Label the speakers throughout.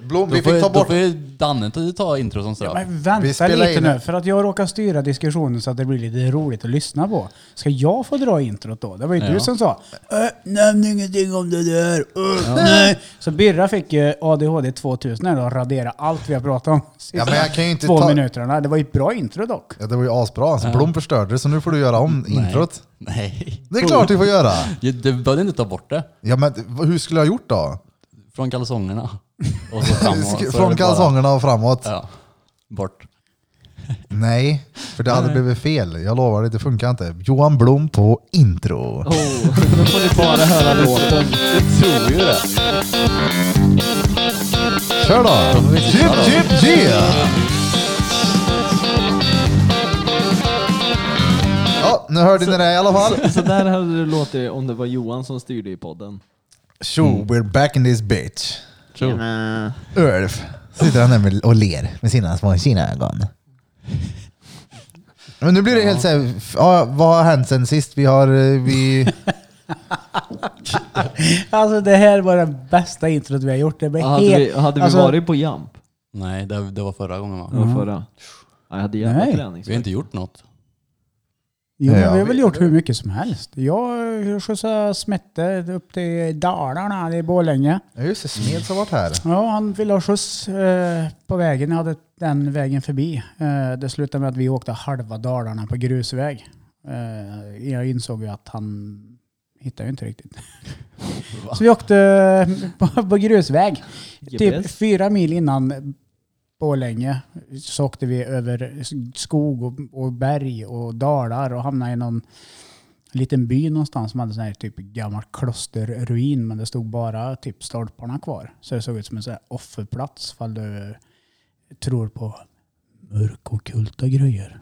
Speaker 1: Blom,
Speaker 2: Då
Speaker 1: vi
Speaker 2: får
Speaker 1: fick
Speaker 2: ju-
Speaker 1: ta
Speaker 2: Då
Speaker 1: bort...
Speaker 2: får ju Danne ta- ta intro som straff.
Speaker 3: Men
Speaker 1: Vi
Speaker 3: vänta
Speaker 1: spelar
Speaker 3: lite
Speaker 1: in
Speaker 3: nu,
Speaker 1: det.
Speaker 3: för att jag råkar styra diskussionen så att det blir lite roligt att lyssna på. Ska jag få dra introt då? Det var ju du
Speaker 2: Ja.
Speaker 3: som sa "Äh, Nämn ingenting om det där. Äh, nej. Så Birra fick ju ADHD 2000 här då och radera allt vi har pratat om.
Speaker 1: Ja, men jag kan ju inte
Speaker 3: Två
Speaker 1: ta-
Speaker 3: minuterna. Det var ju ett bra intro dock.
Speaker 1: Ja, det var ju asbra. Alltså, Blom förstörde det, så nu får du göra om
Speaker 2: Nej.
Speaker 1: introt.
Speaker 2: Nej.
Speaker 1: Det är klart du får göra.
Speaker 2: Ja, Du behövde inte ta bort det.
Speaker 1: Ja, men hur skulle jag ha gjort då?
Speaker 2: Från kalsongerna. Och så framåt. så är det
Speaker 1: Från
Speaker 2: bara-
Speaker 1: kalsongerna och framåt?
Speaker 2: Ja. Bort.
Speaker 1: Nej, för det hade blivit fel. Jag lovar dig, det funkar inte. Johan Blom på intro.
Speaker 2: Oh.
Speaker 4: Nu får ni bara höra låten.
Speaker 2: Jag tror ju det.
Speaker 1: Kör då! Jip, jip, jip! Ja, nu hörde ni det i alla fall.
Speaker 4: Så där hade det låtit om det var Johan som styrde i podden.
Speaker 1: Tjo, we're back in this bitch.
Speaker 2: Tror.
Speaker 1: Ulf sitter han där med och ler med sina små kinaögon. Men nu blir det helt såhär, f- ja, vad har hänt sen sist? Vi har, eh, vi...
Speaker 3: Alltså det här var det bästa introt vi har gjort. Det blev
Speaker 4: Hade
Speaker 3: helt...
Speaker 4: vi, hade vi
Speaker 3: alltså,
Speaker 4: varit på Jamp?
Speaker 2: Nej, det, det var förra gången va?
Speaker 1: Mm.
Speaker 4: Det var förra. Ja, jag hade jävla
Speaker 3: Nej.
Speaker 2: Vi har
Speaker 4: träningsvärk.
Speaker 2: inte gjort något.
Speaker 3: Jo, men
Speaker 1: Ja,
Speaker 3: vi har väl
Speaker 1: vi-
Speaker 3: gjort hur mycket som helst. Jag skjutsade Smette upp till Dalarna, det är Borlänge.
Speaker 1: Ja, Just det, Smeds har varit här.
Speaker 3: Ja, han ville ha skjuts eh, på vägen. Jag hade den vägen förbi. Eh, det slutade med att vi åkte halva Dalarna på grusväg. Eh, jag insåg ju att han hittade ju inte riktigt. Så vi åkte på, på grusväg. Typ
Speaker 4: GPS.
Speaker 3: fyra mil innan Borlänge så åkte vi över skog och, och berg och dalar och hamnade i någon liten by någonstans som hade sån här typ gammal klosterruin men det stod bara typ stolparna kvar. Så det såg ut som en sån här offerplats fall du tror på mörkokulta grejer.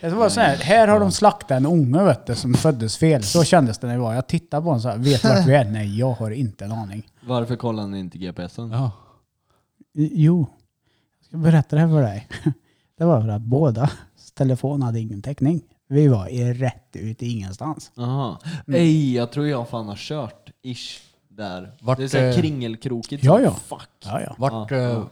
Speaker 3: Det var så här, här har de slaktat en unge vet du, som föddes fel. Så kändes det när vi var. Jag tittade på honom så här, vet du vart vi är? Nej, jag har inte en aning.
Speaker 4: Varför kollade ni inte GPSen?
Speaker 2: Ja.
Speaker 3: I- Jo, jag ska berätta det här för dig. Det var för att båda telefon hade ingen täckning. Vi var i rätt ut i ingenstans.
Speaker 4: Jaha.
Speaker 3: Mm.
Speaker 4: Ej, jag tror jag fan har kört. Ish. Där.
Speaker 2: Vart,
Speaker 4: det är såhär
Speaker 2: eh,
Speaker 4: kringelkrokigt.
Speaker 3: Ja, ja.
Speaker 4: Fuck.
Speaker 3: Ja, ja.
Speaker 2: Vart...
Speaker 4: Ja,
Speaker 2: eh,
Speaker 4: ja.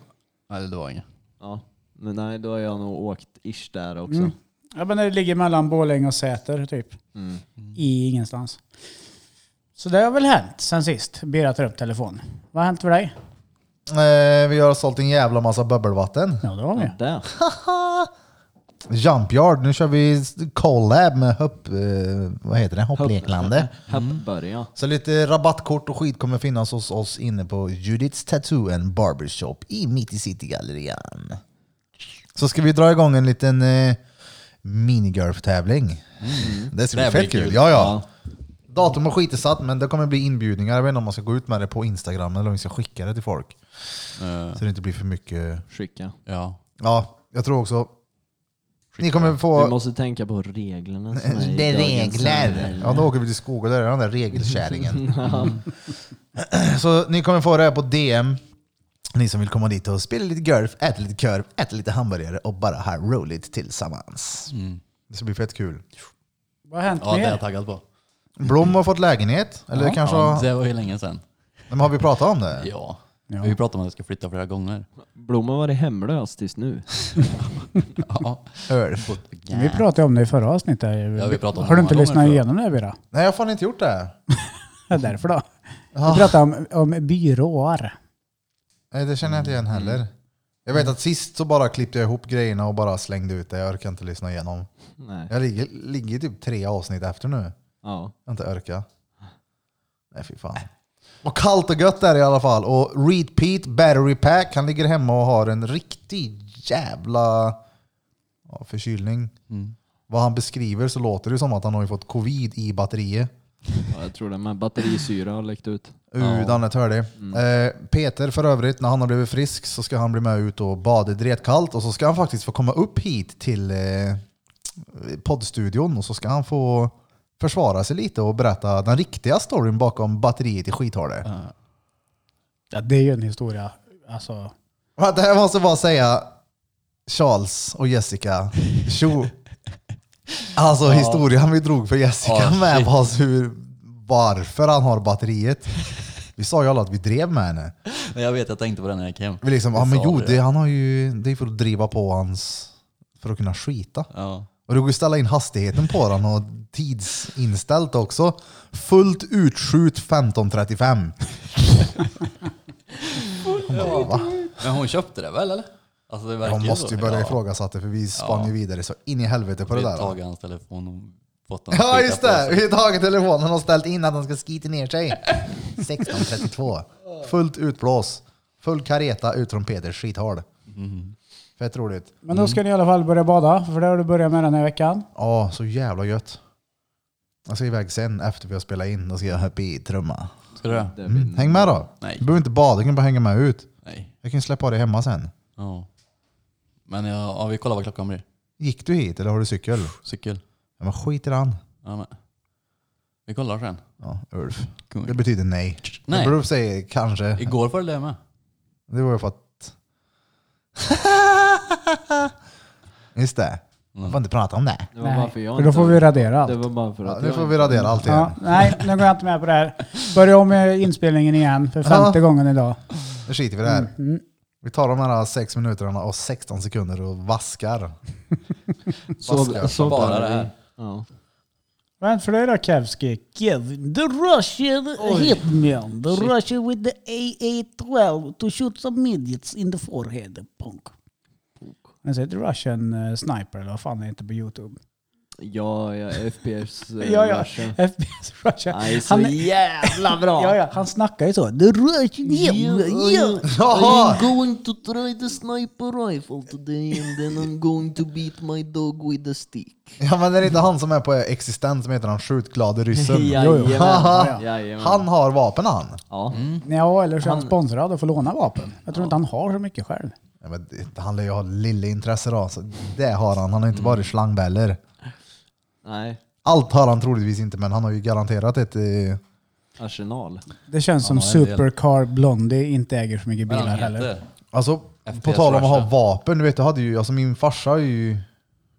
Speaker 2: Nej, det var inget.
Speaker 4: Ja. Men nej, då har jag nog åkt ish där också.
Speaker 3: Mm. ja men det ligger mellan Borlänge och Säter typ.
Speaker 4: Mm.
Speaker 3: I ingenstans. Så det har väl hänt sen sist Birra tar upp telefonen. Vad har hänt för dig?
Speaker 1: Eh, vi har sålt en jävla massa bubbelvatten.
Speaker 3: Ja, det var
Speaker 4: Ja,
Speaker 3: med.
Speaker 4: där.
Speaker 1: Jumpyard, nu kör vi collab med Hopp... Eh, vad heter det? Hoppleklande.
Speaker 3: Mm.
Speaker 4: Här börjar
Speaker 1: Så lite rabattkort och skit kommer finnas hos oss inne på Judiths Tattoo and Barbershop i Mitt i City-gallerian. Så ska vi dra igång en liten eh, minigolf-tävling. Det ska bli
Speaker 2: Det blir
Speaker 1: fett kul.
Speaker 2: kul.
Speaker 1: Ja, ja. Datum och skit är satt, men det kommer bli inbjudningar. Jag vet inte om man ska gå ut med det på Instagram eller om vi ska skicka det till folk.
Speaker 2: Eh,
Speaker 1: Så det inte blir för mycket...
Speaker 4: skicka.
Speaker 2: ja.
Speaker 1: Ja, jag tror också... Ni kommer
Speaker 4: Vi
Speaker 1: få...
Speaker 4: måste tänka på reglerna som är i
Speaker 1: Det är
Speaker 4: dagens
Speaker 1: regler.
Speaker 4: samhälle.
Speaker 1: Ja, då åker vi till skog och där är den där regelkärringen. Så ni kommer få det här på DM. Ni som vill komma dit och spela lite golf, äta lite korv, äta lite hamburgare och bara ha roligt tillsammans. Det ska bli fett kul.
Speaker 3: Vad har hänt
Speaker 2: ja, det är
Speaker 3: med
Speaker 2: jag
Speaker 3: er?
Speaker 2: taggad på.
Speaker 1: Blom har fått lägenhet, eller kanske...
Speaker 2: Ja,
Speaker 1: har-
Speaker 2: det var ju länge sedan.
Speaker 1: Men har vi pratat om det?
Speaker 2: Ja.
Speaker 3: Ja.
Speaker 2: Vi pratade om att jag ska flytta flera gånger.
Speaker 4: Blom har varit hemlös tills nu.
Speaker 2: Ja.
Speaker 1: Ulf.
Speaker 3: Vi pratade om det i förra avsnittet.
Speaker 2: Ja, vi pratade om
Speaker 3: har
Speaker 2: det
Speaker 3: du inte
Speaker 2: många gånger,
Speaker 3: lyssnat
Speaker 2: tror jag.
Speaker 3: igenom det Birra?
Speaker 1: Nej, jag har fan inte gjort det.
Speaker 3: Därför då.
Speaker 2: Ah.
Speaker 3: Vi pratade om, om byråer.
Speaker 1: Nej, det känner jag inte igen heller. Jag vet att sist så bara klippte jag ihop grejerna och bara slängde ut det. Jag orkar inte lyssna igenom.
Speaker 4: Nej.
Speaker 1: Jag ligger, ligger typ tre avsnitt efter nu.
Speaker 4: Ja.
Speaker 1: Jag har inte orkat. Nej fy fan. Och kallt och gött där i alla fall. Och Reed Pete Battery Pack, han ligger hemma och har en riktig jävla ja, förkylning. Vad han beskriver så låter det som att han har ju fått covid i batteriet.
Speaker 4: ja, jag tror det. Men batterisyra har läckt ut.
Speaker 1: Udan ett hörde.
Speaker 2: Mm.
Speaker 1: Eh, Peter för övrigt, när han har blivit frisk så ska han bli med ut och bada dretkallt och så ska han faktiskt få komma upp hit till eh, poddstudion och så ska han få försvara sig lite och berätta den riktiga storyn bakom batteriet i skithålet.
Speaker 3: Ja, det är ju en historia. Alltså,
Speaker 1: Men Det här måste jag bara säga Charles och Jessica. Tjo. Alltså historien vi drog för Jessica
Speaker 2: Ja,
Speaker 1: med
Speaker 2: shit.
Speaker 1: var hur, varför han har batteriet. Vi sa ju alla att vi drev med henne.
Speaker 2: Men jag vet, jag tänkte på den när jag gick hem.
Speaker 1: Vi liksom,
Speaker 2: Du
Speaker 1: ja men
Speaker 2: sa
Speaker 1: jo,
Speaker 2: det.
Speaker 1: det, han har ju, det är för att driva på hans... För att kunna skita.
Speaker 2: Ja.
Speaker 1: Och du går ju ställa in hastigheten på den och tidsinställt också. Fullt utskjut 15.35. Han bara, va?
Speaker 2: Men hon köpte det väl eller? Alltså det verkar
Speaker 1: De måste ju börja ifrågasätta för vi spann ju vidare så in i helvete på det
Speaker 2: Vi
Speaker 1: där.
Speaker 2: har
Speaker 1: va?
Speaker 2: tagit hans telefon och fått honom
Speaker 1: Ja
Speaker 2: att
Speaker 1: just
Speaker 2: skita på
Speaker 1: det!
Speaker 2: sig.
Speaker 1: Vi har tagit telefonen och ställt in att han ska skita ner sig. 16.32. Fullt utblås. Full kareta utom Peter skithål.
Speaker 2: Mm.
Speaker 1: Fett roligt.
Speaker 3: Men då ska ni i alla fall börja bada, för det har du börjat med den här veckan.
Speaker 1: Ja, så jävla gött. Jag ska iväg sen efter vi har spelat in. Då ska jag hoppa i trumma.
Speaker 2: Ska du det?
Speaker 4: Det
Speaker 1: Mm. Häng med då.
Speaker 2: Nej.
Speaker 1: Du behöver inte bada, du kan bara hänga med ut.
Speaker 2: Nej.
Speaker 1: Jag kan släppa av dig hemma sen.
Speaker 2: Ja. Men jag, ja, vi kollar vad klockan blir.
Speaker 1: Gick du hit eller har du cykel?
Speaker 2: Cykel.
Speaker 1: Ja, men skit i den.
Speaker 2: Ja, men. Vi kollar sen.
Speaker 1: Ja, Ulf. Det betyder nej.
Speaker 2: Nej.
Speaker 1: Det beror på sig kanske.
Speaker 2: Igår var det det med.
Speaker 1: Det var ju för att... Just det. Man får inte prata om det.
Speaker 4: Det var bara för jag
Speaker 3: för då får vi radera
Speaker 4: Det
Speaker 3: allt.
Speaker 4: var bara för
Speaker 1: Ja,
Speaker 4: att
Speaker 1: nu
Speaker 4: jag
Speaker 1: får vi radera allt igen.
Speaker 3: Ja, nej, nu går jag inte med på det här. Börja om med inspelningen igen
Speaker 2: Ah.
Speaker 3: för femte gången idag.
Speaker 1: Nu skiter vi i det
Speaker 3: Mm.
Speaker 1: här. Vi tar de här sex minuterna och 16 sekunder och vaskar.
Speaker 4: Så,
Speaker 1: Vaskar.
Speaker 4: så
Speaker 2: Bara
Speaker 4: bara
Speaker 2: det här.
Speaker 4: Ja.
Speaker 3: Vad är det för dig då Kevski?
Speaker 5: Kevin, the Russian hitman, the Russian with the AA-12 to shoot some midgets in the forehead, punk.
Speaker 3: Han säger Russian eh, sniper eller vad fan det heter på youtube.
Speaker 4: Ja, ja, FPS eh,
Speaker 3: Ja, ja.
Speaker 4: version.
Speaker 3: FPS Russian.
Speaker 4: Nej, så
Speaker 3: Han-
Speaker 4: jävla bra!
Speaker 3: Ja, ja, han snackar ju så.
Speaker 5: The Russian hitman, yeah.
Speaker 1: Jaha!
Speaker 6: going to try the sniper rifle today and then I'm going to beat my dog with a stick.
Speaker 1: Ja men det är inte han som är på existens som heter han skjutglade ryssen.
Speaker 4: Jajamän.
Speaker 1: Haha.
Speaker 4: Jajamän.
Speaker 1: Han har vapen han.
Speaker 4: Ja.
Speaker 2: Mm.
Speaker 3: Ja, eller så är han sponsrad och får låna vapen. Jag tror inte han har så mycket själv.
Speaker 1: Ja, men det- han lär ju ha lille intresse då. Så det har han. Han har inte
Speaker 4: Mm.
Speaker 1: varit slangbäller.
Speaker 4: Nej,
Speaker 1: Allt har han troligtvis inte men han har ju garanterat ett... eh,
Speaker 4: Arsenal.
Speaker 3: Det känns som
Speaker 2: har en del.
Speaker 3: Supercar Blondie inte äger så mycket
Speaker 2: Vad
Speaker 3: bilar
Speaker 2: han
Speaker 3: heller.
Speaker 2: heter.
Speaker 1: Alltså,
Speaker 2: FPS
Speaker 1: på tal om att ha
Speaker 2: Russia.
Speaker 1: vapen. Du vet, jag hade ju, alltså min farsa är ju,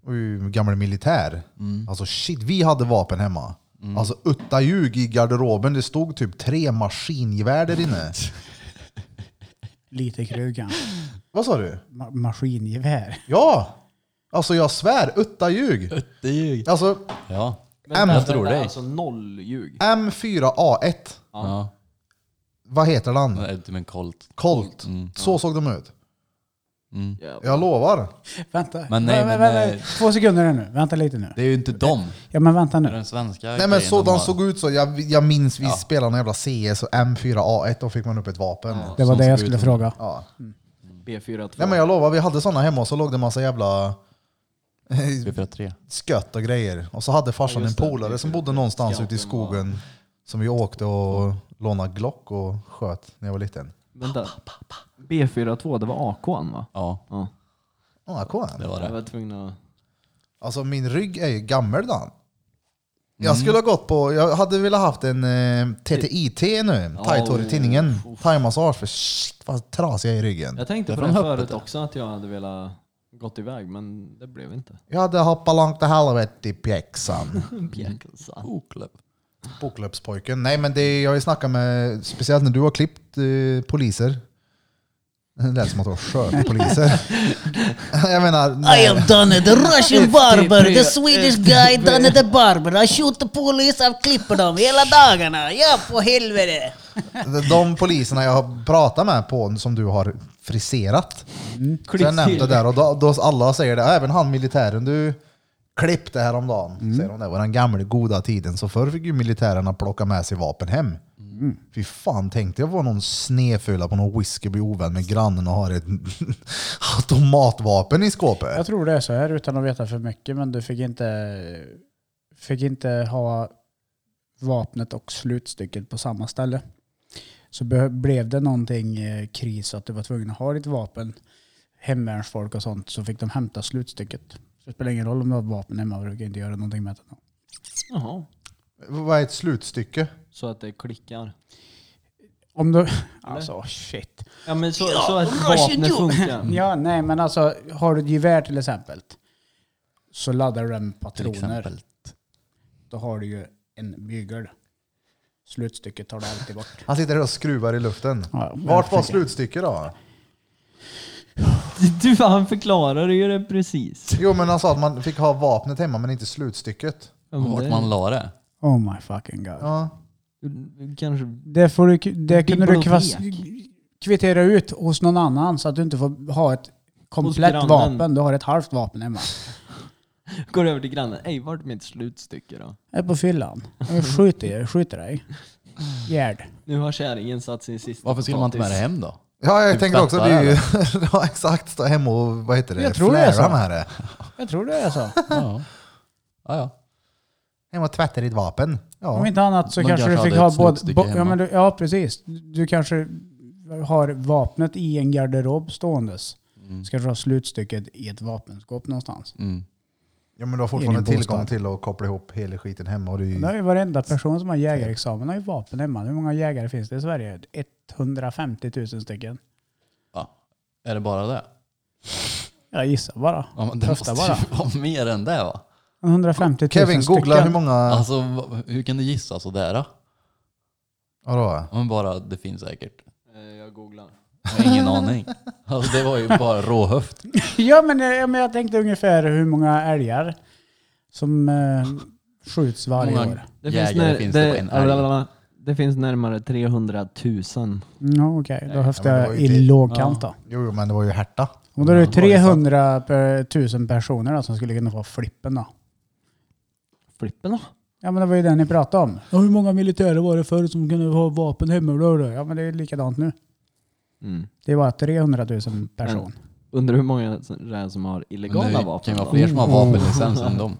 Speaker 1: var ju gammal militär.
Speaker 4: Mm.
Speaker 1: Alltså shit, vi hade vapen hemma. Alltså utta ljug i garderoben. Det stod typ tre maskingevär där inne.
Speaker 3: Lite krug kanske.
Speaker 1: Vad sa du?
Speaker 3: Ma- maskingevär.
Speaker 1: Ja! Alltså jag svär, utta ljug.
Speaker 2: Det är ju...
Speaker 1: Alltså
Speaker 2: Ja.
Speaker 1: Mm.
Speaker 2: Jag tror
Speaker 4: vänta,
Speaker 2: dig.
Speaker 4: Alltså noll ljug.
Speaker 1: M4A1,
Speaker 2: Ja.
Speaker 1: vad heter den?
Speaker 2: ja. Ultimate Colt.
Speaker 1: Colt.
Speaker 4: Mm.
Speaker 1: Så såg de ut.
Speaker 2: Mm.
Speaker 4: Ja.
Speaker 1: Jag lovar.
Speaker 3: Vänta.
Speaker 2: Men nej,
Speaker 3: Vä- vä-
Speaker 2: men,
Speaker 3: vä-
Speaker 2: eh,
Speaker 3: Två sekunder här nu. Vänta lite nu.
Speaker 2: Det är ju inte dem.
Speaker 3: Ja, men vänta
Speaker 2: Det är
Speaker 3: nu.
Speaker 2: Den svenska
Speaker 1: Nej men
Speaker 2: grejen
Speaker 1: så,
Speaker 2: de
Speaker 1: de
Speaker 2: har.
Speaker 1: såg ut så. Jag, jag minns vi spelade en jävla CS och M4A1, då fick man upp ett vapen.
Speaker 3: Det var
Speaker 2: Som
Speaker 3: det jag
Speaker 2: såg ut
Speaker 3: skulle
Speaker 2: som-
Speaker 3: fråga.
Speaker 1: Ja.
Speaker 4: B42.
Speaker 1: Nej men jag lovar, vi hade sådana hemma och så låg det massa jävla
Speaker 2: B43.
Speaker 1: skött och grejer. Och så hade farsan en
Speaker 4: just det.
Speaker 1: polare som bodde någonstans ute i
Speaker 4: Scouten var-
Speaker 1: skogen som vi åkte och lånade Glock och sköt när jag var liten.
Speaker 4: Vänta. B42, det var AK'n va?
Speaker 2: Ja,
Speaker 4: Ja.
Speaker 1: Ah, cool.
Speaker 2: det var
Speaker 4: Jag
Speaker 2: det.
Speaker 4: var tvungen att...
Speaker 1: Alltså min rygg är ju gammal Dan.
Speaker 4: Mm.
Speaker 1: Jag skulle ha gått på, jag hade velat haft en eh, TTIT nu, tight hår i
Speaker 4: Ja,
Speaker 1: tinningen, thai-massage för shit vad trasig jag är i ryggen.
Speaker 4: Jag tänkte på
Speaker 2: Därför
Speaker 4: det
Speaker 2: han
Speaker 4: förut
Speaker 2: hoppade.
Speaker 4: också, att jag hade velat gått iväg, men det blev inte.
Speaker 1: Jag hade hoppat långt till helvete i pjäxan.
Speaker 4: Bjäkelsan.
Speaker 2: Bokklubb.
Speaker 1: Bokklubbspojken. Nej men det, jag har ju snackat med, speciellt när du har klippt eh, poliser. Det lät som att du har skört poliser. jag menar,
Speaker 5: I
Speaker 1: nej.
Speaker 5: have done it, the Russian barber, the Swedish guy done it, the barber. I shoot the police, I klipper dem hela dagarna. Ja, på helvete.
Speaker 1: de poliserna jag har pratat med på som du har friserat.
Speaker 3: Mm,
Speaker 1: Så jag nämnde det där och då, då alla säger det, även han militären du klippte häromdagen.
Speaker 3: Mm.
Speaker 1: Säger de det var den gamla goda tiden. Så förr fick ju militärerna plocka med sig vapen hem.
Speaker 3: Mm.
Speaker 1: Fy fan, tänkte jag var någon snefula på någon whisky, blir ovän med grannen och har ett automatvapen i skåpet.
Speaker 3: Jag tror det är så här utan att veta för mycket, men du fick inte, fick inte ha vapnet och slutstycket på samma ställe. Så be- blev det någonting eh, kris att du var tvungen att ha ditt vapen, hemvärnsfolk och sånt, så fick de hämta slutstycket. Så det spelar ingen roll om du har ett vapen hemma, brukar inte göra någonting med det.
Speaker 4: Jaha.
Speaker 1: Vad är ett slutstycke?
Speaker 4: Så att det klickar.
Speaker 3: Om du... Alltså shit.
Speaker 4: Ja men så,
Speaker 5: Ja,
Speaker 4: så att
Speaker 5: Russian
Speaker 4: vapnet
Speaker 5: Jew.
Speaker 4: funkar.
Speaker 3: Ja, nej men alltså har du ett gevär till exempel så laddar du den med
Speaker 2: Till
Speaker 3: patroner.
Speaker 2: exempel.
Speaker 3: Då har du ju en bygel. Slutstycket tar det alltid bort.
Speaker 1: Han sitter här och skruvar i luften.
Speaker 3: Ja,
Speaker 1: Vart var
Speaker 3: jag-
Speaker 1: slutstycket då?
Speaker 6: Du, han förklarade ju det precis.
Speaker 1: Jo men han sa att man fick ha vapnet hemma men inte slutstycket.
Speaker 6: Ja, men
Speaker 2: Vart
Speaker 6: det-
Speaker 2: man la det?
Speaker 3: Oh my fucking god.
Speaker 1: Ja.
Speaker 6: du- Kanske...
Speaker 3: Det, får du, det kunde du
Speaker 6: Bibliotek.
Speaker 3: kvas, kvittera ut hos någon annan så att du inte får ha ett komplett
Speaker 6: grannen.
Speaker 3: vapen. Du har ett halvt vapen hemma.
Speaker 6: Går över till grannen. Ey, vart är mitt slutstycke då?
Speaker 3: Jag är på fyllan. Jag skjuter, jag skjuter dig. Gerd.
Speaker 6: Nu har kärringen satt sin sista
Speaker 2: Varför skulle man inte med det
Speaker 6: potatis.
Speaker 2: hem då?
Speaker 1: Ja, jag
Speaker 2: Typ
Speaker 1: tänker också att det
Speaker 2: tvättar
Speaker 1: är ju... ja, exakt. Stå hemma och vad heter det?
Speaker 3: Jag tror det är så.
Speaker 1: Flära med det.
Speaker 3: Jag tror det är så.
Speaker 2: Ja, ja. ja.
Speaker 1: Hemma och tvätta ditt vapen.
Speaker 3: Om
Speaker 1: Ja.
Speaker 3: inte annat så
Speaker 2: Man
Speaker 3: kanske du
Speaker 2: kanske
Speaker 3: fick
Speaker 2: hade
Speaker 3: ha
Speaker 2: ett
Speaker 3: både...
Speaker 2: slutstycke
Speaker 3: bo- Ja,
Speaker 2: hemma.
Speaker 3: men du, ja, precis. Du kanske har vapnet i en garderob ståendes. Så kanske du har slutstycket i ett vapenskåp någonstans.
Speaker 2: Mm.
Speaker 1: ja, men du har
Speaker 3: Egen
Speaker 1: fortfarande tillgång
Speaker 3: bostad.
Speaker 1: till att koppla ihop hela skiten hemma. Och det är
Speaker 3: Det är
Speaker 1: ju...
Speaker 3: ju varenda person som har jägarexamen har ju vapen hemma. Hur många jägare finns det i Sverige? 150 000 stycken.
Speaker 2: ja. Är det bara det?
Speaker 3: Jag gissar bara.
Speaker 2: Ja, men det
Speaker 3: Höfta
Speaker 2: måste
Speaker 3: bara.
Speaker 2: ju vara mer än det va?
Speaker 3: 150 000
Speaker 1: Kevin, googla
Speaker 3: stycken.
Speaker 1: hur många...
Speaker 2: Alltså, va- hur kan du gissa Alltså, sådär? då?
Speaker 1: Vadå?
Speaker 2: Ja, Men bara, det finns säkert.
Speaker 4: Eh, Jag googlar.
Speaker 2: Jag har ingen aning. Alltså, det var ju bara råhöft.
Speaker 3: Ja men, eh, ja, men jag tänkte ungefär hur många älgar som eh, skjuts varje
Speaker 2: Många-
Speaker 3: år.
Speaker 6: Det
Speaker 2: Jägare
Speaker 6: finns, när,
Speaker 2: finns
Speaker 6: det,
Speaker 2: det på en älg.
Speaker 6: blablabla. det finns närmare 300 000.
Speaker 3: Ja, Okej, då höftar
Speaker 1: men det var
Speaker 3: jag
Speaker 1: ju
Speaker 3: i
Speaker 1: det.
Speaker 3: lågkant då.
Speaker 1: Jo, jo, men det var ju Herta.
Speaker 3: Och då är det
Speaker 1: Ja, det är sant.
Speaker 3: 300 per 1000 personer då, som skulle kunna få flippen då.
Speaker 6: Flippen då?
Speaker 3: Ja men det var ju det ni pratade om. Ja, hur många militärer var det förr som kunde ha vapen hemma? Bla, bla. Ja men det är likadant nu.
Speaker 6: Mm.
Speaker 3: Det var 300 000
Speaker 1: Mm.
Speaker 3: person.
Speaker 6: Undrar hur många som- det är som har
Speaker 2: Men
Speaker 6: illegala
Speaker 2: det
Speaker 6: vapen
Speaker 2: kan ju
Speaker 6: då?
Speaker 2: vara fler som har vapenlicens än dem.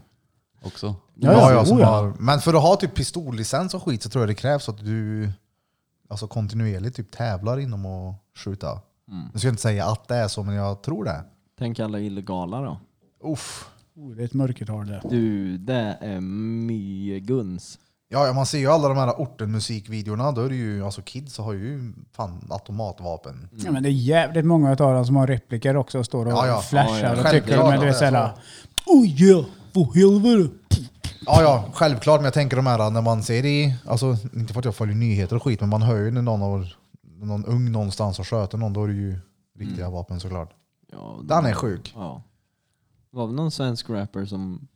Speaker 2: Också.
Speaker 1: Ja, ja,
Speaker 3: jo,
Speaker 1: som
Speaker 3: ja.
Speaker 1: Har, men för att ha typ pistollicens och skit så tror jag det krävs att du alltså kontinuerligt typ tävlar inom att skjuta. Nu ska jag inte säga att det är så, men jag tror det.
Speaker 6: Tänk alla illegala då.
Speaker 1: Uff.
Speaker 3: Oh, det är ett mörkertal det.
Speaker 6: Du, det är mycket guns.
Speaker 1: Ja, ja, man ser ju alla de här ortenmusikvideorna. Då är det ju, alltså kids har ju fan automatvapen.
Speaker 3: Ja, men det är jävligt många utav dem som har repliker också och står och
Speaker 1: Ja, ja.
Speaker 3: flashar
Speaker 6: Ja, ja.
Speaker 3: och tycker
Speaker 1: Självklart,
Speaker 3: men du är
Speaker 1: ja.
Speaker 3: såhär Oj ja, för Oh, helvete.
Speaker 1: Ja, ja, självklart. Men jag tänker de här när man ser i, alltså inte för att jag följer nyheter och skit, men man hör ju när någon, har, någon ung någonstans har sköter någon, då är det ju riktiga vapen såklart.
Speaker 6: Ja,
Speaker 1: Den är sjuk.
Speaker 6: Ja. Det var väl någon svensk rapper som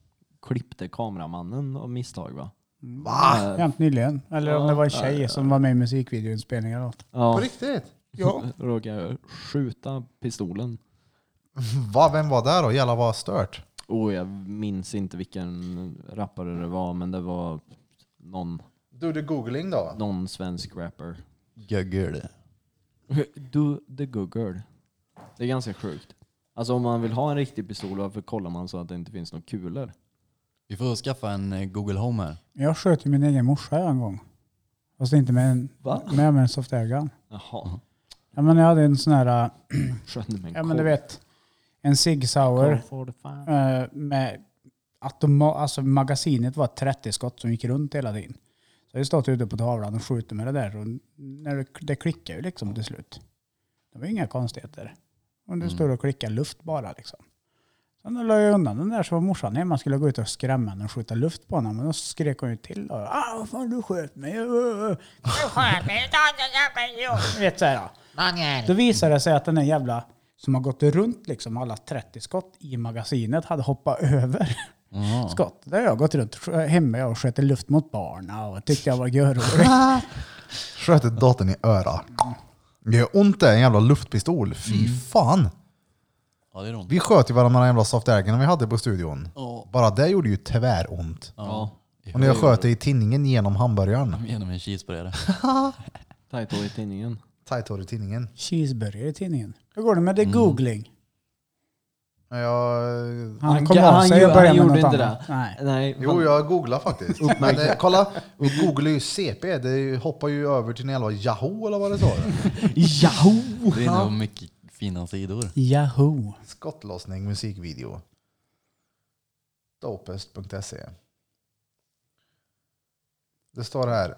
Speaker 6: klippte kameramannen av misstag va? Eh,
Speaker 1: Va?
Speaker 3: Jämt nyligen. Eller om
Speaker 6: Ja,
Speaker 3: det var en
Speaker 6: ja,
Speaker 3: tjej
Speaker 6: ja.
Speaker 3: som var med i musikvideoinspelningar och allt.
Speaker 1: På
Speaker 6: Ja,
Speaker 1: riktigt?
Speaker 3: Ja.
Speaker 6: råkade skjuta pistolen.
Speaker 1: Va, vem var där då? Jävlar vad stört.
Speaker 6: Oh, jag minns inte vilken rappare det var, men det var någon,
Speaker 1: Du, det googling då?
Speaker 6: någon svensk rapper.
Speaker 2: Göggel.
Speaker 6: Du, the Google. Det är ganska sjukt. Alltså om man vill ha en riktig pistol, varför kollar man så att det inte finns några kulor?
Speaker 2: Vi får skaffa en eh, Google Home här.
Speaker 3: Jag sköt ju min egen morsa en gång. Fast inte med en,
Speaker 6: Va?
Speaker 3: med, med en soft air gun.
Speaker 6: Jaha.
Speaker 3: Ja, men jag hade en sån här, äh,
Speaker 6: Skötte med en
Speaker 3: ja men du
Speaker 6: kol.
Speaker 3: vet, en Sig Sauer
Speaker 6: Kol for the fan.
Speaker 3: eh, med automa- alltså magasinet var 30 skott som gick runt hela tiden. Så jag har stått ute på tavlan och skjutit med det där och när det, det klickar ju liksom till slut. Det var inga konstigheter. Om du står och klickar luft bara liksom. Sen då la jag undan den där så var morsan hemma och skulle gå ut och skrämma henne och skjuta luft på henne. Men då skrek hon ju till. Och, ah, vad fan du sköt mig. Uh, uh, uh." Du vet så här, ja. Då visade det sig att den där jävla som har gått runt liksom alla 30 skott i magasinet hade hoppat över skott. Där har jag gått runt hemma och sköt i luft mot barna och tyckte jag var görrolig.
Speaker 1: Sköt datorn i öra. Det gör ont det, en jävla luftpistol. Fy fan.
Speaker 2: Ja, det är ont.
Speaker 1: Vi sköt ju varandra med den jävla soft airgun vi hade på studion.
Speaker 2: Ja.
Speaker 1: Bara det gjorde ju tväront.
Speaker 2: Ja.
Speaker 1: Och när jag sköt det i tinningen genom hamburgaren.
Speaker 2: Genom en cheeseburgare.
Speaker 6: Title i tidningen.
Speaker 1: Tajt hår i tinningen.
Speaker 3: Cheeseburgare i tidningen. Hur går det med det googling?
Speaker 1: Jag...
Speaker 3: Han
Speaker 6: Han-
Speaker 3: kom av
Speaker 6: han
Speaker 3: sig
Speaker 6: gjorde-
Speaker 3: och började
Speaker 6: han
Speaker 3: med något
Speaker 6: gjorde inte
Speaker 3: annat. Nej.
Speaker 6: Nej,
Speaker 1: Jo,
Speaker 6: fan.
Speaker 1: jag googlade faktiskt. Men, eh, kolla, vi googlar ju CP. Det är ju- hoppar ju över till en jävla Yahoo eller vad det står.
Speaker 6: Yahoo!
Speaker 2: Det är nog mycket fina sidor.
Speaker 3: Yahoo.
Speaker 1: Skottlossning, musikvideo. Dopest.se. Det står här.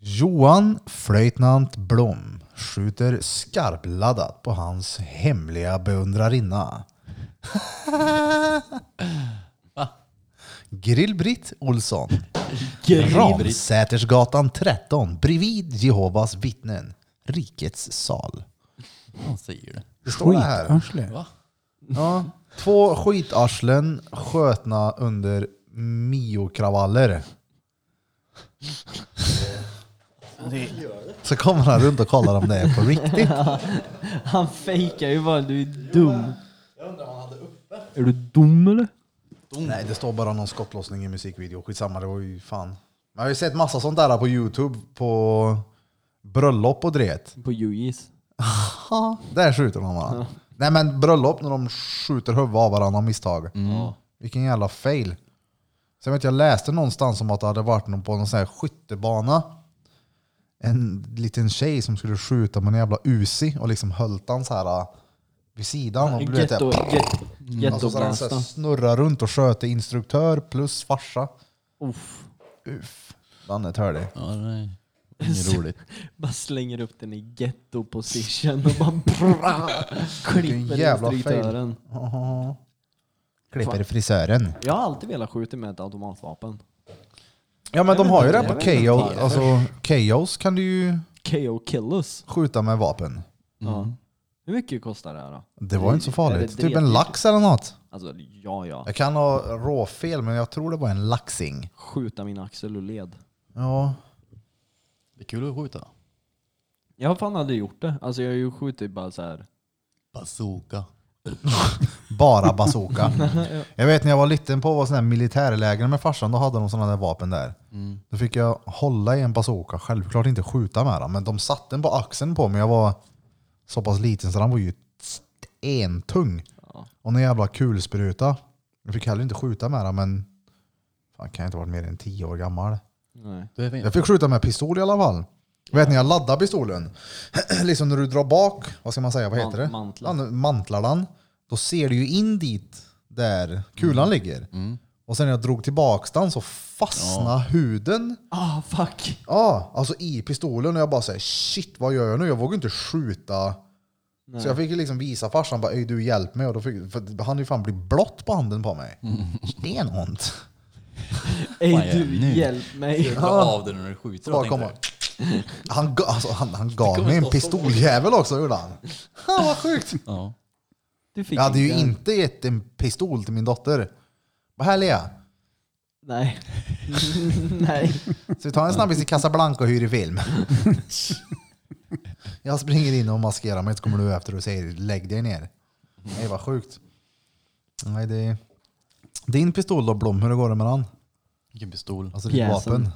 Speaker 1: Johan Flöjtnant Blom skjuter skarpladdat på hans hemliga beundrarinna. Grill-Britt Olsson. Ramsätersgatan 13, bredvid Jehovas vittnen. Rikets sal.
Speaker 2: Han säger det.
Speaker 1: Det står det här.
Speaker 3: Skitarsle.
Speaker 2: Va?
Speaker 1: Ja. Två skitarslen skötna under Mio-kravaller. Så kommer han runt och kollar om det är på riktigt.
Speaker 6: Han fejkar ju bara, du är dum. Är du dum eller?
Speaker 1: Nej, det står bara någon skottlossning i musikvideo. Skitsamma, det var ju fan. Man har ju sett massa sånt där på Youtube på bröllop och dret.
Speaker 6: På UJs.
Speaker 1: Där skjuter de varandra. Nej men bröllop när de skjuter huvudet av varandra av misstag.
Speaker 6: Mm.
Speaker 1: Vilken jävla fail. Sen vet jag, läste någonstans om att det hade varit någon på någon sån här skyttebana. En liten tjej som skulle skjuta med en jävla Uzi och liksom höll den så här äh, vid sidan. Och, du vet,
Speaker 6: Getto,
Speaker 1: jag-
Speaker 6: get,
Speaker 1: alltså, så den så här
Speaker 6: gettoblasta.
Speaker 1: snurrar runt och sköter instruktör plus farsa.
Speaker 6: Uff.
Speaker 1: Uff, den är tördig.
Speaker 2: Ja, nej. Inget roligt.
Speaker 6: Bara slänger upp den i getto position och bara bra, klipper
Speaker 1: jävla
Speaker 6: instruktören.
Speaker 1: Aha. Klipper frisören.
Speaker 6: Jag har alltid velat skjuta med ett automatvapen.
Speaker 1: Ja men de har ju det på
Speaker 6: Jag vet inte
Speaker 1: Chaos.
Speaker 6: varför.
Speaker 1: Alltså, Chaos kan du ju
Speaker 6: KO Killers.
Speaker 1: skjuta med vapen.
Speaker 6: Ja. Hur mycket kostar det här då?
Speaker 1: Mm. Det var inte så farligt.
Speaker 6: det
Speaker 1: Typ en
Speaker 6: dretigt?
Speaker 1: lax eller något.
Speaker 6: Alltså ja, ja.
Speaker 1: Jag kan ha råfel men jag tror det var en laxing.
Speaker 6: Skjuta min axel och led.
Speaker 1: Ja.
Speaker 2: Det är kul att skjuta.
Speaker 6: Jag har fan aldrig gjort det. Alltså jag har ju skjutit bara så här.
Speaker 2: Bazooka.
Speaker 1: Bara bazooka. jag vet när jag var liten på var sån här militärläger med farsan, då hade de sådana där vapen där. Då fick jag hålla i en bazooka, självklart inte skjuta med den, men de satte den på axeln på mig. Jag var så pass liten så den var ju stentung. Och en jävla kulspruta. Jag fick heller inte skjuta med den, men fan, kan jag inte ha varit mer än tio år gammal.
Speaker 6: Nej.
Speaker 2: Det är fint.
Speaker 1: Jag fick skjuta med pistol i alla fall. Vet ni, jag laddar pistolen. liksom när du drar bak, vad ska man säga, vad
Speaker 6: Man-
Speaker 1: heter det?
Speaker 6: mantlar.
Speaker 1: Ja, nu mantlar den. Då ser du ju in dit där
Speaker 6: Mm.
Speaker 1: kulan ligger. Och sen när jag drog tillbaks den så fastnade huden
Speaker 6: Ah fuck.
Speaker 1: ja, alltså i pistolen. Och jag bara säger shit vad gör jag nu? Jag vågar inte skjuta. Så jag fick ju liksom visa farsan, bara, "Ey, du hjälp mig. Och då fick, för han ju fan bli blått på handen på mig.
Speaker 6: Mm.
Speaker 1: Stenont.
Speaker 6: Ey
Speaker 2: Vad är
Speaker 6: du,
Speaker 2: det nu?
Speaker 6: hjälp mig.
Speaker 2: Ta av den när du skjuter.
Speaker 1: Så bara
Speaker 2: jag tänkte.
Speaker 1: komma. Han, ga- alltså, han, han gav mig en pistoljävel också gjorde han. Han var sjukt.
Speaker 2: Ja.
Speaker 6: Du fick
Speaker 1: Jag hade ju
Speaker 6: inte en.
Speaker 1: inte gett en pistol till min dotter. Vad härlig jag.
Speaker 6: Nej. Nej.
Speaker 1: Så vi tar en snabbis i Casablanca och hyr i film. Jag springer in och maskerar mig så kommer du efter och säger lägg dig ner. Nej vad sjukt. Nej, det... Din pistol då Blom, hur går det med den?
Speaker 2: Vilken pistol.
Speaker 1: Alltså ditt
Speaker 6: Pjäsen.
Speaker 1: vapen.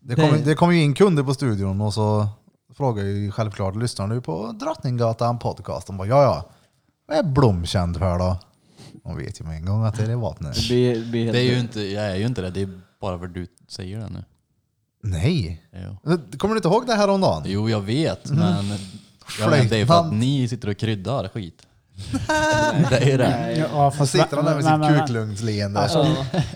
Speaker 1: Det kommer det kom ju in kunder på studion och så frågar jag ju självklart, lyssnar du på Drottninggatan podcast? De bara, ja ja. Vad är Blom känd för då? De vet ju med en gång att det är det vapnet.
Speaker 6: Det blir, det blir helt
Speaker 2: Det är ju inte, jag är ju inte det. Det är bara för att du säger det nu.
Speaker 1: Nej.
Speaker 2: Det är ju-
Speaker 1: Kommer du inte ihåg det här om dagen?
Speaker 2: Jo, jag vet, men jag vet, det är för att ni sitter och kryddar skit. det är det.
Speaker 6: Nej.
Speaker 3: Ja,
Speaker 1: Så
Speaker 3: fast-
Speaker 1: sitter han där med
Speaker 3: men- men-
Speaker 1: sitt
Speaker 3: men-
Speaker 1: kuklugnsleende.
Speaker 3: Alltså,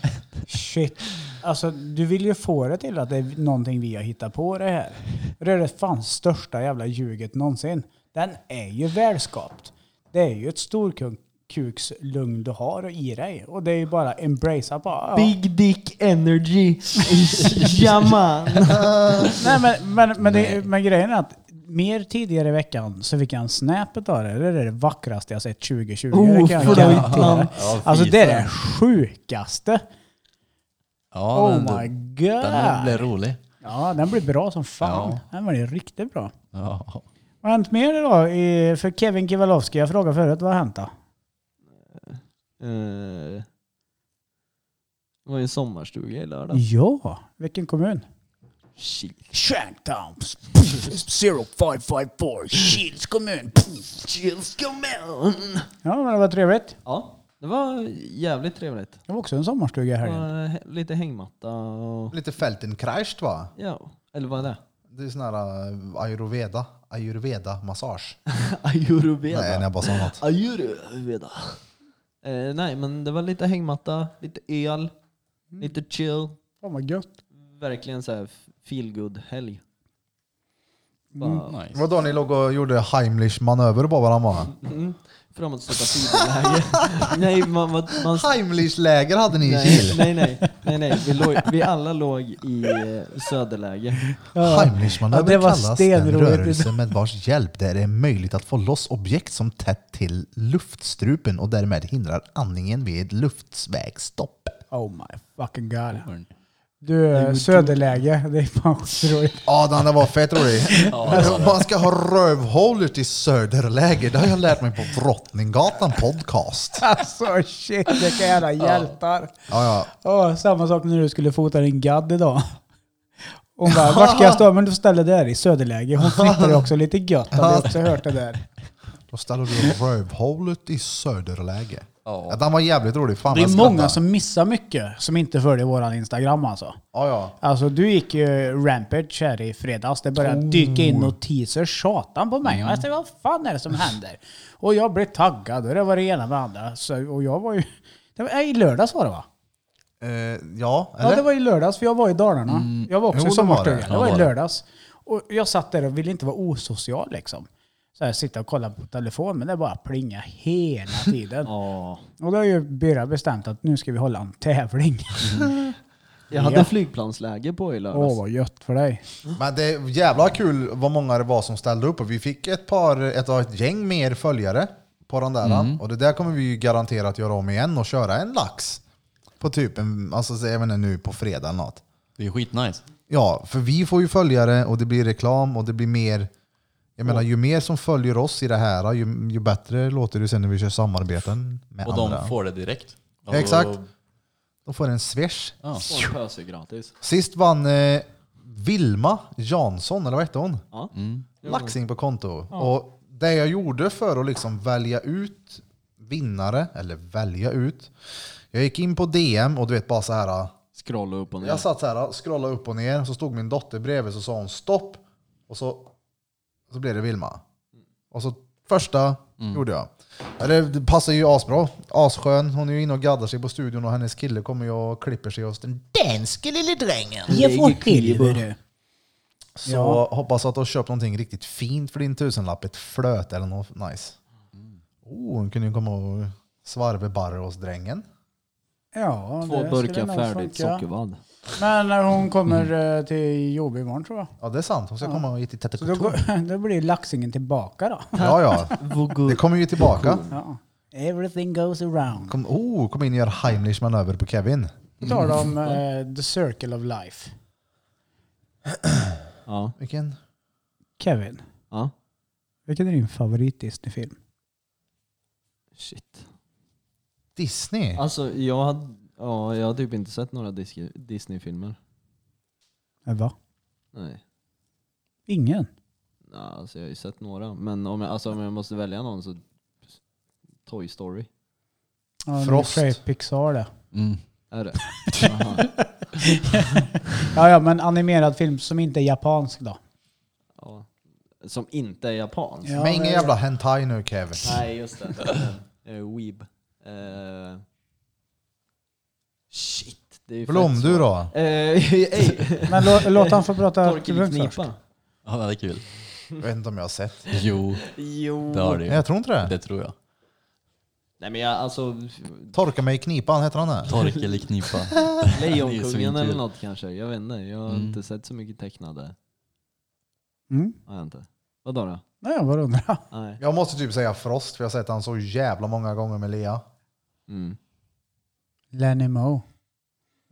Speaker 3: shit. Alltså, du vill ju få det till att det är någonting vi har hittat på det här. Det är det fan största jävla ljuget någonsin. Den är ju välskapt. Det är ju ett storkukslugn du har i dig. Och det är ju bara embracea bara. Ja.
Speaker 6: Big dick energy. Jamma.
Speaker 3: Nej, men, men, men, det, men grejen är att mer tidigare i veckan så fick jag en snap av det. Det är det vackraste jag sett 2020.
Speaker 6: Oh,
Speaker 3: det kan jag
Speaker 6: förlåt,
Speaker 3: garantera.
Speaker 6: man.
Speaker 2: Ja,
Speaker 3: Alltså
Speaker 2: fy
Speaker 3: det är
Speaker 2: fan.
Speaker 3: det sjukaste.
Speaker 2: Ja,
Speaker 3: Oh
Speaker 2: men
Speaker 3: my
Speaker 2: du-
Speaker 3: god.
Speaker 2: Den blir rolig.
Speaker 3: Ja, den blir bra som fan.
Speaker 2: Ja.
Speaker 3: Den blir riktigt bra.
Speaker 2: Ja.
Speaker 3: Vad har hänt mer idag i- för Kevin Kivalowski? Jag frågade förut, vad har hänt då?
Speaker 6: Eh, Det var ju en sommarstuga i lördag.
Speaker 3: Ja, vilken kommun?
Speaker 6: Shit.
Speaker 3: Shanktown 0554, Kils kommun.
Speaker 6: Chills coming.
Speaker 3: Ja, men det var trevligt.
Speaker 6: Ja, det var jävligt trevligt.
Speaker 3: Det var också en sommarstuga i
Speaker 6: Det
Speaker 3: helgen.
Speaker 6: var he- lite hängmatta och...
Speaker 1: Lite Feltenkrascht va?
Speaker 6: Ja, eller vad är det?
Speaker 1: Det är sån här eh, ayurveda, ayurveda massage. Nej,
Speaker 6: Ayurveda.
Speaker 1: när jag bara sa något.
Speaker 6: Ayurveda. Eh, nej, men det var lite hängmatta, lite öl, lite chill.
Speaker 3: Fan vad gött.
Speaker 6: Verkligen så här feel good helg Bara
Speaker 3: Mm,
Speaker 2: Nice.
Speaker 1: Vadå, ni låg och gjorde Heimlich-manöver på varandra? va?
Speaker 6: mm, framåt sätta sidoläge. nej, man, man, man,
Speaker 1: Heimlich-läger hade ni i
Speaker 6: nej,
Speaker 1: Kil.
Speaker 6: nej, nej, nej, nej. Vi, låg, vi alla låg i eh, söderläge.
Speaker 1: Heimlich-manöver
Speaker 3: Ja, det var
Speaker 1: kallas den
Speaker 3: stenroligt.
Speaker 1: rörelse med vars hjälp det är möjligt att få loss objekt som tätt till luftstrupen och därmed hindrar andningen vid luftvägstopp.
Speaker 3: Oh my fucking god.
Speaker 2: Orn.
Speaker 3: Du, söderläge. Det är fan skitroligt.
Speaker 1: Ja, den där var fett rolig. Man ska ha rövhålet i söderläge. Det har jag lärt mig på Drottninggatan podcast.
Speaker 3: Alltså shit, vilka jävla hjältar.
Speaker 1: Ja, ja.
Speaker 3: Åh, samma sak när du skulle fota din gadd idag. Hon bara, vart ska jag stå? Men du ställer dig där i söderläge. Hon twittrade också lite gött. Hade jag också hört det där.
Speaker 1: Då ställer du rövhålet i söderläge.
Speaker 2: Ja.
Speaker 1: Ja, den var jävligt rolig. Fan,
Speaker 3: Det
Speaker 1: jag
Speaker 3: är många
Speaker 1: skrattar.
Speaker 3: som missar mycket som inte följer våran Instagram alltså.
Speaker 1: Ja, ja.
Speaker 3: Alltså du gick ju rampage här i fredags. Det började dyka in notiser, satan på mig. Jag sa, vad fan är det som händer? Och jag blev taggad och det var det ena med det andra. Så, och jag var ju... Det var, nej, I lördags var det va?
Speaker 1: Eh, ja, eller?
Speaker 3: Ja det var i lördags för jag var i Dalarna. Jag var också
Speaker 1: Jo,
Speaker 3: i
Speaker 1: det var
Speaker 3: sommarstugan.
Speaker 1: det.
Speaker 3: Det. var i lördags. Och jag satt där och ville inte vara osocial liksom. Så här, sitta och kolla på telefon men det bara plinga hela tiden.
Speaker 6: Ja.
Speaker 3: Och då har ju Birra bestämt att nu ska vi hålla en tävling.
Speaker 6: Jag hade
Speaker 3: Ja.
Speaker 6: flygplansläge på i lördags.
Speaker 3: Åh vad gött för dig.
Speaker 1: Men det är jävla kul vad många det var som ställde upp och vi fick ett par, ett, ett gäng mer följare på den där.
Speaker 2: Mm.
Speaker 1: Och det där kommer vi ju garanterat göra om igen och köra en lax. På typ en, alltså så jag menar nu på fredag eller något.
Speaker 2: Det är skitnice.
Speaker 1: Ja, för vi får ju följare och det blir reklam och det blir mer. Jag menar ju mer som följer oss i det här ju, ju bättre låter det sen när vi kör samarbeten med
Speaker 2: Och
Speaker 1: andra.
Speaker 2: de får det direkt.
Speaker 1: Ja, exakt.
Speaker 2: Och-
Speaker 1: de får en swish.
Speaker 2: Ja.
Speaker 6: Och en pöse gratis.
Speaker 1: Sist vann eh, Vilma Jansson, eller vad hette hon?
Speaker 6: Ja.
Speaker 1: laxing på konto. Och det jag gjorde för att liksom välja ut vinnare, eller välja ut. Jag gick in på DM och du vet bara så här.
Speaker 6: Scrolla upp och ner.
Speaker 1: Jag satt så här, scrollade upp och ner, så stod min dotter bredvid så sa hon stopp. Och så, så blev det Vilma. Och så första gjorde jag. Ja, Det, det passar ju asbra. Asskön. Hon är ju inne och gaddar sig på studion och hennes kille kommer ju och klipper sig och
Speaker 5: Danske lille drängen.
Speaker 3: Ge får skiljer du.
Speaker 1: Så
Speaker 3: Ja.
Speaker 1: hoppas att du har köpt någonting riktigt fint för din tusenlapp. Ett flöt eller något nice. Oh, hon kunde ju komma och svarva barre hos drängen.
Speaker 3: Ja,
Speaker 6: Två
Speaker 3: det skulle
Speaker 6: burkar
Speaker 3: nog
Speaker 6: färdigt
Speaker 3: funka.
Speaker 6: sockervadd.
Speaker 3: Men när hon kommer eh, till jobb imorgon tror jag.
Speaker 1: Ja, det är sant. Hon ska komma och ge till Tete
Speaker 3: Så då,
Speaker 1: Couture.
Speaker 3: går, då blir laxingen tillbaka då.
Speaker 1: Ja, ja. Det kommer ju tillbaka.
Speaker 3: Ja. Everything goes around.
Speaker 1: Kom, oh, kom in och gör Heimlich manöver på Kevin.
Speaker 3: På tal om eh, the circle of life.
Speaker 6: Ja.
Speaker 1: Vilken?
Speaker 3: Kevin,
Speaker 6: ja.
Speaker 3: vilken är din favorit Disney-film?
Speaker 6: Shit.
Speaker 1: Disney?
Speaker 6: Alltså jag hade, ja, jag har typ inte sett några Dis- Disney-filmer.
Speaker 3: Eh, Va?
Speaker 6: Nej.
Speaker 3: Ingen?
Speaker 6: Ja, alltså jag har ju sett några. Men om jag, alltså, om jag måste välja någon så Toy Story.
Speaker 3: Ja, det är
Speaker 1: Frost.
Speaker 3: för sig Pixar det.
Speaker 2: Mm.
Speaker 6: Är det? Jaha.
Speaker 3: Ja, ja, men animerad film som inte är japansk då.
Speaker 6: ja. Som inte är japansk.
Speaker 3: Ja,
Speaker 1: Men ingen
Speaker 3: det-
Speaker 1: jävla hentai nu Kevin.
Speaker 6: Nej, just det. Uh, weeb. Eh, shit. Det är ju
Speaker 1: Blom
Speaker 6: fett
Speaker 1: du
Speaker 6: svårt.
Speaker 1: då?
Speaker 6: Eh, ej.
Speaker 3: Men lå, låt han få prata till punkt först.
Speaker 6: Torkelknipa.
Speaker 2: Ja, det är kul.
Speaker 1: Jag vet inte om jag har sett.
Speaker 2: Jo,
Speaker 6: Jo.
Speaker 2: det har det
Speaker 1: Nej,
Speaker 2: ju.
Speaker 1: jag tror inte det.
Speaker 2: Det tror jag.
Speaker 6: Nej men jag alltså,
Speaker 1: Torka mig i knipan, heter han det?
Speaker 2: Tork eller knipa.
Speaker 6: Lejonkungen
Speaker 2: svinkul.
Speaker 6: eller något kanske. Jag vet inte. Jag har
Speaker 2: Mm.
Speaker 6: inte sett så mycket tecknade.
Speaker 3: Mm.
Speaker 6: Har jag inte. Vadå då?
Speaker 3: Nej, jag bara undrar.
Speaker 6: Nej.
Speaker 1: Jag måste typ säga Frost, för jag har sett han så jävla många gånger med Lea.
Speaker 6: Mm.
Speaker 3: Lenny Moe.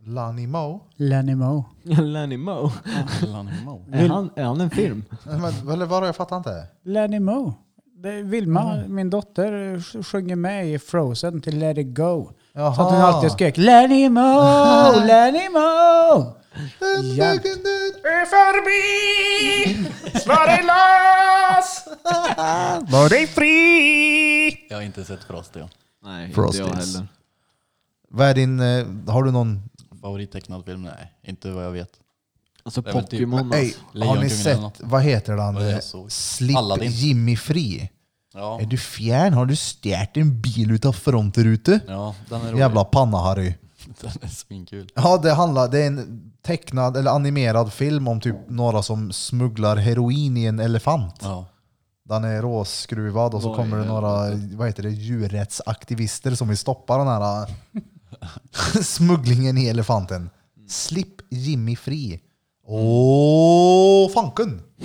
Speaker 1: Lanny Moe?
Speaker 3: Lenny Moe.
Speaker 6: Lenny Moe. Är
Speaker 3: Vill-
Speaker 6: han, är han en film?
Speaker 1: Men, eller vadå, jag fattar inte.
Speaker 3: Lenny Moe. Det, Vilma, min dotter, sj- sjunger med i Frozen till Let it go. Så att hon
Speaker 1: Jaha.
Speaker 3: alltid skrek Lenny Moe, Lenny Moe. Jämt. Är förbi, slå dig loss, var dig fri.
Speaker 2: Jag har inte sett Frost, ja.
Speaker 6: Nej,
Speaker 1: Frosties.
Speaker 6: inte jag heller.
Speaker 1: Vad är din, eh, har du någon?
Speaker 2: Favorittecknad film? Nej, inte vad jag vet.
Speaker 6: Alltså
Speaker 2: Det är väl typ-
Speaker 6: Pokémon
Speaker 1: Ej, har
Speaker 2: Lejonkungen
Speaker 1: ni
Speaker 2: eller
Speaker 1: sett,
Speaker 2: något?
Speaker 1: vad heter han?
Speaker 2: Vad jag
Speaker 1: Eh,
Speaker 2: såg.
Speaker 1: Slip
Speaker 2: Aladdin.
Speaker 1: Jimmy Fri.
Speaker 2: Ja,
Speaker 1: Är du fjärn? Har du stjärt en bil utav frontrutan?
Speaker 2: ja den är rolig.
Speaker 1: Jävla panna-Harry.
Speaker 2: Den är svinkul.
Speaker 1: Ja, det, handlar, det är en tecknad eller animerad film om typ några som smugglar heroin i en elefant.
Speaker 2: Ja.
Speaker 1: Den är råskruvad och så
Speaker 2: Vad
Speaker 1: kommer det
Speaker 2: är
Speaker 1: några vad heter det, djurrättsaktivister som vill stoppa den här äh, smugglingen i elefanten. Slipp Jimmy fri. Åh, fanken!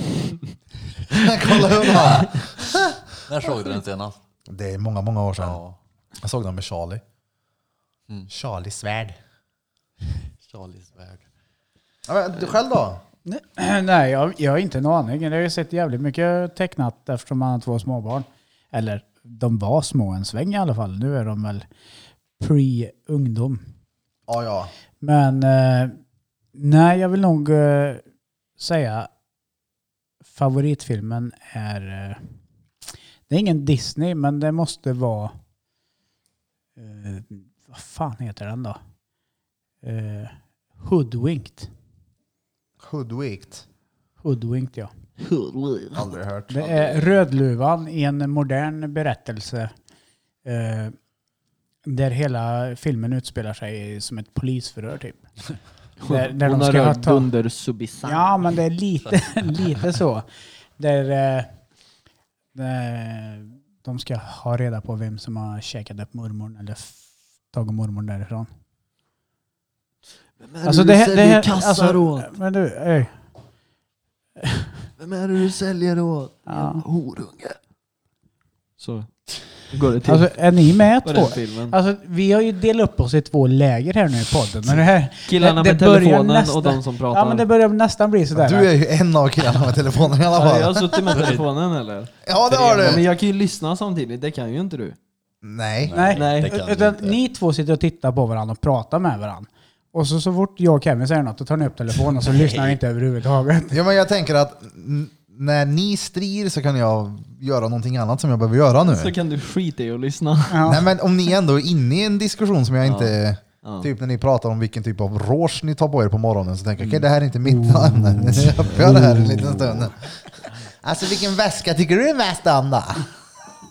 Speaker 1: Kolla hur den här.
Speaker 2: När såg du den senast?
Speaker 1: Det är många, många år sedan.
Speaker 2: Ja. Mm.
Speaker 1: Jag såg den med Charlie. Charlie Svärd.
Speaker 2: Charlies värld.
Speaker 1: Ja, men Du själv då?
Speaker 3: Nej, jag, jag har inte en aning. Jag har ju sett jävligt mycket tecknat eftersom man har två småbarn. Eller de var små en sväng i alla fall. Nu är de väl pre-ungdom.
Speaker 1: Ja, ja.
Speaker 3: Men eh, nej, jag vill nog eh, säga favoritfilmen är... Eh, det är ingen Disney, men det måste vara... Eh, vad fan heter den då? Eh, Hoodwinked.
Speaker 1: Hoodwinked.
Speaker 3: Hoodwinked, ja.
Speaker 6: alltså.
Speaker 1: Aldrig hört.
Speaker 3: Det är Rödluvan i en modern berättelse. Eh, där hela filmen utspelar sig som ett polisförhör typ. Där, där
Speaker 6: Hon
Speaker 3: de
Speaker 6: har
Speaker 3: ska ha
Speaker 6: rökt
Speaker 3: tag...
Speaker 6: under Subisan.
Speaker 3: Ja, men det är lite, lite så. Där eh, eh, de ska ha reda på vem som har käkat upp mormorn eller f- tagit mormorn därifrån. Alltså,
Speaker 4: Vem är det du säljer kassar åt?
Speaker 3: Men du, öj.
Speaker 4: Vem är det du säljer åt?
Speaker 3: Ja.
Speaker 4: Horunge.
Speaker 6: Så går det till
Speaker 3: Alltså, är ni med
Speaker 6: på den
Speaker 3: två?
Speaker 6: filmen.
Speaker 3: Alltså, vi har ju delat upp oss i två läger här nu i podden. Men det här,
Speaker 6: Killarna
Speaker 3: det-
Speaker 6: med
Speaker 3: det börjar
Speaker 6: telefonen och
Speaker 3: nästan-
Speaker 6: de som pratar.
Speaker 3: Ja, men det börjar nästan bli sådär.
Speaker 1: Du är ju en av killarna med telefonen i alla
Speaker 3: alltså,
Speaker 6: Har jag
Speaker 1: fall.
Speaker 6: suttit med telefonen eller?
Speaker 1: Ja, det har
Speaker 6: Ja, men
Speaker 1: du.
Speaker 6: jag kan ju lyssna samtidigt, det kan ju inte du.
Speaker 1: Nej.
Speaker 3: Nej,
Speaker 6: Nej,
Speaker 2: det kan vi
Speaker 3: utan
Speaker 2: inte.
Speaker 3: ni två sitter och tittar på varandra och pratar med varandra. Och så, så fort jag och Kevin säger något, då tar ni upp telefonen och så lyssnar ni inte överhuvudtaget.
Speaker 1: Ja, men jag tänker att n- när ni strir så kan jag göra någonting annat som jag behöver göra nu.
Speaker 6: Så kan du skita i att lyssna.
Speaker 3: Ja.
Speaker 1: Nej, men om ni ändå är inne i en diskussion som jag inte...
Speaker 6: Ja.
Speaker 1: Typ när ni pratar om vilken typ av rouge ni tar på er på morgonen så tänker jag okej
Speaker 6: Mm.
Speaker 1: det här är inte mitt ämne. Så jag gör det här en liten stund. Alltså vilken väska tycker du är mest om då?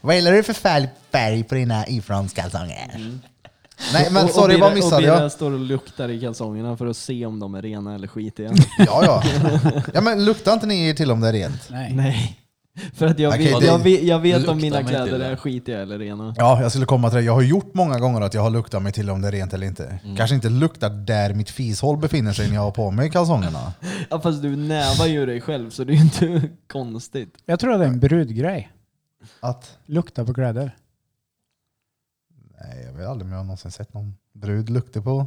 Speaker 1: Vad gillar du för färg- färg på dina ifrånskalsonger? Nej men
Speaker 6: Mm. och, och
Speaker 1: sorry,
Speaker 6: Birre-
Speaker 1: vad missade
Speaker 6: och Birre
Speaker 1: jag?
Speaker 6: står och luktar i kalsongerna för att se om de är rena eller skitiga.
Speaker 1: Ja, ja. ja men luktar inte ni er till om det är rent?
Speaker 3: Nej.
Speaker 6: Nej. För att jag
Speaker 1: Okej,
Speaker 6: vet,
Speaker 1: det-
Speaker 6: jag vet, jag vet
Speaker 2: Lukta
Speaker 6: om mina
Speaker 2: mig till
Speaker 6: kläder
Speaker 2: det.
Speaker 6: är skitiga eller rena.
Speaker 1: Ja, jag skulle komma till det. Jag har gjort många gånger att jag har luktat mig till om det är rent eller inte.
Speaker 2: Mm.
Speaker 1: Kanske inte luktar där mitt fishål befinner sig när jag har på mig kalsongerna.
Speaker 6: Ja, fast du nävar ju dig själv så det är ju inte konstigt.
Speaker 3: Jag tror att det är en brudgrej.
Speaker 1: Att,
Speaker 3: Lukta på kläder.
Speaker 1: nej, jag vet aldrig om jag någonsin sett någon brud lukta på.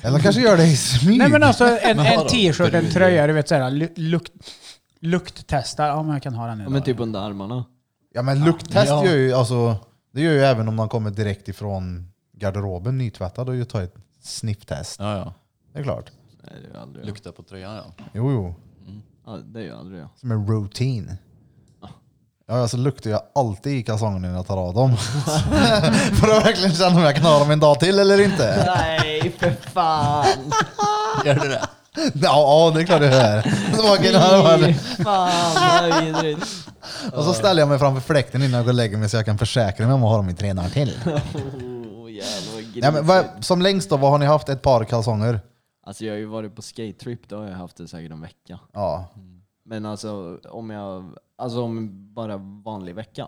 Speaker 1: Eller kanske gör det i smyg.
Speaker 3: Nej men alltså en,
Speaker 2: Men
Speaker 3: en
Speaker 2: vadå?
Speaker 3: t-shirt, en
Speaker 2: Brudgrej?
Speaker 3: tröja, du vet såhär lu- lukt, lukttestar. Ja men jag kan ha den
Speaker 6: Ja,
Speaker 3: idag.
Speaker 6: men typ under armarna.
Speaker 1: Ja men lukttest
Speaker 2: Ja.
Speaker 1: gör ju, alltså, det gör ju även om man kommer direkt ifrån garderoben nytvättad och ju tar ett snifftest.
Speaker 2: Ja, ja.
Speaker 1: Det är klart.
Speaker 6: Nej, det är ju aldrig jag.
Speaker 2: Lukta på tröjan ja.
Speaker 1: Jo, jo.
Speaker 6: Ja, det är ju aldrig jag.
Speaker 1: Som en routine. Ja, alltså luktar jag alltid i kalsongerna när jag tar av dem. För att verkligen känna om jag kan ha dem en dag till eller inte.
Speaker 4: Nej, för fan.
Speaker 2: Gör du det?
Speaker 1: Ja, ja det är klart det är. Så man kan ha dem här.
Speaker 6: Fy fan vad vidrigt.
Speaker 1: Och så ställer jag mig framför fläkten innan jag går och lägger mig så jag kan försäkra mig om att ha dem i tre dagar till.
Speaker 6: Oh, jävlar vad
Speaker 1: Nej, men
Speaker 6: grisigt.
Speaker 1: vad, som längst då, vad har ni haft? Ett par kalsonger?
Speaker 6: Alltså jag har ju varit på skate-trip, då har jag haft det säkert en vecka.
Speaker 1: Ja.
Speaker 6: Men alltså om jag, alltså om bara vanlig vecka.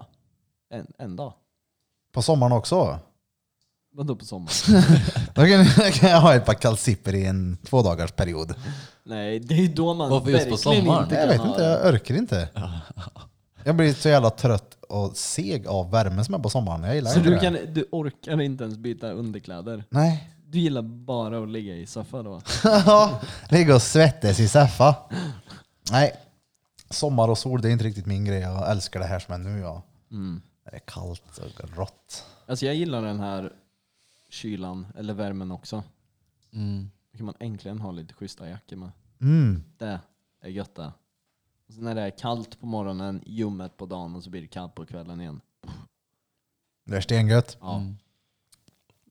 Speaker 6: En, en dag.
Speaker 1: På sommaren också?
Speaker 6: Vadå på sommaren?
Speaker 1: Då kan, kan jag ha ett par kalsipper i en två dagars period.
Speaker 6: Nej, det är ju då man
Speaker 2: Varför just på
Speaker 6: verkligen
Speaker 2: sommaren?
Speaker 1: Jag vet
Speaker 6: kan ha
Speaker 1: inte,
Speaker 6: det.
Speaker 1: jag orkar inte. Jag blir så jävla trött och seg av värmen som är på sommaren. Jag gillar
Speaker 6: Så
Speaker 1: inte
Speaker 6: du,
Speaker 1: det.
Speaker 6: kan, du orkar inte ens byta underkläder?
Speaker 1: Nej.
Speaker 6: Du gillar bara att ligga i soffa då?
Speaker 1: Ja, Ligga och svettas i soffa. Nej, sommar och sol det är inte riktigt min grej. Jag älskar det här som är nu. Ja.
Speaker 6: Mm.
Speaker 1: Det är kallt och rått.
Speaker 6: Alltså jag gillar den här kylan, eller värmen också.
Speaker 2: Mm.
Speaker 6: Då kan man äntligen ha lite schyssta jackor med.
Speaker 1: Mm.
Speaker 6: Det är gött det. Och så när det är kallt på morgonen, ljummet på dagen och så blir det kallt på kvällen igen.
Speaker 1: Det är stengött.
Speaker 6: Ja.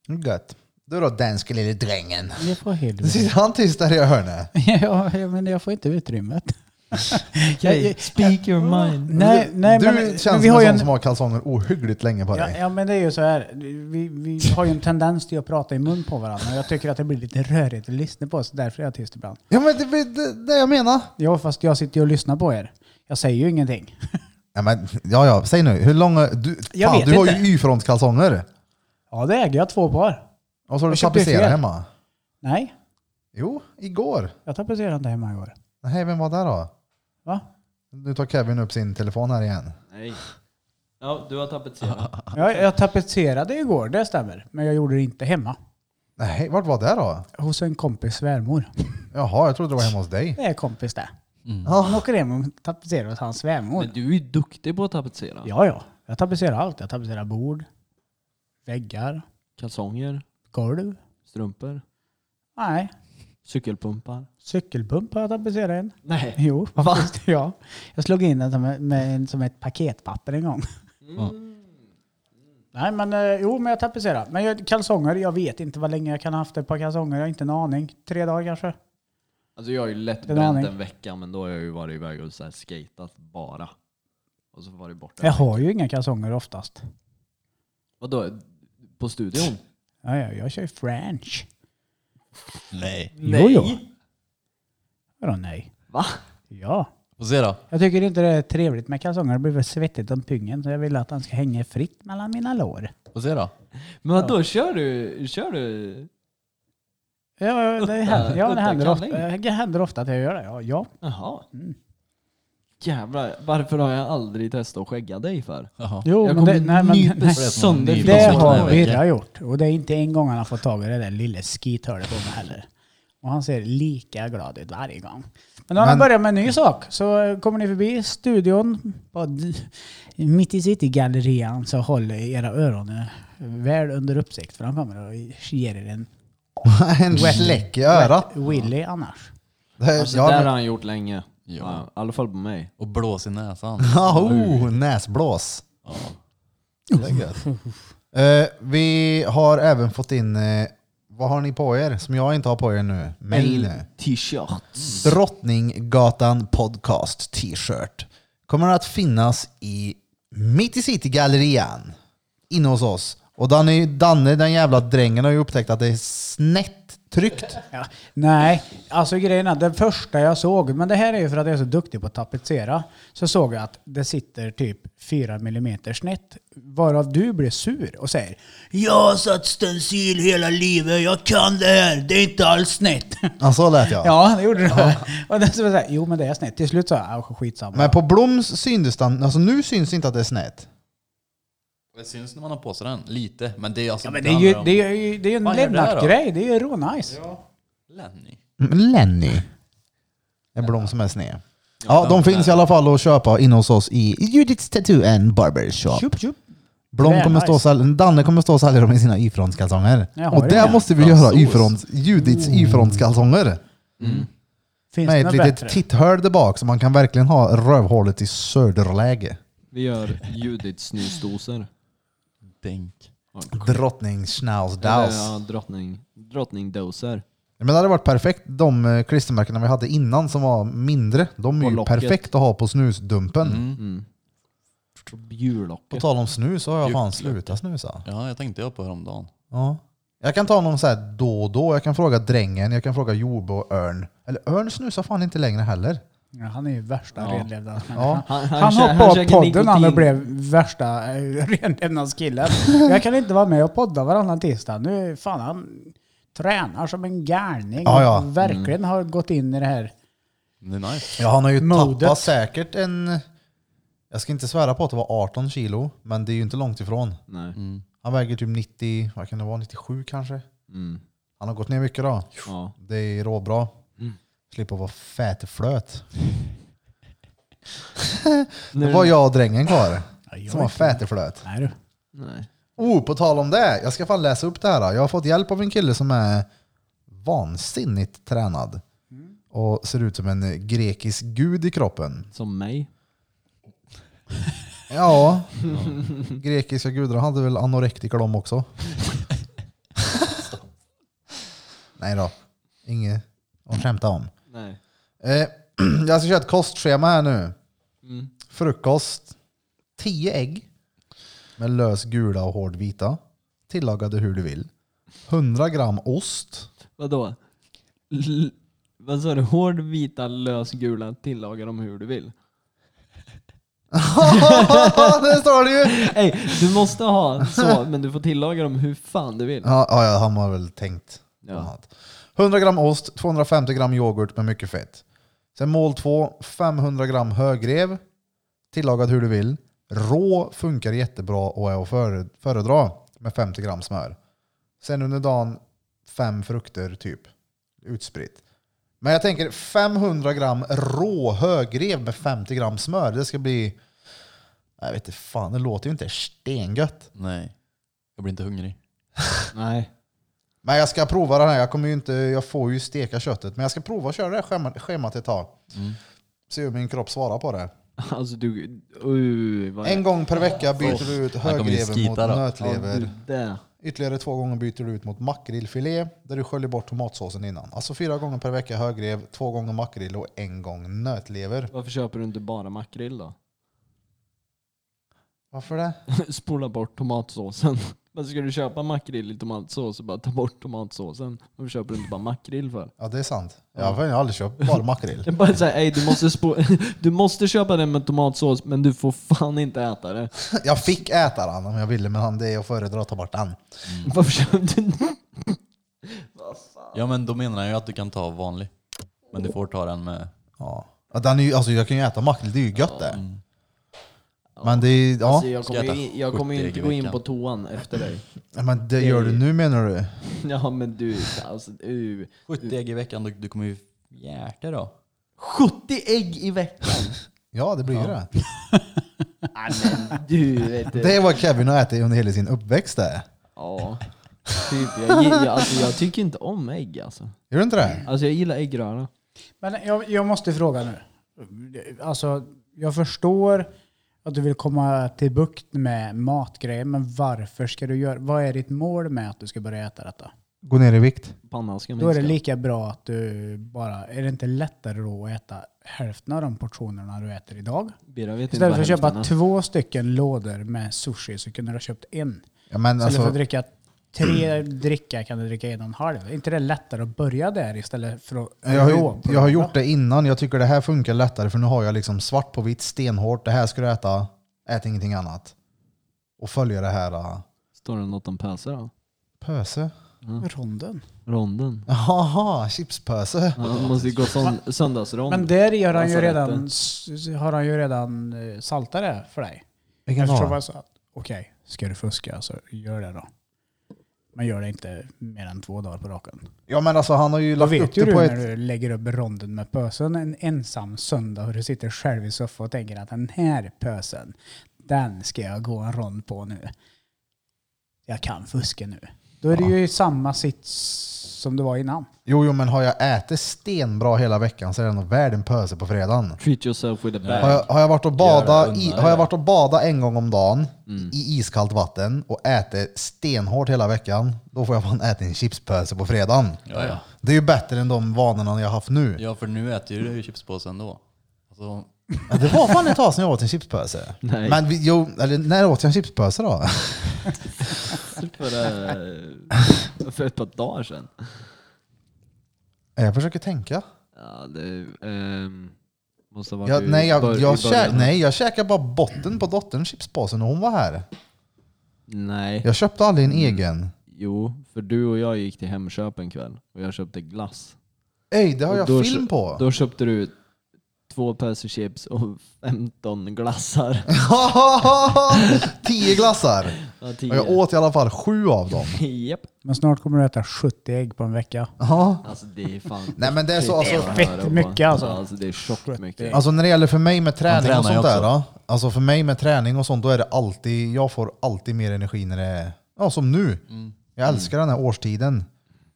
Speaker 2: Mm.
Speaker 1: Gött. Du då danske lille
Speaker 3: Mm.
Speaker 1: drängen.
Speaker 3: Det får helvete.
Speaker 1: Sitter han tyst där i hörnet?
Speaker 3: ja, ja, men jag får inte utrymmet. Hey,
Speaker 6: speak your mind.
Speaker 3: Nej, nej,
Speaker 1: du
Speaker 3: men,
Speaker 1: känns
Speaker 3: men vi
Speaker 1: som
Speaker 3: har
Speaker 1: en
Speaker 3: ju
Speaker 1: sån
Speaker 3: en,
Speaker 1: som har kalsonger ohyggligt länge på
Speaker 3: ja,
Speaker 1: dig.
Speaker 3: ja, men det är ju så här. Vi, vi har ju en tendens till att prata i mun på varandra. Och jag tycker att det blir lite rörigt att lyssna på oss. Därför är jag tyst ibland.
Speaker 1: Ja, men det är det, det jag menar.
Speaker 3: Ja, fast jag sitter ju och lyssnar på er. Jag säger ju ingenting.
Speaker 1: Ja, men, ja, ja, säg nu. Hur långa... Du,
Speaker 3: Jag
Speaker 1: fan,
Speaker 3: vet
Speaker 1: du har
Speaker 3: inte.
Speaker 1: ju Y-frontskalsonger.
Speaker 3: Ja, det äger jag två par.
Speaker 1: Och så har du
Speaker 3: Jag köpte ju
Speaker 1: tapetserat
Speaker 3: fel.
Speaker 1: hemma.
Speaker 3: Nej,
Speaker 1: Jo, igår.
Speaker 3: jag tapetserade inte hemma igår.
Speaker 1: Nej, vem var där då?
Speaker 3: Va?
Speaker 1: Nu tar Kevin upp sin telefon här igen.
Speaker 6: Nej. Ja, du har tapetserat.
Speaker 3: Jag, jag tapetserade igår, det stämmer. Men jag gjorde det inte hemma.
Speaker 1: Nej, vart var det då?
Speaker 3: Hos en kompis svärmor.
Speaker 1: Jaha, jag trodde det var hemma hos dig.
Speaker 3: Det är kompis det. Han
Speaker 6: Mm.
Speaker 1: Ja,
Speaker 3: åker hem och tapetserar hos hans svärmor.
Speaker 6: Men du är ju duktig på att tapetsera.
Speaker 3: Ja, ja. Jag tapetserar allt. Jag tapetserar bord, väggar,
Speaker 6: Kalsonger,
Speaker 3: golv.
Speaker 6: strumpor,
Speaker 3: Nej,
Speaker 6: cykelpumpar.
Speaker 3: cykelpump har jag tapetserat en.
Speaker 6: Nej.
Speaker 3: Jo, faktiskt. Ja. Jag slog in den som, en- med, en- som ett paketpapper en gång. Mm. Nej, men eh, jo, men jag tapetserar. Men jag, kalsonger, jag vet inte vad länge jag kan ha haft ett par kalsonger. Jag har inte en aning. Tre dagar kanske.
Speaker 6: Alltså jag har ju lätt
Speaker 3: Det är
Speaker 6: bränt
Speaker 3: aning.
Speaker 6: en vecka men då har jag ju varit iväg och så här skatat bara. Och så var det borta.
Speaker 3: Jag har ju inga kalsonger oftast.
Speaker 6: Vadå? På studion?
Speaker 3: Ja, ja, jag kör ju french.
Speaker 2: Nej.
Speaker 3: Jo, jo. Vadå nej?
Speaker 6: Va?
Speaker 3: Ja.
Speaker 2: Får se då.
Speaker 3: Jag tycker inte det är trevligt med kalsonger. Det blir väl svettigt om pungen. Så jag vill att den ska hänga fritt mellan mina lår.
Speaker 2: Får se då.
Speaker 6: Men vadå, kör du? Kör du?
Speaker 3: Ja, det händer, ja, det
Speaker 6: Udda
Speaker 3: händer, ofta,
Speaker 6: kalling.
Speaker 3: det händer ofta att jag gör det. Ja, ja.
Speaker 6: Jaha.
Speaker 3: Mm.
Speaker 6: Jävlar, varför har jag aldrig testat att skägga dig för?
Speaker 2: Jaha.
Speaker 3: Jo,
Speaker 6: jag
Speaker 3: men det, nej,
Speaker 6: kommer
Speaker 3: men,
Speaker 6: nypa
Speaker 3: nej.
Speaker 6: sönder
Speaker 2: Det
Speaker 6: ditt
Speaker 3: Det
Speaker 2: Utan
Speaker 6: hår.
Speaker 2: sådana
Speaker 3: har
Speaker 2: veckor.
Speaker 3: Birra gjort. Och det är inte en gång han har fått tag i det där lilla skithörnet på mig heller. Och han ser lika glad ut varje gång. Men nu har han
Speaker 1: Men-
Speaker 3: börjat med en ny sak. Så eh, kommer ni förbi studion, på d- mitt i Citygallerian, så håll era öron eh, väl under uppsikt. För han kommer och ger er en
Speaker 1: en Mm. släck i örat.
Speaker 3: Willy annars.
Speaker 1: Det-
Speaker 6: Alltså,
Speaker 1: ja,
Speaker 6: det där
Speaker 1: men-
Speaker 6: har han gjort länge.
Speaker 2: Ja.
Speaker 6: Ja, I alla fall på mig.
Speaker 2: Och blås i näsan.
Speaker 1: Ja, oh, näsblås.
Speaker 2: Ja.
Speaker 1: Det är gött. Eh, vi har även fått in, eh, vad har ni på er som jag inte har på er nu? Mig nu.
Speaker 6: T-shirt.
Speaker 1: Drottninggatan podcast t-shirt. Kommer att finnas i Mitt i City-gallerian. Inne hos oss. Och Danne, Danne, den jävla drängen, har ju upptäckt att det är snett tryckt.
Speaker 3: Ja. Nej, alltså grejen är, den första jag såg, men det här är ju för att jag är så duktig på att tapetsera, så såg jag att det sitter typ 4 mm snett, varav du blir sur och säger Jag har satt stencil hela livet, jag kan det här, det är inte alls snett.
Speaker 1: Ja, så lät jag.
Speaker 3: Ja, det gjorde du. Och det så var det så här, jo men det är snett. Till slut sa jag, "Ah, skitsamma.
Speaker 1: Men på Bloms syntes den, alltså nu syns inte att det är snett.
Speaker 2: Det syns när man har på sig den. Lite. Men det är alltså...
Speaker 3: ja, men det är ju det är, ju- det är ju en
Speaker 2: Vad gör det här då?
Speaker 3: Lennart-grej, det är ju rånice.
Speaker 2: Lenny.
Speaker 1: Mm, Lenny. En blom som är sned. Ja, de finns i alla fall att köpa inne hos oss i Judiths Tattoo and Barbershop.
Speaker 3: Tjup, tjup.
Speaker 1: Blom
Speaker 3: Väl
Speaker 1: kommer stå och
Speaker 3: nice.
Speaker 1: sälja, Danne kommer stå och sälja dem i sina Y-frontskalsonger.
Speaker 3: Jag har
Speaker 1: Och
Speaker 3: ju
Speaker 1: det
Speaker 3: det.
Speaker 1: måste vi göra, Y-fronts, Judiths Y-frontskalsonger.
Speaker 3: Finns det
Speaker 1: Med ett
Speaker 3: något
Speaker 1: litet
Speaker 3: bättre?
Speaker 1: titthål där bak så man kan verkligen ha rövhålet i söderläge.
Speaker 6: Vi gör Judiths snusdosor.
Speaker 2: Denk.
Speaker 1: Drottning
Speaker 6: Eller,
Speaker 1: Schnauzdaus.
Speaker 6: Ja, drottning, drottningdoser.
Speaker 1: Men det hade varit perfekt, de eh, klistermärkena vi hade innan som var mindre, de är
Speaker 6: På
Speaker 1: ju
Speaker 6: locket.
Speaker 1: perfekt att ha på snusdumpen.
Speaker 6: Mm.
Speaker 1: På
Speaker 6: Bjurlocket.
Speaker 1: tal om snus så har jag fan slutat snusa.
Speaker 2: Ja, jag tänkte jag på häromdagen.
Speaker 1: Ja. Jag kan ta någon så här då och då. Jag kan fråga Drängen, jag kan fråga Jobo och Örn. Eller Örn snusar fan inte längre heller.
Speaker 3: Ja, han är ju värsta
Speaker 6: Ja.
Speaker 3: renlevnadsmänniskan.
Speaker 1: Ja.
Speaker 6: Han,
Speaker 3: Han hoppade av podden han och blev värsta eh, renlevnadskillen. Jag kan inte vara med och podda varannan tisdag. Nu fan han tränar som en galning.
Speaker 1: Ja, ja.
Speaker 3: Och Verkligen har gått in i det här.
Speaker 2: Det är nice.
Speaker 1: Ja, han har ju
Speaker 3: Modet.
Speaker 1: tappat säkert en... Jag ska inte svära på att det var 18 kilo, men det är ju inte långt ifrån.
Speaker 6: Nej.
Speaker 1: Han väger typ 90, vad kan det vara, 97 kanske?
Speaker 6: Mm.
Speaker 1: Han har gått ner mycket då.
Speaker 6: Ja.
Speaker 1: Det är råbra. Slipper vara fäteflöt. Det var jag och drängen kvar
Speaker 3: jag
Speaker 1: som var
Speaker 3: är-
Speaker 1: fäteflöt.
Speaker 3: Nej du.
Speaker 6: Nej.
Speaker 1: Oh, på tal om det. Jag ska fan läsa upp det här. då. Jag har fått hjälp av en kille som är vansinnigt tränad.
Speaker 3: Mm.
Speaker 1: Och ser ut som en grekisk gud i kroppen.
Speaker 6: Som mig.
Speaker 1: Ja, grekiska gudar hade väl anorektiker de också. Nej då, inget att skämta om.
Speaker 6: Nej.
Speaker 1: Eh, jag ska köra ett kostschema här nu. Frukost. 10 ägg med lös gula och hård vita. Tillagade hur du vill. 100 gram ost.
Speaker 6: Vadå? L- vad sa du? Hård, vita, lösgula, tillaga dem hur du vill.
Speaker 1: det står det ju!
Speaker 6: Nej, du måste ha så, men du får tillaga dem hur fan du vill.
Speaker 1: Ja, ja, ja, han har väl tänkt. på
Speaker 6: Ja.
Speaker 1: annat. 100 gram ost, 250 gram yoghurt med mycket fett. Sen mål 2, 500 gram högrev. Tillagad hur du vill. Rå funkar jättebra och är att före- föredra med 50 gram smör. Sen under dagen fem frukter typ. Utspritt. Men jag tänker 500 gram rå högrev med 50 gram smör. Det ska bli... Jag vet inte fan, det låter ju inte stengött.
Speaker 2: Nej, jag blir inte hungrig.
Speaker 6: Nej.
Speaker 1: Men jag ska prova den här. Jag, kommer ju inte, jag får ju steka köttet. Men jag ska prova att köra det här schemat, schemat ett tag.
Speaker 2: Mm.
Speaker 1: Se hur min kropp svarar på det.
Speaker 6: Alltså du... Uh, vad
Speaker 1: En gång per vecka byter du ut
Speaker 2: här kommer ju
Speaker 1: höglever mot
Speaker 2: skita då.
Speaker 6: Ja,
Speaker 1: nötlever.
Speaker 6: du, det.
Speaker 1: Ytterligare två gånger byter du ut mot makrillfilé där du sköljer bort tomatsåsen innan. Alltså fyra gånger per vecka högrev, två gånger makrill och en gång nötlever.
Speaker 6: Varför köper du inte bara makrill då?
Speaker 1: Varför det?
Speaker 6: Spola bort tomatsåsen. Men ska du köpa makrill i tomatsås så bara ta bort tomatsåsen. Varför köper du inte bara makrill för?
Speaker 1: Ja det är sant. Jag har fan aldrig köpt bara makrill.
Speaker 6: Jag bara säger, ey du måste, spo- du måste köpa den med tomatsås men du får fan inte äta det.
Speaker 1: Jag fick äta den om jag ville men han- det är att föredra att ta bort den.
Speaker 6: Varför köpte du
Speaker 2: Ja men då menar jag ju att du kan ta vanlig. Men du får ta den med...
Speaker 1: Ja. Ja, Den är ju, alltså, jag kan ju äta makrill, det är ju gött det. Men det, är- ja.
Speaker 6: Alltså, jag
Speaker 2: Ska
Speaker 6: kommer,
Speaker 2: äta
Speaker 6: ju, jag kommer ju
Speaker 2: 70
Speaker 6: inte
Speaker 2: ägg i
Speaker 6: gå in
Speaker 2: veckan.
Speaker 6: på toan efter dig.
Speaker 1: Ja, men det gör du nu menar du?
Speaker 6: Ja men du, alltså uh.
Speaker 2: 70 ägg i veckan, du, du kommer ju jäkla då.
Speaker 6: 70 ägg i veckan!
Speaker 1: Ja, det blir ju det.
Speaker 6: Nej men du vet du.
Speaker 1: Det är vad Kevin har ätit under hela sin uppväxt det.
Speaker 6: Ja. Typ, jag, jag, alltså, jag tycker inte om ägg alltså.
Speaker 1: Gör du inte det?
Speaker 6: Alltså jag gillar äggröra.
Speaker 3: Men jag, jag måste fråga nu. Alltså, jag förstår att du vill komma till bukt med matgrejer, men varför ska du göra... Vad är ditt mål med att du ska börja äta detta?
Speaker 1: Gå ner i vikt.
Speaker 6: Pannan ska
Speaker 3: Då är
Speaker 6: minska.
Speaker 3: det lika bra att du bara... Är det inte lättare då att äta hälften av de portionerna du äter idag?
Speaker 6: Birra vet inte
Speaker 3: Istället
Speaker 6: vad
Speaker 3: för att köpa
Speaker 6: hälften är.
Speaker 3: två stycken lådor med sushi så kunde du ha köpt en.
Speaker 1: Ja, men
Speaker 3: Istället för att
Speaker 1: alltså,
Speaker 3: dricka tre dricka kan du dricka en och en halv. Är inte det lättare att börja där istället för att...
Speaker 1: jag, har,
Speaker 3: rå på
Speaker 1: ju- jag har
Speaker 3: det?
Speaker 1: gjort det innan, jag tycker det här funkar lättare för nu har jag liksom svart på vitt, stenhårt. Det här ska du äta, ät ingenting annat. Och följa det här uh,
Speaker 6: Står det något om pölser då?
Speaker 1: pöse.
Speaker 3: Ronden.
Speaker 6: Ronden?
Speaker 1: Jaha, chipspöse.
Speaker 6: Ja, det måste ju gå sån, söndagsrond.
Speaker 3: Men där gör han ju
Speaker 6: Lasarettet.
Speaker 3: redan, s- har han ju redan eh, saltat det för dig.
Speaker 1: Vilken
Speaker 3: Eftersom
Speaker 1: var
Speaker 3: han sa, okej, ska du fuska så gör det då. Men gör det inte mer än två dagar på raken.
Speaker 1: Ja men alltså han har ju
Speaker 3: Då
Speaker 1: lagt upp
Speaker 3: vet
Speaker 1: det
Speaker 3: ju du
Speaker 1: på
Speaker 3: när
Speaker 1: ett...
Speaker 3: du lägger upp ronden med pösen en ensam söndag och du sitter själv i soffan och tänker att den här pösen, den ska jag gå en rond på nu. Jag kan fuska nu. Då är det ju i samma sits som det var innan.
Speaker 1: Jo, jo men har jag ätit stenbra hela veckan så är det nog värd en pöse på fredagen.
Speaker 6: Treat yourself with a bag.
Speaker 1: Har jag, har jag, varit, och
Speaker 2: Gör det,
Speaker 1: bada
Speaker 2: unna
Speaker 1: i,
Speaker 2: dig
Speaker 1: har jag
Speaker 2: det.
Speaker 1: varit och bada en gång om dagen
Speaker 6: Mm.
Speaker 1: i iskallt vatten och ätit stenhårt hela veckan, då får jag fan äta en chipspöse på fredagen.
Speaker 2: Ja, ja.
Speaker 1: Det är ju bättre än de vanorna jag har haft nu.
Speaker 2: Ja för nu äter ju du chipspåse ändå. Alltså,
Speaker 1: Men Det var fan ett tag sedan jag åt en chipspöse.
Speaker 6: Nej.
Speaker 1: Men vi, jo, eller, när åt jag en chipspöse då?
Speaker 6: För, eh, för ett par dagar sedan.
Speaker 1: Jag försöker tänka.
Speaker 6: Ja, det ehm, måste ha varit
Speaker 1: Jag,
Speaker 6: i
Speaker 1: nej, jag,
Speaker 6: bör- i
Speaker 1: jag kä-
Speaker 6: början.
Speaker 1: nej, jag käkade bara botten på dotterns chipspåse när hon var här.
Speaker 6: Nej.
Speaker 1: Jag köpte aldrig en
Speaker 6: Mm.
Speaker 1: egen.
Speaker 6: Jo, för du och jag gick till Hemköp en kväll och jag köpte glass.
Speaker 1: Ey, det har
Speaker 6: Och
Speaker 1: jag
Speaker 6: då
Speaker 1: film
Speaker 6: kö-
Speaker 1: på!
Speaker 6: Då köpte du två pölser chips och 15 glassar.
Speaker 1: Tio glassar!
Speaker 6: Ja,
Speaker 1: Och jag
Speaker 6: tio.
Speaker 1: åt i alla fall sju av dem.
Speaker 6: Japp.
Speaker 3: Men snart kommer du äta 70 ägg på en vecka.
Speaker 1: Ja.
Speaker 6: Alltså det är fan...
Speaker 1: Nej men det är så,
Speaker 6: Det är
Speaker 1: alltså,
Speaker 6: fan
Speaker 3: fett
Speaker 6: höra på.
Speaker 3: mycket, alltså.
Speaker 6: Ja, alltså det är tjockt mycket.
Speaker 1: alltså när det gäller för mig med träning
Speaker 2: tränar
Speaker 1: och
Speaker 2: ju
Speaker 1: sånt
Speaker 2: också.
Speaker 1: där. ja. Alltså för mig med träning och sånt, då är det alltid, jag får alltid mer energi när det är, ja som nu.
Speaker 2: Mm.
Speaker 1: Jag älskar den här årstiden.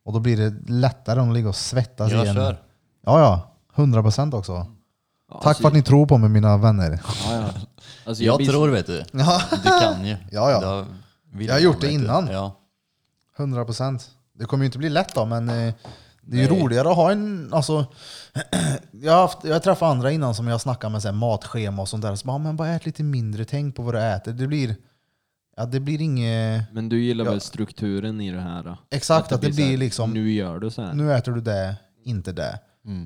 Speaker 1: Och då blir det lättare om att ligga och svettas
Speaker 2: jag
Speaker 1: igen.
Speaker 2: kör.
Speaker 1: Ja, ja. 100 procent också.
Speaker 6: Ja,
Speaker 1: Tack
Speaker 6: alltså,
Speaker 1: för att ni tror på mig mina vänner.
Speaker 6: Ja, ja. Alltså, jag
Speaker 2: Jag
Speaker 6: blir-
Speaker 2: tror vet du.
Speaker 1: Ja.
Speaker 2: Du kan ju.
Speaker 1: Ja, ja.
Speaker 2: Jag, vill
Speaker 1: Jag har gjort
Speaker 2: vet
Speaker 1: det
Speaker 2: du.
Speaker 1: innan.
Speaker 2: Ja.
Speaker 1: 100 procent. Det kommer ju inte bli lätt då, men eh, Det är ju roligare att ha en... Alltså, jag har haft, jag träffat andra innan som jag snackat med så här, matschema och sånt där. Så bara, "Ja, men bara ät lite mindre, tänk på vad du äter. Det blir, ja, det blir inget...
Speaker 6: Men du gillar
Speaker 1: Ja.
Speaker 6: väl strukturen i det här? Då?
Speaker 1: Exakt, att det
Speaker 6: så här,
Speaker 1: blir liksom...
Speaker 6: Nu gör du så här.
Speaker 1: nu äter du det, inte det.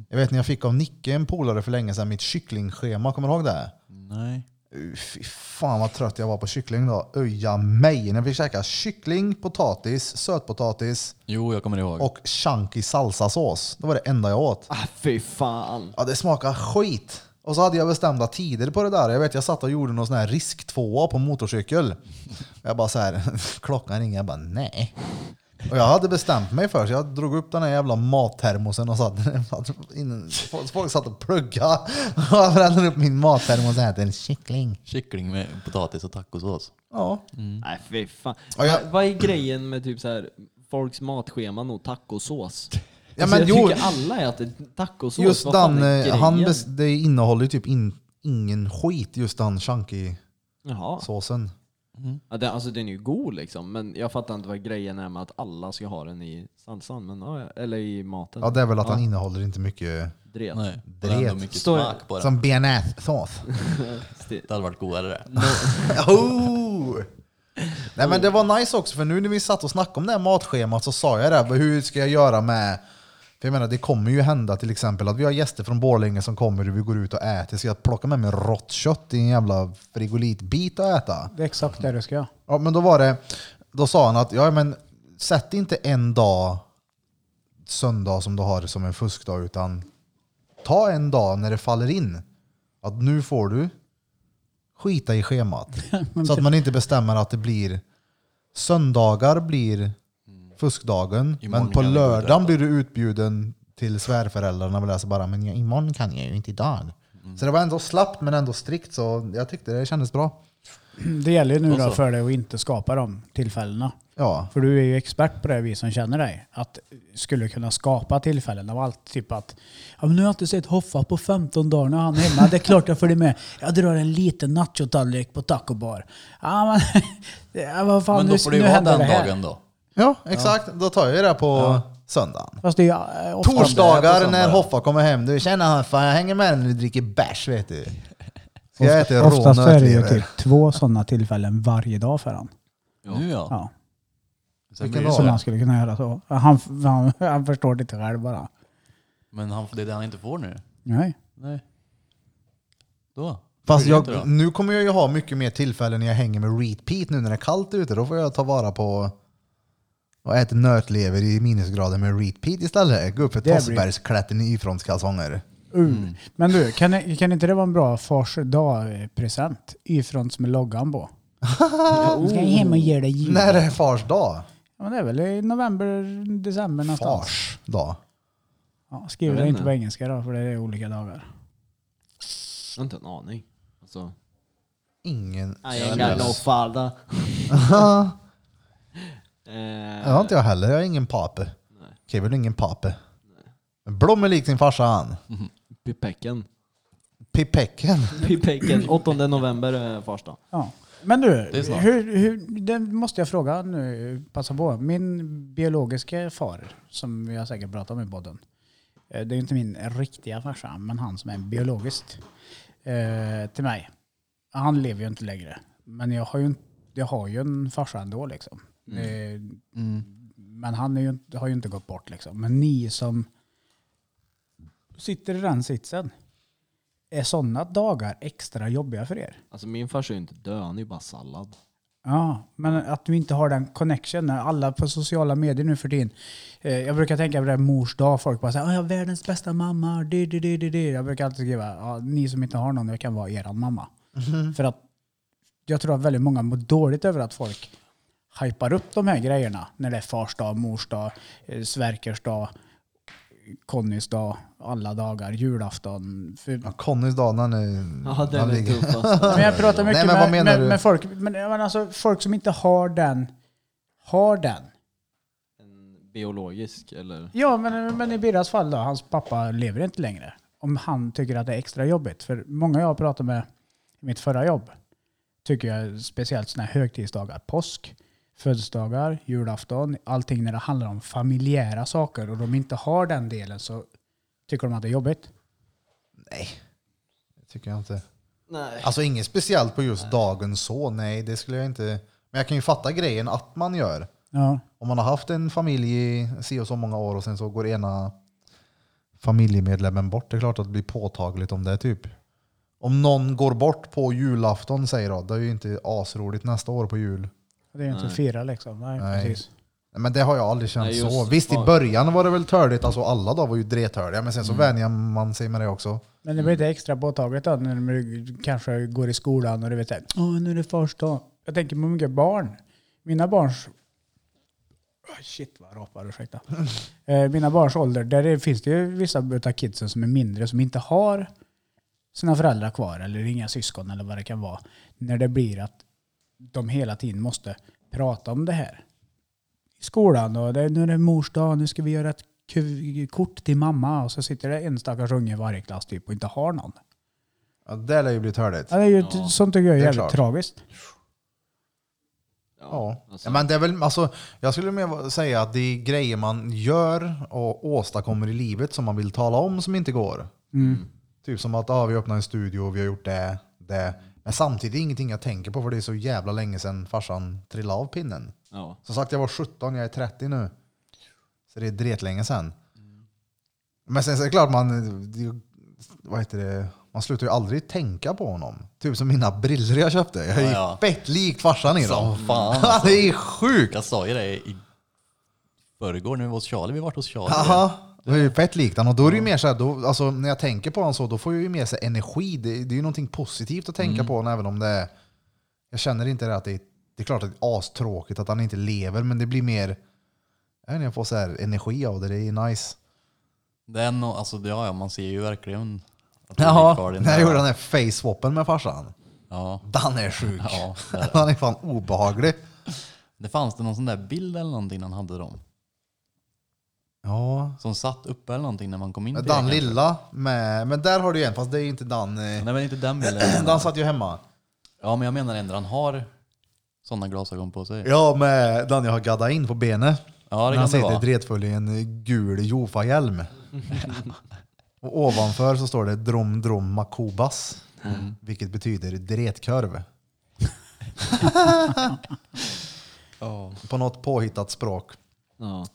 Speaker 1: Jag vet när jag fick av Nicke, en polare för länge sedan, mitt kycklingschema. Kommer du ihåg det?
Speaker 2: Nej.
Speaker 1: Uh, Fy fan vad trött jag var på kyckling då. Öja mig! När vi fick käka kyckling, potatis, sötpotatis
Speaker 2: Jo, jag kommer ihåg.
Speaker 1: och chunky salsasås. Det var det enda jag åt.
Speaker 6: Ah, fy fan.
Speaker 1: Ja, det smakade skit. Och så hade jag bestämda tider på det där. Jag vet, jag satt och gjorde någon sån här risk-tvåa på motorcykel. Jag bara så här, klockan ringer, jag bara nej. Och jag hade bestämt mig för så jag drog upp den här jävla mattermosen och satt innan, Folk satt och pluggade. Och jag brände upp min mattermos och äter en kyckling.
Speaker 2: Kyckling med potatis och tacosås.
Speaker 1: Ja.
Speaker 6: Nej, fy fan.
Speaker 1: Ja, jag-
Speaker 6: Va- Vad är grejen med typ så här, folks matscheman och tacosås?
Speaker 1: Ja,
Speaker 6: alltså,
Speaker 1: men
Speaker 6: jag
Speaker 1: jo-
Speaker 6: tycker alla äter tacosås.
Speaker 1: Just
Speaker 6: Vad fan
Speaker 1: den,
Speaker 6: är
Speaker 1: eh, han
Speaker 6: grejen?
Speaker 1: bes- det innehåller ju typ in, ingen skit, just den chunky-såsen.
Speaker 6: Jaha. Ja, den, alltså den är ju god liksom, men jag fattar inte vad grejen är med att alla ska ha den i salsan. Men, ja, ja, eller i maten.
Speaker 1: Ja, det är väl att den innehåller inte mycket
Speaker 6: Dret.
Speaker 2: Nej. Det
Speaker 1: Dret.
Speaker 2: är ändå mycket
Speaker 6: Står-
Speaker 2: smak på det.
Speaker 1: som bearnaisesås.
Speaker 6: Sti-
Speaker 2: Det hade varit godare det.
Speaker 1: Oh! Nej men det var nice också för nu när vi satt och snackade om det här matschemat så sa jag det, här, hur ska jag göra med... För jag menar det kommer ju hända till exempel att vi har gäster från Borlänge som kommer och vi går ut och äter. Ska jag plocka med mig rått kött i en jävla frigolitbit och äta?
Speaker 3: Det är exakt det du ska göra.
Speaker 1: Ja, men då var det, då sa han att ja, men sätt inte en dag söndag som du har som en fuskdag utan ta en dag när det faller in. Att nu får du skita i schemat. så att man inte bestämmer att det blir söndagar blir fuskdagen
Speaker 2: Imorgon
Speaker 1: men på
Speaker 2: kan det gå ut och
Speaker 1: lördagen
Speaker 2: äta.
Speaker 1: blir du utbjuden till svärföräldrarna och läser bara men ja, imorgon kan jag ju inte idag.
Speaker 2: Mm.
Speaker 1: Så det var ändå slappt men ändå strikt så jag tyckte det kändes bra.
Speaker 3: Det gäller ju nu
Speaker 2: Och
Speaker 3: då
Speaker 1: Alltså.
Speaker 2: så.
Speaker 3: för dig att inte skapa de tillfällena.
Speaker 1: Ja.
Speaker 3: För du är ju expert på det, vi som känner dig. Att skulle kunna skapa tillfällen av allt. Typ att ja, men nu har jag inte sett Hoffa på 15 dagar, nu är han hemma. Det är klart jag följer med. Jag drar en liten nachotallrik på taco bar. Ja, men, ja, vad fan,
Speaker 2: Men
Speaker 3: nu,
Speaker 2: då får det ju
Speaker 3: nu
Speaker 2: vara
Speaker 3: händer
Speaker 2: den
Speaker 3: det här.
Speaker 2: dagen då.
Speaker 1: Ja, exakt. Då tar jag ju det på söndagen.
Speaker 3: Fast det är ju eh, ofta
Speaker 2: det är på
Speaker 1: Torsdagar
Speaker 2: söndag.
Speaker 1: när Hoffa kommer hem. Du, tjena Hoffa, jag hänger med dig när du dricker bärs vet du. Ska jag äta rå
Speaker 3: Oftast är det ju
Speaker 1: nötlever?
Speaker 3: typ två sådana tillfällen varje dag för han.
Speaker 2: Nu ja.
Speaker 3: Ja,
Speaker 2: Sen
Speaker 1: Vilken
Speaker 2: blir det
Speaker 1: dag?
Speaker 3: som
Speaker 2: så
Speaker 3: han
Speaker 2: här.
Speaker 3: skulle kunna göra så. Han, han, han förstår det inte själv bara.
Speaker 2: Men han, det är det han inte får nu.
Speaker 3: Nej.
Speaker 2: Nej. Då.
Speaker 1: Fast
Speaker 2: Hur är det
Speaker 1: jag,
Speaker 2: då?
Speaker 1: nu kommer jag ju ha mycket mer tillfällen när jag hänger med repeat nu när det är kallt ute. Då får jag ta vara på och äta nötlever i minusgrader med repeat istället. Gå upp för
Speaker 3: Det blir-
Speaker 1: Tossbergsklätten i Y-frontskalsonger.
Speaker 3: Uh.
Speaker 6: Mm.
Speaker 3: Men du, kan, kan inte det vara en bra eh, fars dag-present? Y-fronts med loggan på. Jag ska hem och ge dig jul.
Speaker 1: När är fars dag?
Speaker 3: Ja, men det är väl i november, december någonstans.
Speaker 1: Fars dag.
Speaker 3: Ja, skriv
Speaker 6: Jag
Speaker 3: det
Speaker 6: vet
Speaker 3: inte
Speaker 6: inte.
Speaker 3: på engelska då, för det är olika dagar.
Speaker 6: Jag har inte en aning. Alltså,
Speaker 1: Ingen.
Speaker 6: I ain't got no father. Eh,
Speaker 1: Det har inte jag heller. Jag är ingen pape. Kevin är ingen pape. Blom är lik sin farsa han.
Speaker 6: Pipecken.
Speaker 1: Pipecken.
Speaker 6: Pipecken. 8 november är fars dag.
Speaker 3: Ja. Men du,
Speaker 2: Det är snart.
Speaker 3: hur, hur, det måste jag fråga nu, passa på. Min biologiska far, som vi har säkert pratat om i podden. eh, Det är ju inte min riktiga farsa, men han som är biologiskt eh, till mig. Han lever ju inte längre. Men jag har ju, en- jag har ju en farsa ändå liksom.
Speaker 2: Mm.
Speaker 3: Eh, Men han är ju, inte- har ju inte gått bort liksom. Men ni som sitter i den sitsen. Är sådana dagar extra jobbiga för er?
Speaker 6: Alltså min farsa är ju inte död, han är ju bara sallad.
Speaker 3: Ja, men att du inte har den connection. Alla på sociala medier nu för din. Eh, jag brukar tänka på det här mors dag. Folk bara säger "Ah, jag har världens bästa mamma. Det, det, det, det, det. Jag brukar alltid skriva ja, ni som inte har någon, jag kan vara eran mamma. För att jag tror att väldigt många mår dåligt över att folk hypar upp de här grejerna. När det är fars dag, mors dag, eh, Sverkers dag, Connys dag, alla dagar, julafton. För
Speaker 1: Ja, Connys dag när ni-
Speaker 6: Ja, den
Speaker 1: han
Speaker 6: är
Speaker 1: ligger-
Speaker 6: tuffast.
Speaker 3: men jag pratar mycket
Speaker 1: Nej, men vad
Speaker 3: med,
Speaker 1: menar
Speaker 3: med,
Speaker 1: du?
Speaker 3: med folk, men, jag menar alltså, folk som inte har den. Har den.
Speaker 6: Biologisk eller?
Speaker 3: Ja, men, men i Birras fall då, hans pappa lever inte längre. Om han tycker att det är extra jobbigt. För många jag pratar med i mitt förra jobb tycker jag speciellt sådana här högtidsdagar, påsk, födelsedagar, julafton, allting när det handlar om familjära saker och de inte har den delen så tycker de att det är jobbigt.
Speaker 1: Nej, det tycker jag inte.
Speaker 4: Nej.
Speaker 1: Alltså inget speciellt på just dagen så, nej det skulle jag inte. Men jag kan ju fatta grejen att man gör.
Speaker 3: Ja.
Speaker 1: Om man har haft en familj i si och så många år och sen så går ena familjemedlemmen bort, det är klart att det blir påtagligt om det är typ. Om någon går bort på julafton säger jag, det är ju inte asroligt nästa år på jul.
Speaker 3: Det är ju inte att fira liksom. Nej,
Speaker 1: Nej.
Speaker 3: precis.
Speaker 1: Nej, Men det har jag aldrig känt
Speaker 4: Nej, just-
Speaker 1: så. Visst i
Speaker 4: ja.
Speaker 1: början var det väl törligt, alltså alla dagar var ju dretörliga, men sen
Speaker 4: Mm.
Speaker 1: så vänjer man sig med det också.
Speaker 3: Men det blir inte extra påtagligt då när du kanske går i skolan och du vet att Åh, nu är det fars dag. Jag tänker på mycket barn. Mina barns... Oh, shit vad jag rapar, ursäkta. Eh, Mina barns ålder, där det finns det ju vissa utav kidsen som är mindre som inte har sina föräldrar kvar eller inga syskon eller vad det kan vara. När det blir att de hela tiden måste prata om det här. I skolan och det, nu är det mors dag, nu ska vi göra ett ku- kort till mamma och så sitter det en stackars unge i varje klass typ och inte har någon.
Speaker 1: Ja, det lär ju bli törligt.
Speaker 3: Ja, det är ju, Sånt tycker jag är
Speaker 1: Det är
Speaker 3: jävligt
Speaker 1: klart.
Speaker 3: tragiskt.
Speaker 1: Ja.
Speaker 4: alltså.
Speaker 1: Men det är väl, alltså, jag skulle mer säga att det är grejer man gör och åstadkommer i livet som man vill tala om som inte går.
Speaker 4: Mm.
Speaker 1: Typ som att ah, vi öppnar en studio och vi har gjort det, det. Men samtidigt är det ingenting jag tänker på för det är så jävla länge sedan farsan trillade av pinnen.
Speaker 4: Ja.
Speaker 1: Som sagt, jag var 17, jag är 30 nu. Så det är dretlänge sedan. Men sen så är det klart, man, det- vad heter det, man slutar ju aldrig tänka på honom. Typ som mina briller jag köpte. Jag är
Speaker 2: Ja,
Speaker 1: ju
Speaker 2: ja.
Speaker 1: fett lik farsan i dem.
Speaker 2: Som fan,
Speaker 1: Ja,
Speaker 2: alltså.
Speaker 1: det är sjukt!
Speaker 2: Jag sa ju det i förrgår när vi var hos Charlie. Vi var hos Charlie.
Speaker 1: Aha. Det är ju fett likt han. Och då är det ju mer så här, då, alltså, när jag tänker på honom så, då får jag ju med sig energi. Det, det är ju någonting positivt att tänka på honom, även om det är... Jag känner inte det att det är... Det är klart att det är astråkigt att han inte lever, men det blir mer... Jag vet inte, jag får så här energi av det. Det är ju nice.
Speaker 2: Det är nog, alltså, ja, ja, man ser ju verkligen att det är kvar i
Speaker 1: När
Speaker 2: där.
Speaker 1: jag gjorde den här face-swappen med farsan.
Speaker 2: Ja.
Speaker 1: Den är sjuk.
Speaker 2: Ja, det är
Speaker 1: Han är fan obehaglig.
Speaker 2: Det fanns det någon sån där bild eller någonting han hade dem?
Speaker 1: Ja.
Speaker 2: Som satt uppe eller någonting när man kom in till
Speaker 1: Den
Speaker 2: det, kanske?
Speaker 1: lilla med... Men där har du ju en, fast det är ju inte den... eh,
Speaker 2: Nej men inte den bilden.
Speaker 1: Den satt ju hemma.
Speaker 2: Ja men jag menar ändå han har sådana glasögon på sig.
Speaker 1: Ja, med den jag har gaddat in på benet.
Speaker 2: Ja
Speaker 1: när han
Speaker 2: det kan det
Speaker 1: sitter
Speaker 2: vara.
Speaker 1: dretfull i en eh, gul Jofa-hjälm. och ovanför så står det Drom Drom Makobas.
Speaker 2: Mm.
Speaker 1: Vilket betyder dretkörv.
Speaker 2: Ja.
Speaker 1: På något påhittat språk.
Speaker 4: Ja.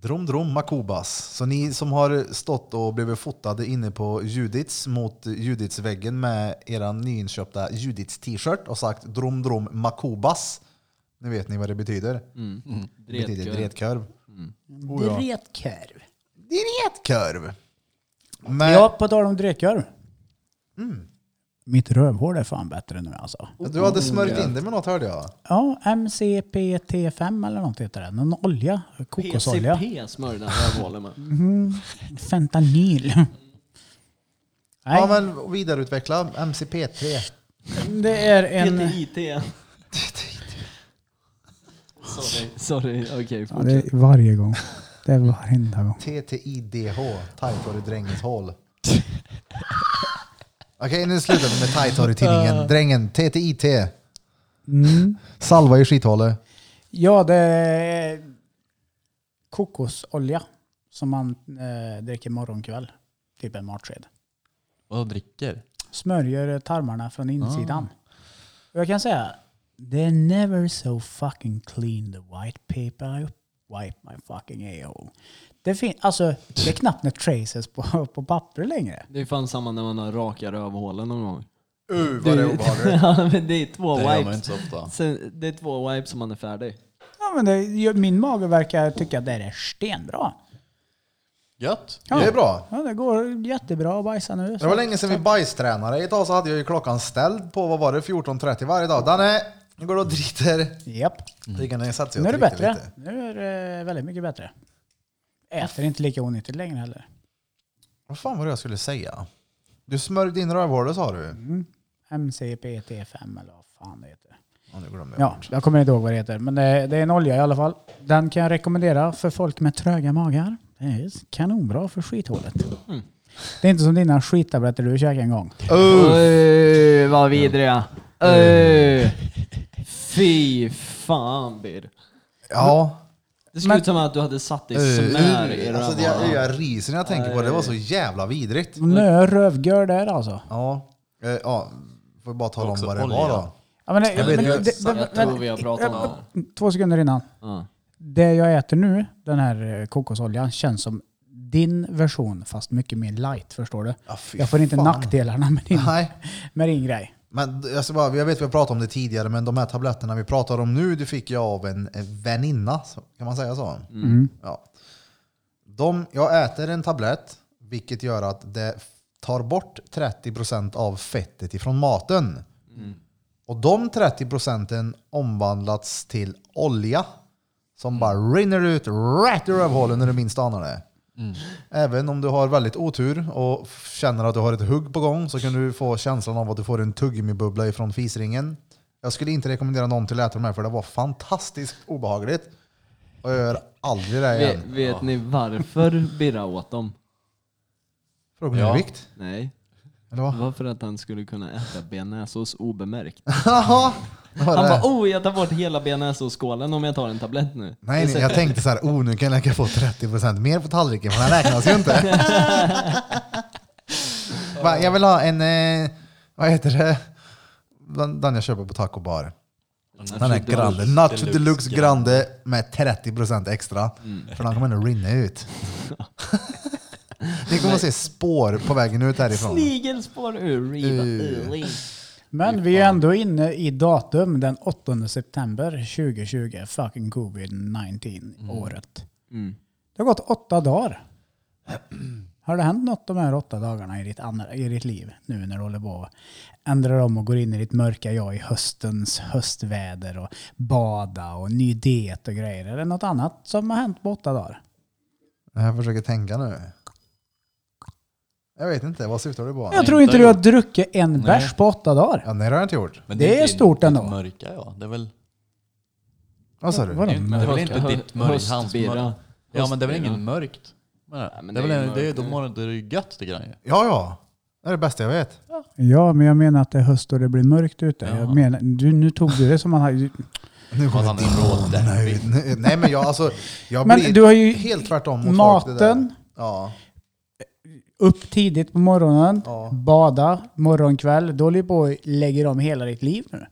Speaker 1: Drom Drom Makobas. Så ni som har stått och blivit fotade inne på Judits mot Juditsväggen med era nyinköpta Judits t-shirt och sagt Drom Drom Makobas. Nu vet ni vad det betyder.
Speaker 2: Mm.
Speaker 1: Det betyder dretkörv. Oh, ja.
Speaker 3: Dretkörv.
Speaker 1: Dretkörv. Men,
Speaker 3: Ja, på tal om dretkörv.
Speaker 1: Mm.
Speaker 3: Mitt rövhål är fan bättre nu alltså.
Speaker 1: Du hade smörjt in det med något hörde jag.
Speaker 3: Ja, MCPT5 eller något heter den. En olja. Kokosolja.
Speaker 4: PCP smörjde han rövhålen med.
Speaker 3: Fentanyl. Nej,
Speaker 1: Ja men vidareutveckla MCP3.
Speaker 3: det är en...
Speaker 4: PTIT. Sorry, Sorry, okej.
Speaker 3: Ja,
Speaker 4: fortsätt.
Speaker 3: det är varje gång. Det är varenda gång.
Speaker 1: TTIDH. Tajtor i drängens hål. Okej nu slutar vi med Tajtor i tidningen. Drängen. TTIT.
Speaker 3: Mm.
Speaker 1: Salva i skithålet.
Speaker 3: Ja, det är kokosolja som man eh, dricker morgon kväll. Typ en matsked.
Speaker 2: Och dricker.
Speaker 3: Smörjer tarmarna från insidan.
Speaker 1: Ah.
Speaker 3: Och jag kan säga, they're never so fucking clean the white paper I wipe my fucking a-hole. Det, fin- alltså, det är knappt några traces på, på papper längre.
Speaker 4: Det är fan samma när man har raka rövhålen någon gång.
Speaker 1: Uh vad det är obehagligt.
Speaker 4: ja, men det är två
Speaker 2: Det gör man
Speaker 4: wipes.
Speaker 2: inte så ofta.
Speaker 4: Sen, det är två wipes som man är färdig.
Speaker 3: Ja, men det, jag- min mage verkar tycka att det här är stenbra.
Speaker 2: Gött!
Speaker 3: Ja.
Speaker 1: Det är bra.
Speaker 3: Ja, det går jättebra att bajsa nu.
Speaker 1: Det var länge sedan vi bajstränade. Idag så hade jag ju klockan ställd på, vad var det, 14.30 varje dag. Danne, nu går du och driter.
Speaker 3: Japp.
Speaker 1: Drickan är satt sig och
Speaker 3: Mm. Nu är det
Speaker 1: dricker
Speaker 3: bättre.
Speaker 1: lite.
Speaker 3: Nu är det eh, väldigt mycket bättre. Äter inte lika onyttigt längre heller.
Speaker 1: Vad fan var det jag skulle säga? Du smörjde in rövhålet sa du?
Speaker 3: MCPT5 eller vad fan det heter.
Speaker 1: Ja, nu glömde jag.
Speaker 3: Ja, jag kommer inte ihåg vad det heter. Men det, det är en olja i alla fall. Den kan jag rekommendera för folk med tröga magar. Det är kanonbra för skithålet.
Speaker 6: Mm.
Speaker 3: Det är inte som dina skittabletter du käkade en gång.
Speaker 4: Öh, vad vidriga. Öh. Fy
Speaker 6: fan Bir.
Speaker 1: Ja,
Speaker 6: Det ser ut som att du hade satt dig smör i
Speaker 1: uh, alltså, jag,
Speaker 6: rövarna.
Speaker 1: jag ryser när jag tänker på det. Det var så jävla vidrigt.
Speaker 3: Nö, rövgör där alltså.
Speaker 1: Ja, eh, ja. Får bara tala om
Speaker 2: Också
Speaker 1: vad det
Speaker 2: olja.
Speaker 1: var då.
Speaker 3: Ja, men,
Speaker 1: vet
Speaker 3: men,
Speaker 1: inte
Speaker 3: det-
Speaker 6: exakt.
Speaker 3: det-
Speaker 6: Jag tror vi har pratat om
Speaker 3: Två sekunder innan.
Speaker 6: Ja.
Speaker 3: Det jag äter nu, den här eh, kokosoljan, känns som din version fast mycket mer light. Förstår du?
Speaker 1: Ja, fy
Speaker 3: jag får inte
Speaker 1: fan.
Speaker 3: nackdelarna med din,
Speaker 1: Nej,
Speaker 3: med din grej.
Speaker 1: men jag, ska bara, jag vet att vi har pratat om det tidigare, men de här tabletterna vi pratar om nu, det fick jag av en en väninna. så- Kan man säga så? Ja. De, jag äter en tablett, vilket gör att det tar bort 30% av fettet ifrån maten. Och de 30% omvandlats till olja som bara rinner ut rätt ur rövhålen när du minst anar det. Även om du har väldigt otur och f- känner att du har ett hugg på gång så kan du få känslan av att du får en tuggummibubbla ifrån fisringen. Jag skulle inte rekommendera någon till att äta de här för det var fantastiskt obehagligt. Och jag gör aldrig det igen.
Speaker 6: Vet, vet ni varför Birra åt dem?
Speaker 1: För att gå ner
Speaker 2: Ja.
Speaker 1: i vikt?
Speaker 6: Nej,
Speaker 1: Eller vad?
Speaker 6: det var för att han skulle kunna äta bearnaisesås obemärkt.
Speaker 1: Jaha! Vad var
Speaker 6: Han
Speaker 1: det?
Speaker 6: bara oh jag tar bort hela bearnaisesåsskålen om jag tar en tablett nu.
Speaker 1: nej, nej, jag tänkte så här, oh nu kan jag lägga på 30% mer på tallriken, men den räknas ju inte. Va, jag vill ha en, eh, vad heter det, den, den jag köper på taco bar. Den här grande, nacho deluxe grande Mm. med 30% extra. För den kommer nog rinna ut. Ni kommer att se spår på vägen ut härifrån.
Speaker 6: Snigelspår ur riva. Uh.
Speaker 2: Mm.
Speaker 3: Men vi är ändå inne i datum den 8 september 2020. Fucking covid-19 året.
Speaker 6: Mm.
Speaker 3: Det har gått åtta dagar. Har det hänt något de här åtta dagarna i ditt, andra, i ditt liv nu när du håller på och ändrar om och går in i ditt mörka jag i höstens höstväder och bada och ny diet och grejer? Är det något annat som har hänt på åtta dagar?
Speaker 1: Jag försöker tänka nu. Jag vet inte, vad syftar du på?
Speaker 3: Jag tror inte du har druckit en
Speaker 2: Nej.
Speaker 3: bärs på åtta dagar.
Speaker 1: Ja, nej, det har jag inte gjort.
Speaker 2: Men
Speaker 3: Det är
Speaker 2: inte
Speaker 3: stort
Speaker 2: ditt
Speaker 3: ändå.
Speaker 2: mörka ja. Det är väl,
Speaker 1: Vad sa du?
Speaker 3: Vadå?
Speaker 2: det är väl inte
Speaker 6: Hö-
Speaker 2: ditt mörk, hans
Speaker 6: höstbira.
Speaker 2: mörk. Ja men det är väl
Speaker 6: Höstbira.
Speaker 2: ingen mörkt? Men
Speaker 6: men
Speaker 2: det är
Speaker 6: det
Speaker 2: väl
Speaker 6: är
Speaker 2: en, det är,
Speaker 6: mörkt
Speaker 2: då
Speaker 6: nu.
Speaker 2: mår det ju gött tycker han ju.
Speaker 1: Ja, ja. Det är det bästa jag vet.
Speaker 3: Ja, men jag menar att det är höst och det blir mörkt ute.
Speaker 2: Ja.
Speaker 3: Jag menar, du, nu tog du det som man har...
Speaker 1: Nu
Speaker 2: Att han är bråd där.
Speaker 1: Nej, nej, nej, men jag, alltså, jag
Speaker 3: Men
Speaker 1: blir
Speaker 3: du har ju
Speaker 1: helt tvärtom mot folk. det där.
Speaker 3: Maten,
Speaker 1: Ja.
Speaker 3: upp tidigt på morgonen,
Speaker 1: Ja.
Speaker 3: bada, morgonkväll. Då håller du på och lägger om hela ditt liv nu.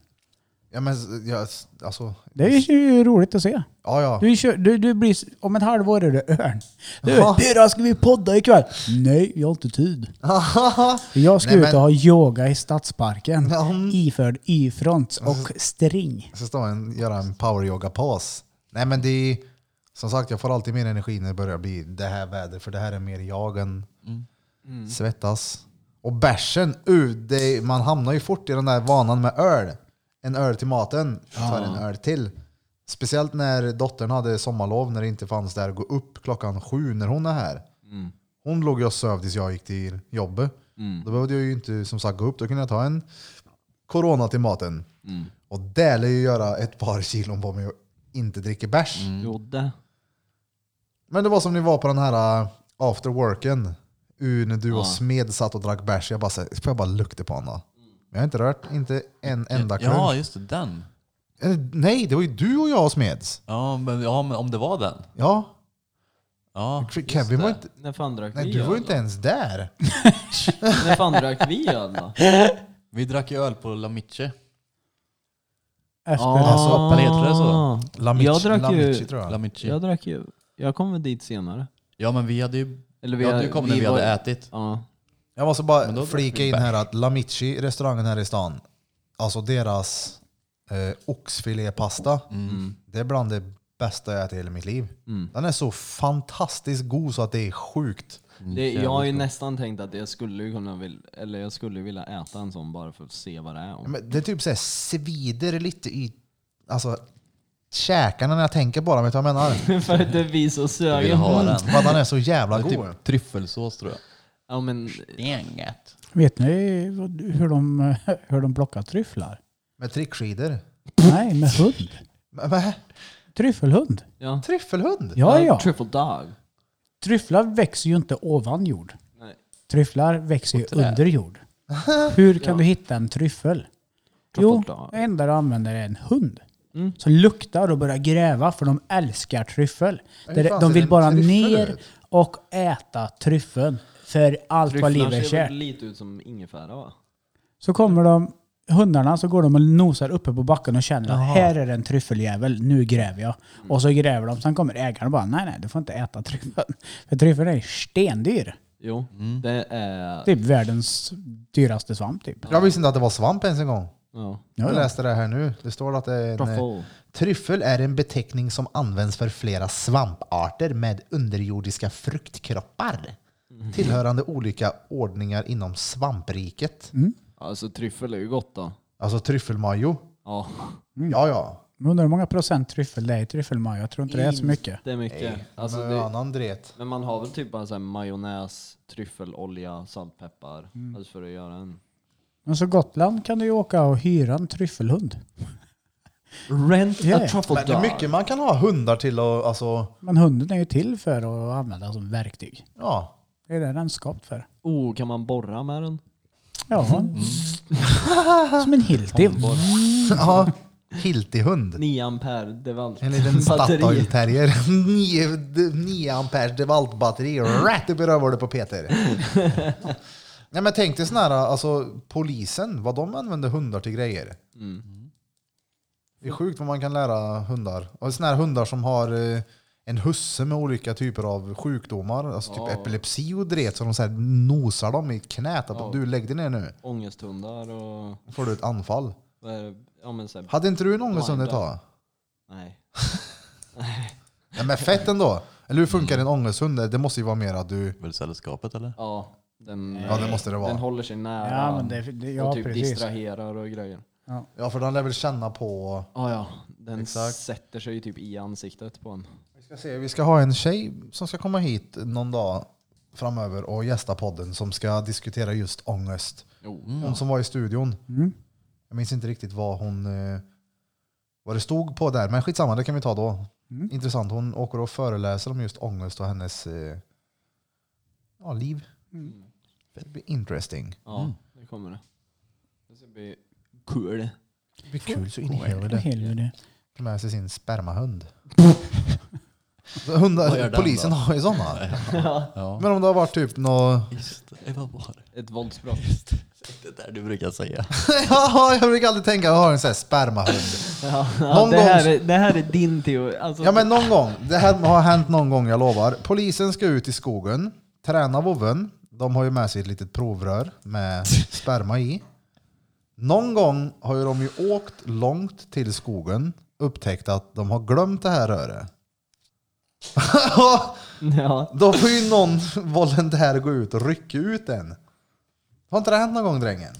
Speaker 1: ja, men jag, alltså...
Speaker 3: Det är ju roligt att se.
Speaker 1: Ja, ja.
Speaker 3: Du, kör, du, du blir, s- om ett halvår är du örn. Du,
Speaker 1: Ja.
Speaker 3: Birra, ska vi podda ikväll? Nej, jag har inte tid. Jag ska
Speaker 1: Nej,
Speaker 3: ut
Speaker 1: men-
Speaker 3: och ha yoga i Stadsparken.
Speaker 1: Ja, mm.
Speaker 3: Iförd Y-front och string.
Speaker 1: Så står en göra en power yoga paus Nej, men det är... Som sagt, jag får alltid mer energi när det börjar bli det här vädret, för det här är mer jag än svettas. Och bärsen, uh, det, är- man hamnar ju fort i den där vanan med öl. En öl till maten, tar en öl till. Speciellt när dottern hade sommarlov, när det inte fanns där att gå upp klockan sju när hon är här. Hon låg ju och söv tills jag gick till jobbet. Då behövde jag ju inte som sagt gå upp, då kunde jag ta en corona till maten. Och det lär ju göra ett par kilon på mig och inte dricka bärs.
Speaker 2: Mm.
Speaker 6: Jo det.
Speaker 1: Men det var som ni var på den här äh, after worken. Uh, när du och Smed satt och drack bärs. Jag bara, så här, får jag bara lukta på honom? Jag har inte rört, inte en enda klunk.
Speaker 2: Ja just det, den.
Speaker 1: Eh, Nej, det var ju du och jag och Smeds.
Speaker 2: Ja men, ja men om det var den.
Speaker 1: Ja,
Speaker 2: Ja,
Speaker 1: för
Speaker 2: just
Speaker 1: Kevin
Speaker 2: det.
Speaker 1: var inte...
Speaker 6: När fan drack
Speaker 1: Nej,
Speaker 6: vi
Speaker 1: du var
Speaker 6: öl
Speaker 1: ju inte
Speaker 6: då?
Speaker 1: ens där.
Speaker 6: När fan drack vi öl då?
Speaker 2: Vi drack ju öl på La Miche.
Speaker 3: Efter
Speaker 1: alltså,
Speaker 2: vad heter det
Speaker 6: Ah.
Speaker 2: så?
Speaker 1: Lamich,
Speaker 6: Jag drack ju-
Speaker 1: Lamichi, tror
Speaker 2: La
Speaker 1: jag.
Speaker 2: Miche.
Speaker 6: Jag drack ju. Jag kommer dit senare.
Speaker 2: Ja men vi hade ju...
Speaker 6: Eller
Speaker 2: ja, du kom när vi,
Speaker 6: var-
Speaker 2: hade ätit.
Speaker 6: Ja.
Speaker 1: Jag måste
Speaker 2: Men
Speaker 1: bara
Speaker 2: då drack
Speaker 1: flika
Speaker 2: vi
Speaker 1: in
Speaker 2: bärs.
Speaker 1: här att Lamichi, restaurangen här i stan, alltså deras eh, oxfilépasta,
Speaker 2: Mm.
Speaker 1: det är bland det bästa jag ätit i hela mitt liv. Den är så fantastiskt god så att det är sjukt.
Speaker 2: Mm.
Speaker 6: Det, jag har ju nästan tänkt att jag skulle ju kunna vill, eller jag skulle vilja äta en sån bara för att se vad det är om.
Speaker 1: Men det är typ såhär svider lite i alltså, käkarna när jag tänker på den, vet du vad jag menar?
Speaker 6: för att det blir så
Speaker 2: Vi vill
Speaker 6: sögen.
Speaker 2: ha den.
Speaker 1: För att den är så jävla
Speaker 2: Det är
Speaker 1: god.
Speaker 2: typ tryffelsås tror jag.
Speaker 6: Ja men
Speaker 2: Inget.
Speaker 3: Vet ni vad- hur de, hur de plockar tryfflar?
Speaker 1: Med trickskidor.
Speaker 3: Nej, med hund.
Speaker 1: Men- men-
Speaker 3: Tryffelhund.
Speaker 6: ja.
Speaker 1: Tryffelhund?
Speaker 3: Ja, ja.
Speaker 6: Triple dog.
Speaker 3: Tryfflar växer ju inte ovan jord.
Speaker 6: Nej.
Speaker 3: Tryfflar växer ju under jord. Hur kan du hitta en tryffel? Jo,
Speaker 6: Tryffeldag.
Speaker 3: det enda du använder är en hund.
Speaker 1: Mm.
Speaker 3: som luktar och börjar gräva för de älskar tryffel.
Speaker 1: Ja,
Speaker 3: Det-
Speaker 1: hur fan
Speaker 3: De
Speaker 1: ser
Speaker 3: vill
Speaker 1: en
Speaker 3: bara
Speaker 1: tryffel
Speaker 3: ner
Speaker 1: ut?
Speaker 3: och äta tryffeln för allt vad livet är
Speaker 6: Tryfflar ser
Speaker 3: kärt.
Speaker 6: väl lite ut som ingefära va?
Speaker 3: Så kommer de, hundarna, så går de och nosar uppe på backen och känner
Speaker 1: Jaha. Mm.
Speaker 3: att här är en tryffeljävel, nu gräver jag. Och så gräver de, sen kommer ägaren och bara nej nej, du får inte äta tryffeln. För tryffeln är stendyr.
Speaker 6: Jo,
Speaker 1: Mm.
Speaker 6: det är...
Speaker 3: Typ världens dyraste svamp typ.
Speaker 1: Jag visste inte att det var svamp ens en gång.
Speaker 6: Ja.
Speaker 1: Jag
Speaker 3: Ja,
Speaker 1: läste det här nu. Det står att det är en, eh,
Speaker 6: Truffle.
Speaker 1: tryffel är en beteckning som används för flera svamparter med underjordiska fruktkroppar.
Speaker 6: Mm.
Speaker 1: Tillhörande olika ordningar inom svampriket.
Speaker 6: Alltså tryffel är ju gott då.
Speaker 1: Alltså tryffelmajo.
Speaker 6: Ja,
Speaker 1: Ja, ja.
Speaker 3: Jag undrar hur många procent tryffel det är i tryffelmajo. Jag tror inte det är så mycket.
Speaker 6: det är mycket. Alltså,
Speaker 1: Men
Speaker 6: det,
Speaker 1: annan dret.
Speaker 6: men man har väl typ bara så här majonnäs, tryffelolja, saltpeppar.
Speaker 1: Mm.
Speaker 6: Alltså för att göra en...
Speaker 3: Men så Gotland kan du ju åka och hyra en tryffelhund.
Speaker 6: Rent
Speaker 3: Ja, ja.
Speaker 6: a truffle
Speaker 1: Men
Speaker 6: dog.
Speaker 1: hur mycket man kan ha hundar till och alltså,
Speaker 3: Men hunden är ju till för att använda som verktyg.
Speaker 1: ja.
Speaker 3: Det är det den är skapt för.
Speaker 6: Oh, kan man borra med den?
Speaker 3: Ja.
Speaker 6: Mm.
Speaker 3: Mm. Som en Hilti.
Speaker 1: ja. Hiltig hund.
Speaker 6: 9 ampere, det var allt.
Speaker 1: En liten
Speaker 6: Batteri.
Speaker 1: Statoil-terrier. 9 amperes DeWalt-batteri. Rätt upp i rövhålet på Peter. Nej, men tänk dig sån här, alltså polisen, vad de använder hundar till grejer. Det är sjukt vad man kan lära hundar. Och såna här hundar som har eh, en husse med olika typer av sjukdomar, alltså typ epilepsi och dret, så de så här nosar dem i knät. Att Du lägg dig ner nu,
Speaker 6: Ångesthundar och...
Speaker 1: får du ett anfall.
Speaker 6: Vad är det? Ja men såhär...
Speaker 1: Hade inte du en ångesthund ett tag?
Speaker 6: Nej.
Speaker 1: Nej, men fett ändå. Eller hur funkar en ångesthund? Det måste ju vara mer att du...
Speaker 2: Väl sällskapet eller?
Speaker 6: Ja, den,
Speaker 1: Ja, det måste det vara.
Speaker 6: den håller sig nära.
Speaker 3: Ja, men det- det- ja,
Speaker 6: och typ
Speaker 3: precis.
Speaker 6: distraherar och grejer.
Speaker 1: Ja, för den lär väl känna på...
Speaker 6: Ja, ja. Den
Speaker 1: Exakt.
Speaker 6: sätter sig ju typ i ansiktet på en.
Speaker 1: Vi ska, se. vi ska ha en tjej som ska komma hit någon dag framöver och gästa podden som ska diskutera just ångest. Hon som var i studion.
Speaker 3: Mm.
Speaker 1: Jag minns inte riktigt vad hon... eh, Vad det stod på där, men skitsamma, det kan vi ta då. Intressant, hon åker och föreläser om just ångest och hennes eh, ja, liv. Mm. Det blir interesting.
Speaker 6: Ja, det kommer det. Det ska bli kul.
Speaker 1: Det blir kul så in i
Speaker 3: En
Speaker 1: helvete.
Speaker 3: Hilti.
Speaker 1: tar med sig sin spermahund. Hundar,
Speaker 2: Vad gör den
Speaker 1: polisen
Speaker 2: då?
Speaker 1: har ju sådana.
Speaker 2: Ja.
Speaker 1: Men om det har varit typ något...
Speaker 2: Just det, vad var det?
Speaker 6: Ett våldsbrott.
Speaker 2: Det där du brukar säga.
Speaker 1: ja, jag brukar alltid tänka att jag har en sån här spermahund.
Speaker 6: Ja,
Speaker 1: Någon
Speaker 6: det, här
Speaker 1: gång-
Speaker 6: är, det här är din teori. Alltså,
Speaker 1: Ja men någon gång. Det här har hänt någon gång, jag lovar. Polisen ska ut i skogen, träna vovven. De har ju med sig ett litet provrör med sperma i. Någon gång har ju de ju åkt långt till skogen, upptäckt att de har glömt det här röret.
Speaker 6: ja.
Speaker 1: Då får ju någon volontär gå ut och rycka ut den. Har inte det hänt någon gång drängen?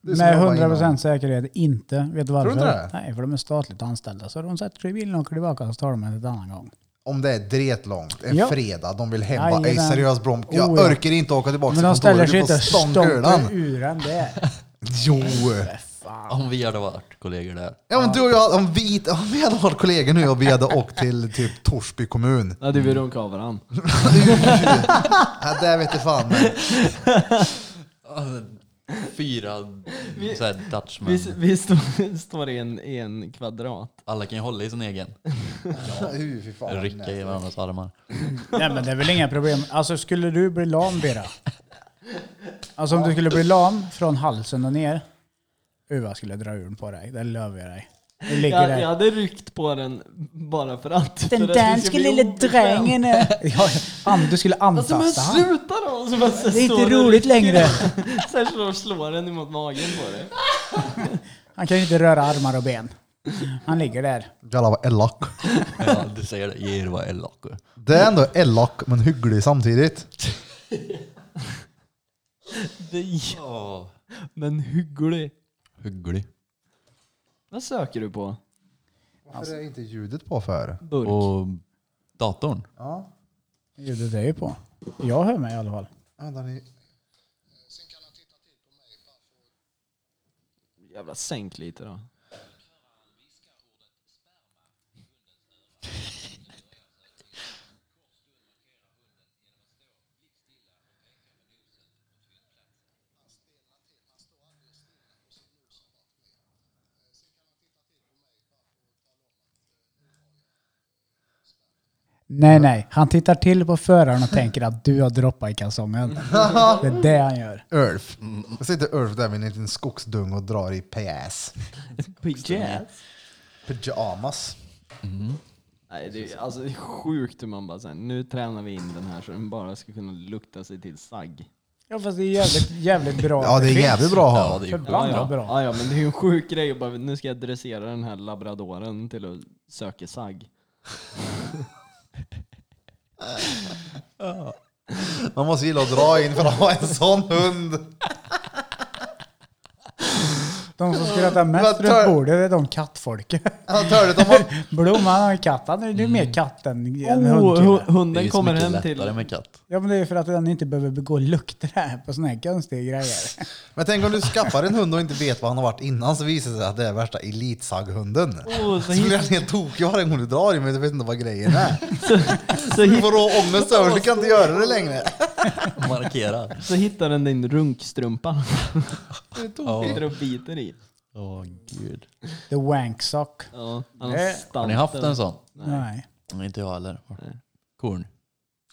Speaker 1: Du som
Speaker 3: Med
Speaker 1: jobbar
Speaker 3: 100
Speaker 1: inom-
Speaker 3: procent säkerhet inte. Vet du varför?
Speaker 1: du inte det?
Speaker 3: Nej, för de är statligt anställda. Så de sätter sig i bilen och åker tillbaka och så tar de en annan gång.
Speaker 1: Om det är dretlångt, en
Speaker 3: Ja.
Speaker 1: fredag, de vill hem. bara, Ej
Speaker 3: Jajamän.
Speaker 1: seriöst Brom, jag
Speaker 3: Oh, ja.
Speaker 1: orkar inte åka tillbaka
Speaker 3: Men de ställer sig inte och stånkar
Speaker 1: stånggölan.
Speaker 3: ur den. Det är
Speaker 1: Jo!
Speaker 2: Om vi hade varit kollegor där.
Speaker 1: Ja men du och jag, om vi, om vi hade varit kollegor nu och vi hade åkt till typ Torsby kommun.
Speaker 6: Ja, du vill runka av varandra.
Speaker 1: Ja, det vet jag fan. Men,
Speaker 2: Fyra så här, Dutchmen.
Speaker 6: Vi, vi står- står i en, i en kvadrat.
Speaker 2: Alla kan ju hålla i sin egen.
Speaker 1: Uy, fy fan.
Speaker 2: Rycka i varandras armar.
Speaker 3: Nej men det är väl inga problem. Alltså skulle du bli lam Bera? Alltså om du skulle bli lam från halsen och ner. Uh, vad skulle jag dra ur på dig. Det löver jag dig. Det ligger
Speaker 6: Jag,
Speaker 3: där.
Speaker 6: jag hade ryckt på den bara för att.
Speaker 3: Den
Speaker 6: för att det ska
Speaker 3: danske
Speaker 6: bli
Speaker 3: lille
Speaker 6: obekvämt.
Speaker 3: drängen är... Ja, an- du skulle
Speaker 6: Alltså men
Speaker 3: antasta han.
Speaker 6: sluta då! Så bara, så
Speaker 3: Det är
Speaker 6: står
Speaker 3: inte
Speaker 6: du och
Speaker 3: roligt
Speaker 6: rycker.
Speaker 3: längre.
Speaker 6: Sen slår de slår den emot magen på dig.
Speaker 3: Han kan ju inte röra armar och ben. Han ligger där.
Speaker 1: Jalla vad elak.
Speaker 2: Ja, du säger det. Geir var elak.
Speaker 1: Det är ändå elak men hygglig samtidigt.
Speaker 6: Det-
Speaker 2: Oh.
Speaker 6: Men hygglig.
Speaker 2: Hygglig.
Speaker 6: Vad söker du på?
Speaker 1: Varför är inte ljudet på för?
Speaker 6: Burk.
Speaker 2: Och datorn.
Speaker 1: Ja,
Speaker 3: Ljudet är ju på. Jag hör mig i alla fall.
Speaker 1: vänta ni.
Speaker 6: Jävla sänk lite då.
Speaker 3: Nej, nej. Han tittar till på föraren och tänker att du har droppat i kalsongen. Det är det han gör.
Speaker 1: Ulf. Jag sitter Ulf där med en liten skogsdung och drar i pjäs.
Speaker 4: Jazz?
Speaker 1: Pyjamas.
Speaker 6: Nej, det, är, alltså, det är sjukt hur man bara såhär, nu tränar vi in den här så den bara ska kunna lukta sig till sagg.
Speaker 3: Ja, fast det är jävligt, jävligt bra.
Speaker 1: Ja, det är jävligt bra att
Speaker 2: Ja,
Speaker 1: ha.
Speaker 2: det är ju...
Speaker 3: Förbannat bra.
Speaker 6: Ja, ja, men det är ju en sjuk grej att bara, nu ska jag dressera den här labradoren till att söka sagg.
Speaker 1: Man måste gilla att dra in för att ha en sån hund.
Speaker 3: De som skrattar mest
Speaker 1: Vad tar-
Speaker 3: runt bordet är de kattfolket.
Speaker 1: Han törde de har...
Speaker 3: Blom, han har en katt. Han är ju
Speaker 1: Mm.
Speaker 3: mer katt än, än
Speaker 6: Oh,
Speaker 3: hundkille.
Speaker 6: hu-
Speaker 2: Det är
Speaker 6: hunden
Speaker 2: ju så
Speaker 6: kommer
Speaker 2: mycket
Speaker 6: hem
Speaker 2: lättare
Speaker 6: till...
Speaker 2: med katt.
Speaker 3: Ja, men det är för att den inte behöver begå lukter på såna här konstiga grejer.
Speaker 1: Men tänk om du skaffar en hund och inte vet vad han har varit innan så visar det sig att det är värsta elitsagghunden.
Speaker 6: Oh, så
Speaker 1: Så blir
Speaker 6: hit,
Speaker 1: han helt tokig varje gång du drar i men du vet inte vad grejen är.
Speaker 6: så,
Speaker 1: Du
Speaker 6: hit,
Speaker 1: får rå ångest över du kan inte göra det längre.
Speaker 2: Markera.
Speaker 6: så hittar den din runkstrumpa.
Speaker 2: Ja.
Speaker 6: Sitter och biter i.
Speaker 2: Åh gud.
Speaker 3: The wank sock.
Speaker 6: Ja, han
Speaker 3: Nej.
Speaker 2: Har ni haft en sån?
Speaker 3: Nej.
Speaker 2: Nej, Mm, inte jag heller. Korn.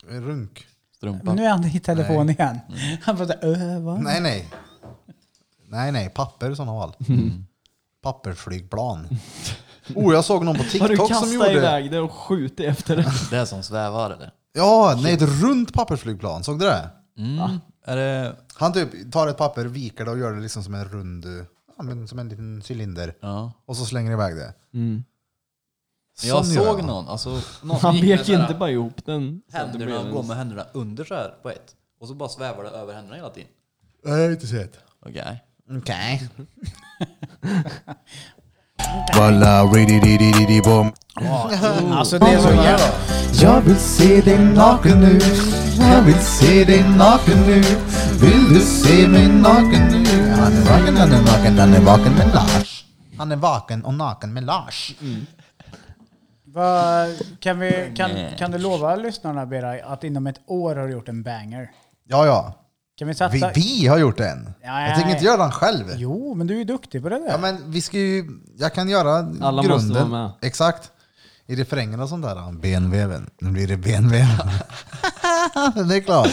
Speaker 1: Runk.
Speaker 2: Strumpa.
Speaker 3: Men nu är han i telefon igen. Han bara såhär, öh, va?
Speaker 1: Mm. Nej, nej. Nej, nej. Papper i sådana fall. Pappersflygplan. Oh, jag såg någon på
Speaker 6: Har du
Speaker 1: TikTok som
Speaker 6: kastat
Speaker 1: gjorde...
Speaker 6: iväg det och skjutit efter det?
Speaker 2: Det är som svävar eller?
Speaker 1: Ja, nej, ett runt pappersflygplan. Såg du det?
Speaker 2: Mm. Är det...
Speaker 1: Han typ tar ett papper, viker det och gör det liksom som en rund... eh, Ja, men som en liten cylinder.
Speaker 2: Ja.
Speaker 1: Och så slänger iväg det.
Speaker 2: Men jag
Speaker 1: Sån gör
Speaker 2: såg
Speaker 1: han.
Speaker 2: någon, alltså, någon
Speaker 6: Han
Speaker 2: gick med
Speaker 6: vek
Speaker 2: så här
Speaker 6: inte bara ihop den. så att det
Speaker 2: händerna
Speaker 6: blev
Speaker 2: och går
Speaker 6: en-
Speaker 2: med händerna under så här på ett. Och så bara svävar det över händerna hela tiden.
Speaker 1: Nej, jag har inte sett.
Speaker 2: Okej.
Speaker 1: Okej. Walla, ridididididibom.
Speaker 3: Alltså det är så jävla...
Speaker 1: Jag vill se dig naken nu. Jag vill se dig naken nu. Vill du se mig naken nu? Han är vaken, han är naken, han är vaken med Lars. Han är vaken och naken med Lars.
Speaker 3: Va, kan, vi, kan, kan du lova lyssnarna Beray att inom ett år har du gjort en banger?
Speaker 1: Ja, ja.
Speaker 3: Kan vi satsa?
Speaker 1: Vi, vi har gjort en.
Speaker 3: Ja, ja,
Speaker 1: jag tänker
Speaker 3: ja.
Speaker 1: inte göra den själv.
Speaker 3: Jo, men du är ju duktig på det där.
Speaker 1: Ja, men vi ska ju, jag kan göra
Speaker 6: Alla
Speaker 1: grunden.
Speaker 6: måste vara med.
Speaker 1: Exakt. I refrängen och sånt där. Benveven. Nu blir det benveven. det är klart.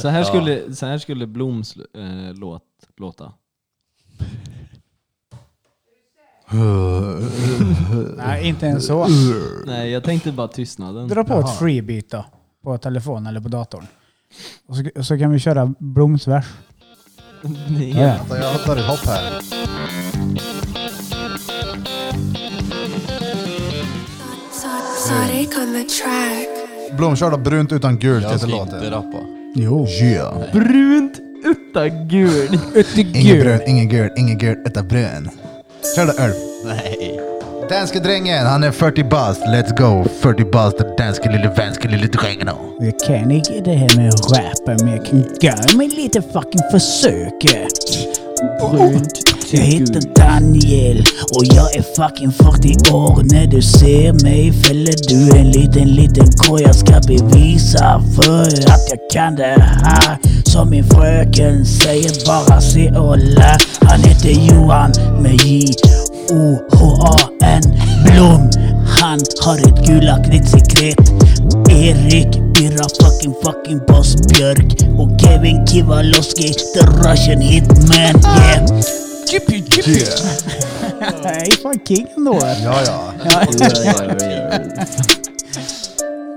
Speaker 6: Så här skulle, så här skulle Bloms eh, låt låta.
Speaker 3: Nej, inte ens så.
Speaker 6: Nej, jag tänkte bara tystnaden.
Speaker 3: Dra på ett freebeat då. På telefon eller på datorn. Och så, och så kan vi köra Bloms vers.
Speaker 6: Nej.
Speaker 3: Ja.
Speaker 1: Vänta, jag tar ett hopp här.
Speaker 7: Sonic on the track.
Speaker 1: Blom körde brunt utan gult
Speaker 2: Jag
Speaker 1: heter
Speaker 2: ska inte
Speaker 1: låten.
Speaker 2: rappa.
Speaker 3: Jo.
Speaker 1: Yeah.
Speaker 6: Brunt utan gul.
Speaker 1: Ingen brun, ingen gul, ingen gul utan brun. Kör då Ulf.
Speaker 2: Nej.
Speaker 1: Danske drängen, han är 40 bast. Let's go. 40 bast, den danske lille vänske lille drängen.
Speaker 3: Jag kan inte det här med att rappa, men jag kan göra mig lite fucking försök.
Speaker 5: Brunt
Speaker 3: Jag
Speaker 5: gult.
Speaker 3: heter Daniel och jag är fucking 40 år. När du ser mig fäller du en liten, liten korg. Jag ska bevisa för att jag kan det här. Som min fröken säger, bara se och lär. Han heter Johan med J-O-H-A-N Blom. Han har ett gulaktigt sekret. Erik Birra fucking fucking Boss Björk och Kevin Kivalowski, the Russian hitman. Yeah. Chippy, chippy. Nej, fan king ändå.
Speaker 1: Ja, ja.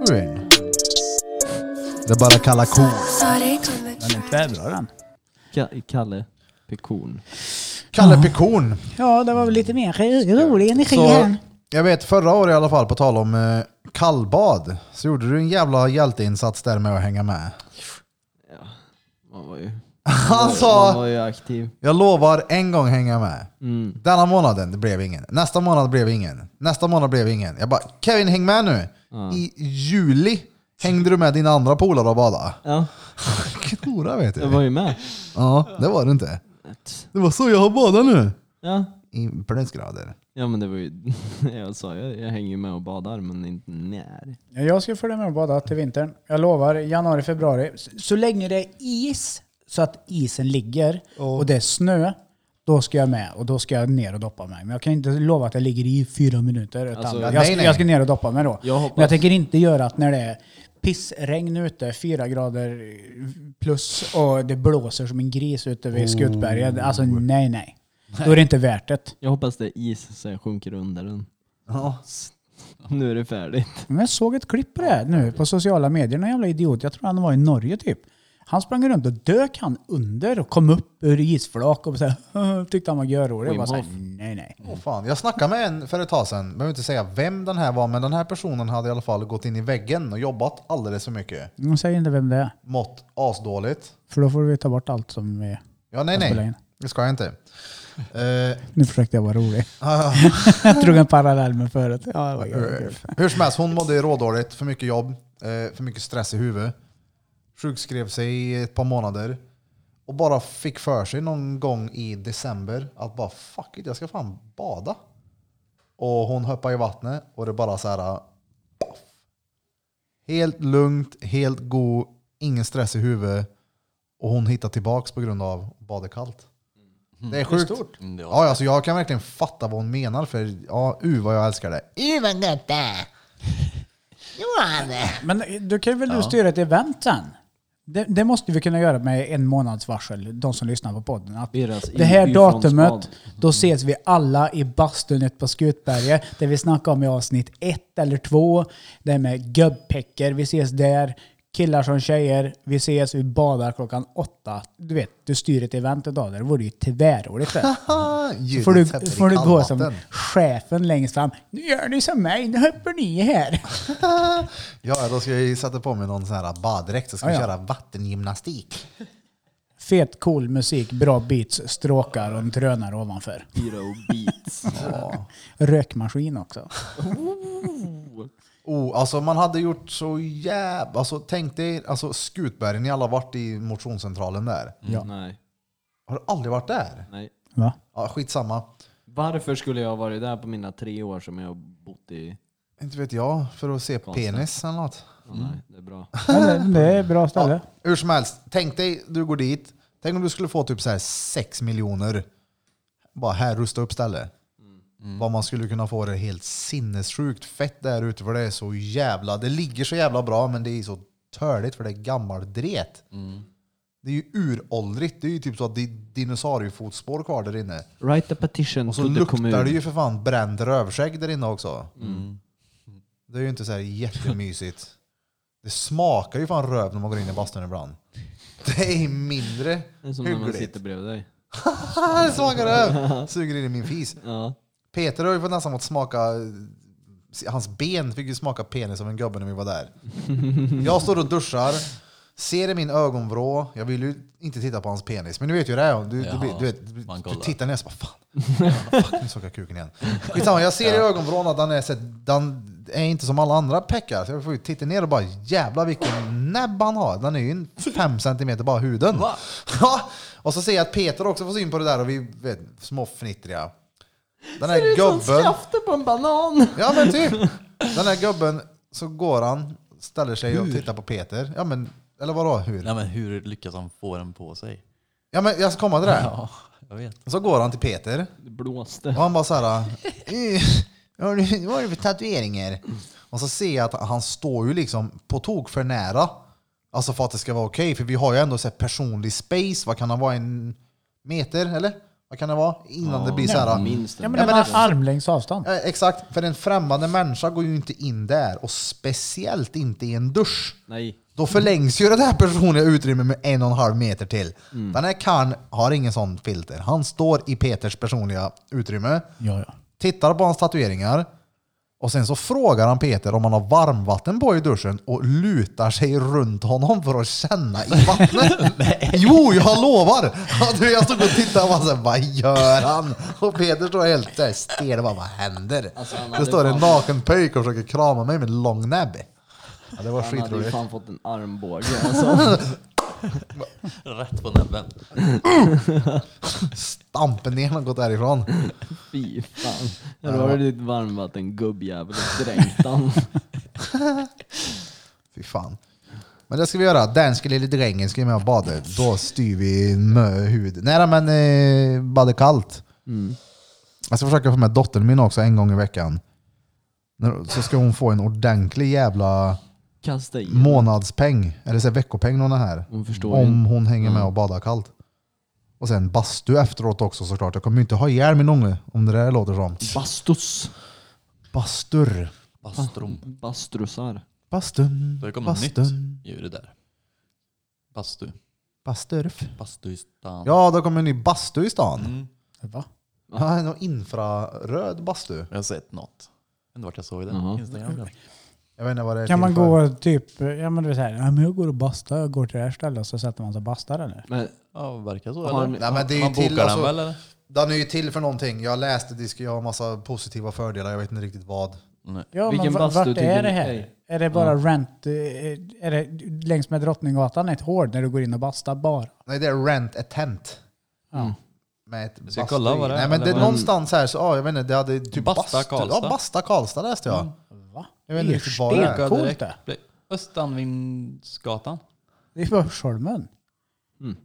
Speaker 1: Brun. Det är bara kalla kor.
Speaker 7: Sonic on the track.
Speaker 3: Tvärbra den.
Speaker 6: Ka- Kalle Pekorn.
Speaker 1: Kalle Pekorn.
Speaker 3: Ja, det var väl lite mer rolig energi
Speaker 1: Så, jag vet förra året i alla fall, på tal om eh, kallbad, så gjorde du en jävla hjälteinsats där med att hänga med.
Speaker 6: Man var ju,
Speaker 1: Han
Speaker 6: man
Speaker 1: sa,
Speaker 6: var ju aktiv.
Speaker 1: jag lovar en gång hänga med.
Speaker 6: Mm.
Speaker 1: Denna månaden, det blev ingen. Nästa månad blev ingen. Nästa månad blev ingen. Jag bara, Kevin häng med nu. I juli hängde du med dina andra polare och badade.
Speaker 6: Ja,
Speaker 1: Knora vet
Speaker 6: jag var
Speaker 1: du.
Speaker 6: ju med.
Speaker 1: Ja, det var du inte. Det var så jag har badat nu.
Speaker 6: Ja,
Speaker 1: I plusgrader.
Speaker 6: ja men det var ju... Jag sa jag, jag hänger ju med och badar men inte när.
Speaker 3: Jag ska följa med och bada till vintern. Jag lovar, januari, februari. S- Så länge det är is, så att isen ligger och det är snö, Då ska jag med och då ska jag ner och doppa mig. Men jag kan inte lova att jag ligger i fyra minuter. Utan
Speaker 6: Alltså,
Speaker 3: jag,
Speaker 1: nej,
Speaker 3: ska,
Speaker 1: nej.
Speaker 3: jag ska ner och doppa mig då.
Speaker 6: Jag hoppas-
Speaker 3: Men jag tänker inte göra att när det är pissregn ute, fyra grader plus och det blåser som en gris ute vid Skutberget. Alltså nej, nej. Då är det inte värt det.
Speaker 6: Jag hoppas det är is så jag sjunker under den.
Speaker 1: Ja.
Speaker 6: Nu är det färdigt.
Speaker 3: Men jag såg ett klipp på det här nu på sociala medier. Någon jävla idiot. Jag tror han var i Norge typ. Han sprang runt och dök han under och kom upp ur isflak och så här, tyckte han var görrolig. Jag bara så här, nej nej.
Speaker 1: Åh, fan. Jag snackade med en för ett tag sedan, behöver inte säga vem den här var, men den här personen hade i alla fall gått in i väggen och jobbat alldeles för mycket.
Speaker 3: Mm, Säg inte vem det är.
Speaker 1: Mått asdåligt.
Speaker 3: För då får vi ta bort allt som vi...
Speaker 1: Ja, nej,
Speaker 3: Jag spelar in.
Speaker 1: nej. Det ska jag inte. Eh,
Speaker 3: Nu försökte jag vara rolig.
Speaker 1: ah,
Speaker 3: jag drog en parallell med förut. Ja, det var kul.
Speaker 1: Eh, hur som helst, hon mådde rådåligt. För mycket jobb, eh, för mycket stress i huvudet. Sjukskrev sig i ett par månader. Och bara fick för sig någon gång i december att bara fuck it, jag ska fan bada. Och hon hoppade i vattnet och det bara så här. paff. Helt lugnt, helt god, ingen stress i huvudet. Och hon hittade tillbaks på grund av badekallt. Det är sjukt.
Speaker 2: Mm, det var-
Speaker 1: Ja, alltså jag kan verkligen fatta vad hon menar för ja, u vad jag älskar det.
Speaker 5: Uh vad gött det är. Johan!
Speaker 3: Men då kan väl du styra ett event sen? Det, det måste vi kunna göra med en månads varsel, de som lyssnar på podden. Att
Speaker 6: Deras
Speaker 3: det här
Speaker 6: i-
Speaker 3: datumet,
Speaker 6: ifrånspad.
Speaker 3: då ses vi alla i bastun ute på Skutberget, det vi snackade om i avsnitt ett eller två. Det här med gubbpäcker, vi ses där. Killar som tjejer, vi ses, vi badar klockan åtta. Du vet, du styr ett event idag, det vore ju tvärroligt. det.
Speaker 1: Haha,
Speaker 3: Så
Speaker 1: Ah, ljudet
Speaker 3: får du,
Speaker 1: sätter i
Speaker 3: får du gå
Speaker 1: kallvatten.
Speaker 3: som chefen längst fram. Nu gör ni som mig, nu hoppar ni här.
Speaker 1: Ja, då ska jag ju sätta på mig någon sån här baddräkt så ska vi
Speaker 3: Ah, Ja, ja.
Speaker 1: köra vattengymnastik.
Speaker 3: Fet, cool musik, bra beats, stråkar och en trönare ovanför.
Speaker 6: Pyro beats.
Speaker 3: Rökmaskin också.
Speaker 1: Oh, alltså man hade gjort så jävla... Alltså tänk dig alltså, Skutberg, ni alla varit i motionscentralen där.
Speaker 3: Ja.
Speaker 6: Nej,
Speaker 1: Har du aldrig varit där?
Speaker 6: nej.
Speaker 3: Va?
Speaker 1: Ja, skitsamma.
Speaker 6: Varför skulle jag ha varit där på mina tre år som jag har bott i?
Speaker 1: Inte vet jag, för att se
Speaker 6: Konstigt.
Speaker 1: penis eller något.
Speaker 6: Ja, Nej, det är bra.
Speaker 3: Men det det är ett bra ställe.
Speaker 1: Hur som helst, tänk dig, du går dit. Tänk om du skulle få typ så här 6 miljoner. Bara här, rusta upp stället. Vad man skulle kunna få det helt sinnessjukt fett där ute för det är så jävla, det ligger så jävla bra men det är så törligt för det är gammal dret. Det är ju uråldrigt, det är ju typ så att det är dinosauriefotspår kvar där inne.
Speaker 6: Write a petition
Speaker 1: Och så
Speaker 6: to the
Speaker 1: luktar det
Speaker 6: kommun.
Speaker 1: ju för fan bränd rövskägg där inne också.
Speaker 6: Mm.
Speaker 1: Det är ju inte så här jättemysigt. Det smakar ju fan röv när man går in i bastun ibland. Det är mindre
Speaker 6: Det är som när man
Speaker 1: hyggligt.
Speaker 6: sitter bredvid dig.
Speaker 1: Ah, det smakar röv! Suger in i min fis.
Speaker 6: Ja.
Speaker 1: Peter har ju fått nästan fått smaka... Hans ben fick ju smaka penis av en gubbe när vi var där. Jag står och duschar, ser i min ögonvrå. Jag vill ju inte titta på hans penis, men du vet ju hur det är. Du, du,
Speaker 2: Ja,
Speaker 1: blir- du, vet, du,
Speaker 2: man
Speaker 1: du
Speaker 2: kollar.
Speaker 1: tittar ner och så bara fan. Ja, fuck, nu såg jag kuken igen. Skitsamma, jag ser i ögonvrån att den är, så, den är inte som alla andra peckar. Så jag får ju titta ner och bara jävla vilken näbb han har. Den är ju en fem centimeter bara huden. Ja, och så ser jag att Peter också får syn på det där och vi vet, småfnittriga. Den här gubben.
Speaker 6: på en banan!
Speaker 1: Ja men typ. Den här gubben, så går han, ställer sig och tittar på Peter. Ja men, eller vadå hur?
Speaker 2: Nej men hur lyckas han få den på sig?
Speaker 1: Ja men jag ska komma till det. här.
Speaker 2: Ja, jag vet.
Speaker 1: Så går han till Peter
Speaker 6: Det blåste.
Speaker 1: och han bara såhär... Vad har du för tatueringar? Och så ser jag att han står ju liksom på tok för nära. Alltså för att det ska vara okej, för vi har ju ändå så här personlig space. Vad kan han vara? En meter eller? Vad kan det vara? Innan det blir så här...
Speaker 6: Minst
Speaker 3: Ja,
Speaker 6: en.
Speaker 3: men en armlängds avstånd.
Speaker 1: Ja, exakt, för en främmande människa går ju inte in där och speciellt inte i en dusch.
Speaker 6: Nej.
Speaker 1: Då förlängs ju det här personliga utrymmet med en och en halv meter till.
Speaker 6: Mm.
Speaker 1: Den här karln har ingen sån filter. Han står i Peters personliga utrymme,
Speaker 3: Ja, ja.
Speaker 1: tittar på hans tatueringar och sen så frågar han Peter om han har varmvatten på i duschen och lutar sig runt honom för att känna i vattnet. jo, jag lovar! Alltså, Jag stod och tittade och bara så här, vad gör han? Och Peter står helt så här stel och bara, vad händer?
Speaker 6: Alltså, han
Speaker 1: det
Speaker 6: hade
Speaker 1: står en
Speaker 6: fan-
Speaker 1: naken pöjk och försöker krama mig med en lång näbb. Ja, det var
Speaker 6: Han hade ju
Speaker 1: skitroligt.
Speaker 6: fan fått en armbåge alltså.
Speaker 2: Rätt på näbben.
Speaker 1: Stampen ner har gått därifrån.
Speaker 6: Fy fan. Här har du ditt varmvatten gubbjävel och dränkt han.
Speaker 1: Fy fan. Men det ska vi göra. Danske lille drängen ska ju med och bada. Då styr vi med hud. Nej men eh, bada kallt. Jag ska försöka få med dottern min också en gång i veckan. När- Så ska hon få en ordentlig jävla
Speaker 6: Kasta i.
Speaker 1: månadspeng, eller så här veckopeng någon här.
Speaker 6: Hon förstår ju
Speaker 1: Om hon hänger med och badar kallt. Och sen bastu efteråt också såklart. Jag kommer ju inte ha ihjäl min unge om det där låter som.
Speaker 6: Bastus.
Speaker 1: Bastur.
Speaker 2: Bastrum.
Speaker 6: Bastrusar.
Speaker 1: Bastun.
Speaker 2: Då har det kommit nytt
Speaker 1: Bastun.
Speaker 2: djur det där. Bastu.
Speaker 1: Basturf.
Speaker 2: Bastu i stan.
Speaker 1: Ja, då kommer en ny bastu i stan.
Speaker 2: Mm.
Speaker 3: Va?
Speaker 1: Ja, en infraröd bastu.
Speaker 2: Jag har sett något. Undrar vart jag såg det.
Speaker 6: Jaha.
Speaker 2: Instagram.
Speaker 1: Jag vet inte vad det är
Speaker 3: Kan
Speaker 1: till
Speaker 3: man
Speaker 1: för.
Speaker 3: gå typ, ja men du säger, ja men jag går och bastar, jag går till det här stället och så sätter man sig och bastar eller?
Speaker 6: Men
Speaker 2: Ja, verkar så.
Speaker 6: Har
Speaker 2: Eller?
Speaker 6: ni-
Speaker 1: Nej, men det är ju
Speaker 2: Man bokar
Speaker 1: till,
Speaker 2: den
Speaker 1: alltså-
Speaker 2: väl eller?
Speaker 1: Den är ju till för någonting. Jag läste det ska ju ha massa positiva fördelar. Jag vet inte riktigt vad.
Speaker 3: Ja, men
Speaker 6: Vilken
Speaker 3: va-
Speaker 6: bastu
Speaker 3: vart
Speaker 6: tycker
Speaker 3: är
Speaker 6: ni-
Speaker 3: det här?
Speaker 6: nej.
Speaker 3: Är det bara rent, eh, är det längs med Drottninggatan ett hål när du går in och bastar bara?
Speaker 1: Nej, det är rent a tent.
Speaker 6: Mm.
Speaker 3: Ja.
Speaker 1: Med ett
Speaker 2: ska
Speaker 1: bastu
Speaker 2: kolla
Speaker 1: i.
Speaker 2: vad det är,
Speaker 1: Nej, men
Speaker 2: eller
Speaker 1: det är
Speaker 2: vad-
Speaker 1: någonstans här så, ja, jag vet inte, det hade typ
Speaker 2: Basta
Speaker 1: bastu.
Speaker 2: Karlstad.
Speaker 1: Ja, Basta Karlstad läste
Speaker 6: Mm.
Speaker 1: jag.
Speaker 3: Va?
Speaker 1: Jag vet inte
Speaker 3: Det är
Speaker 1: riktigt vad det är.
Speaker 2: Bokar
Speaker 3: Coolt
Speaker 2: direkt.
Speaker 3: det.
Speaker 2: Bli- Östanvindsgatan.
Speaker 3: Det är Börsholmen.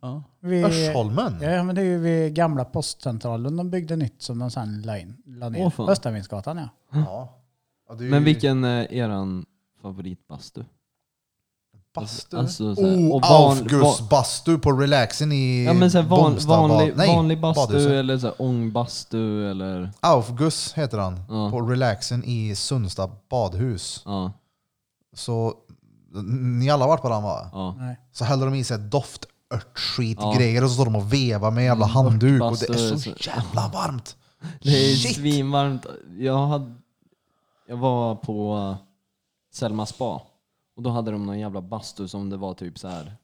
Speaker 2: Ja.
Speaker 3: Vi-
Speaker 1: Örsholmen?
Speaker 3: Ja, men det är ju vid gamla postcentralen de byggde nytt som de sen la, in, la ner.
Speaker 6: Åh, fan.
Speaker 3: Östervindsgatan ja.
Speaker 1: Ja. Ja, det är ju
Speaker 6: Men vilken är eran favoritbastu?
Speaker 1: Bastu?
Speaker 6: Alltså, så här-
Speaker 1: oh,
Speaker 6: och van-
Speaker 1: Aufgus
Speaker 6: va-
Speaker 1: bastu på relaxen i
Speaker 6: Ja men så här van,
Speaker 1: Bomstad-
Speaker 6: vanlig,
Speaker 1: nej,
Speaker 6: vanlig bastu
Speaker 1: badhuset.
Speaker 6: eller så här ångbastu eller...
Speaker 1: Aufgus heter han.
Speaker 6: Ja.
Speaker 1: På relaxen i Sundsta badhus.
Speaker 6: Ja,
Speaker 1: Så ni alla har varit på den va?
Speaker 6: ja.
Speaker 3: Nej.
Speaker 1: Så häller de i sig doftörtskitgrejer
Speaker 6: Ja. Mm,
Speaker 1: grejer och så står de och vevar med jävla handduk och det är så
Speaker 6: örtbastu.
Speaker 1: jävla varmt.
Speaker 6: Det är
Speaker 1: Shit.
Speaker 6: svinvarmt. Jag, hade, jag var på eh, Selma spa och då hade de någon jävla bastu som det var typ så här.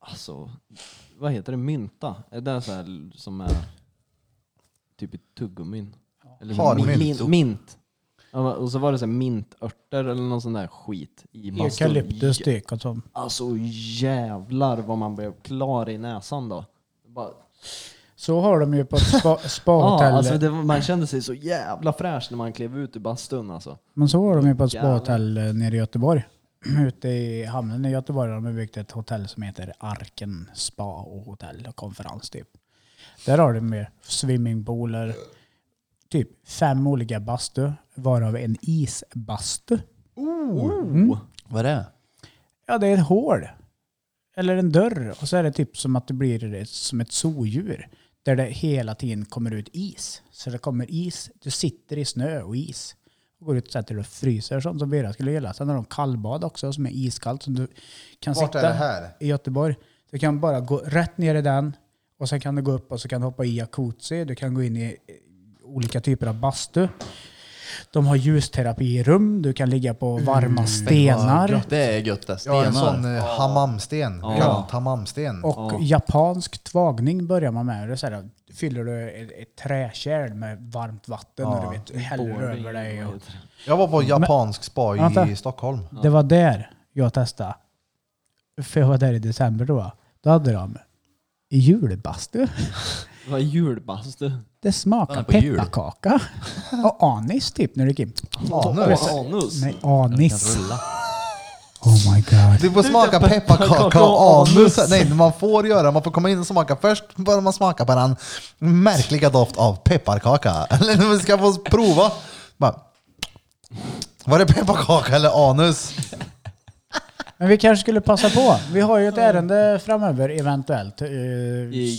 Speaker 6: Alltså, vad heter det? Mynta? Är det så här som är typ i tuggummin? Eller
Speaker 1: Harmynt.
Speaker 6: Mint. mint. Ja, och så var det så här mintörter eller någon sån där skit i bastun.
Speaker 3: Eukalyptus dyk och sånt.
Speaker 6: Alltså jävlar vad man blev klar i näsan då. Bara,
Speaker 3: Så har de ju på ett spa,
Speaker 6: Ja,
Speaker 3: spahotell.
Speaker 6: alltså det, var- man kände sig så jävla fräsch när man klev ut ur bastun alltså.
Speaker 3: Men så har de ju på ett
Speaker 6: Jävlar.
Speaker 3: spahotell eh, nere i Göteborg. Ute i hamnen i Göteborg har de byggt ett hotell som heter Arken Spa och hotell och konferens typ. Där har de ju swimmingpooler, typ fem olika bastu, varav en isbastu.
Speaker 2: Mm. Vad är det?
Speaker 3: Ja, det är ett hål. Eller en dörr. Och så är det typ som att det blir ett- som ett zoodjur. Där det hela tiden kommer ut is. Så det kommer is. Du sitter i snö och is. Och går ut och sätter dig och fryser och sånt som Vera skulle gilla. Sen har de kallbad också som är iskallt. Som du kan
Speaker 1: Vart
Speaker 3: sitta
Speaker 1: är det här?
Speaker 3: i Göteborg. Du kan bara gå rätt ner i den. Och sen kan du gå upp och så kan du hoppa i jacuzzi. Du kan gå in i eh, olika typer av bastu. De har ljusterapi i rum. Du kan ligga på varma stenar.
Speaker 2: Det är gött det.
Speaker 1: Ja, en
Speaker 2: Stenar.
Speaker 1: sån eh, hammamsten.
Speaker 6: Ja.
Speaker 1: Ja. Hammamsten.
Speaker 3: Och japansk tvagning börjar man med. Det är så här, fyller du ett, ett träkärl med varmt vatten
Speaker 1: Ja.
Speaker 3: och du vet, häller
Speaker 6: Boarding,
Speaker 3: över dig.
Speaker 6: vad
Speaker 3: Och.
Speaker 6: heter det?
Speaker 1: Jag var på japansk spa i
Speaker 3: Vänta.
Speaker 1: Stockholm.
Speaker 3: Det var där jag testade. För jag var där i december då. Då hade de julbastu.
Speaker 6: Det var julbastu.
Speaker 3: Det
Speaker 2: Den
Speaker 3: smakade
Speaker 2: är på jul.
Speaker 3: pepparkaka och anis typ när du gick in.
Speaker 1: Anus.
Speaker 6: Anus.
Speaker 3: Nej, anis. Oh my god.
Speaker 1: Du får smaka pepparkaka och anus. Nej, man får göra. Man får komma in och smaka. Först bör man smaka på den märkliga doft av pepparkaka. Eller när man ska få prova. Bara, var det pepparkaka eller anus?
Speaker 3: Men vi kanske skulle passa på. Vi har ju ett ärende framöver eventuellt. Eh,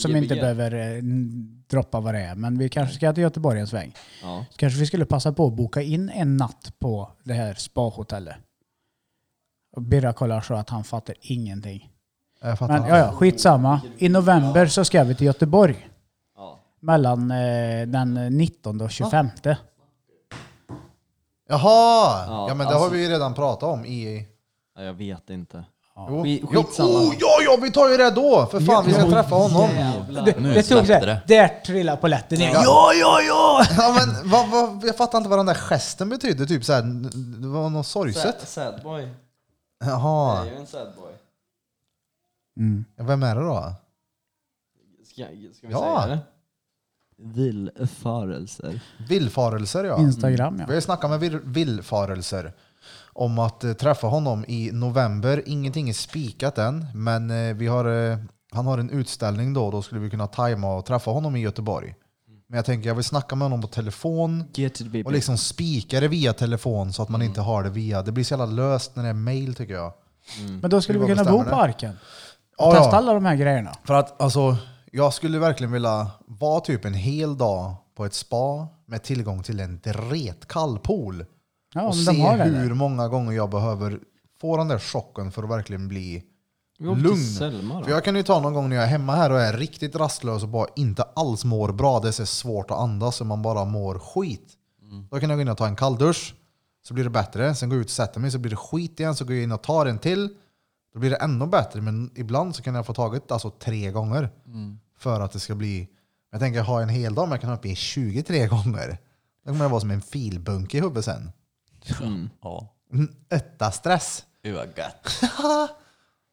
Speaker 3: som inte
Speaker 6: GBG.
Speaker 3: behöver eh, n- droppa vad det är. Men vi kanske ska till Göteborg en sväng.
Speaker 6: Ja.
Speaker 3: Så kanske vi skulle passa på att boka in en natt på det här spahotellet. Och Birra kollar så att han fattar ingenting.
Speaker 1: Jag fattar.
Speaker 3: Men ja, ja, skitsamma. I november så ska vi till Göteborg.
Speaker 6: Ja.
Speaker 3: Mellan eh, den 19 och 25.
Speaker 1: Jaha! Ja,
Speaker 6: Ja,
Speaker 1: men det
Speaker 6: alltså-
Speaker 1: har vi ju redan pratat om i...
Speaker 6: Ja, jag vet inte.
Speaker 1: Jo.
Speaker 6: Vi-
Speaker 1: Jo,
Speaker 6: skitsamma.
Speaker 1: oh, ja, ja, vi tar ju det då! För fan, vi ska träffa honom.
Speaker 3: Det,
Speaker 2: Nu
Speaker 3: det tog så här,
Speaker 2: släppte
Speaker 3: Där trillade polletten ner. Ja, ja, ja!
Speaker 1: Ja, men, vad, vad, jag fattar inte vad den där gesten betydde. Typ såhär, det var något sorgset.
Speaker 6: Sadboy.
Speaker 1: Jaha,
Speaker 6: ju en sadboy.
Speaker 3: Mm.
Speaker 1: vem är det då?
Speaker 6: Ska, ska vi
Speaker 1: Ja.
Speaker 6: säga det? Villfarelser.
Speaker 1: Villfarelser ja.
Speaker 3: Instagram ja.
Speaker 1: Vi har ju snackat med vir- villfarelser. om att eh, träffa honom i november. Ingenting är spikat än, men eh, vi har, eh, han har en utställning då. Då skulle vi kunna tajma och träffa honom i Göteborg. Men jag tänker jag vill snacka med honom på telefon
Speaker 6: Get to the
Speaker 1: och
Speaker 6: people.
Speaker 1: liksom spika det via telefon så att man inte har det via... Det blir så jävla löst när det är mail tycker jag.
Speaker 3: Men då skulle
Speaker 1: Det
Speaker 3: vi
Speaker 1: var
Speaker 3: kunna bo på
Speaker 1: bestämmande.
Speaker 3: Arken.
Speaker 1: Ja,
Speaker 3: Testa
Speaker 1: ja.
Speaker 3: alla de här grejerna.
Speaker 1: För att alltså, jag skulle verkligen vilja vara typ en hel dag på ett spa med tillgång till en dretkall pool.
Speaker 3: Ja,
Speaker 1: och
Speaker 3: men
Speaker 1: se
Speaker 3: de har det
Speaker 1: hur
Speaker 3: där.
Speaker 1: många gånger jag behöver få den där chocken för att verkligen bli
Speaker 6: Vi åkte
Speaker 1: lugn.
Speaker 6: till Selma då.
Speaker 1: För jag kan ju ta någon gång när jag är hemma här och är riktigt rastlös och bara inte alls mår bra. Det är så svårt att andas och man bara mår skit. Då kan jag gå in och ta en kalldusch, så blir det bättre. Sen går jag ut och sätter mig, så blir det skit igen. Så går jag in och tar en till, då blir det ännu bättre. Men ibland så kan jag få taget alltså, tre gånger för att det ska bli... Jag tänker ha en hel dag, men jag kan ha uppe i 23 gånger. Då kommer jag vara som en filbunke i huvudet sen.
Speaker 2: Ja.
Speaker 1: Mm, Ötta stress.
Speaker 2: Gud vad gött.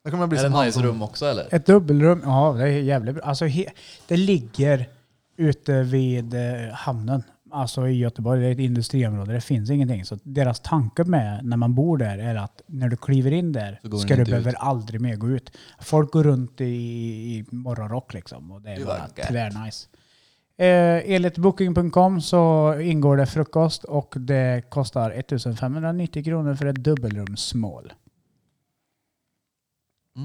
Speaker 1: Då kommer jag bli
Speaker 2: Är det
Speaker 1: som han
Speaker 2: nice
Speaker 1: som-
Speaker 2: rum också eller?
Speaker 3: Ett dubbelrum, ja det är jävligt bra. Alltså, he, det ligger ute vid eh, hamnen, alltså i Göteborg. Det är ett industriområde, det finns ingenting. Så deras tanke med när man bor där är att när du kliver in där
Speaker 2: Så går
Speaker 3: ska
Speaker 2: den
Speaker 3: du
Speaker 2: inte
Speaker 3: behöver
Speaker 2: ut.
Speaker 3: aldrig mer gå ut. Folk går runt i, i morgonrock liksom och det är
Speaker 2: Det
Speaker 3: bara
Speaker 2: var gött.
Speaker 3: tvärnice. Eh, enligt booking.com så ingår det frukost och det kostar 1590 kronor för ett dubbelrum small.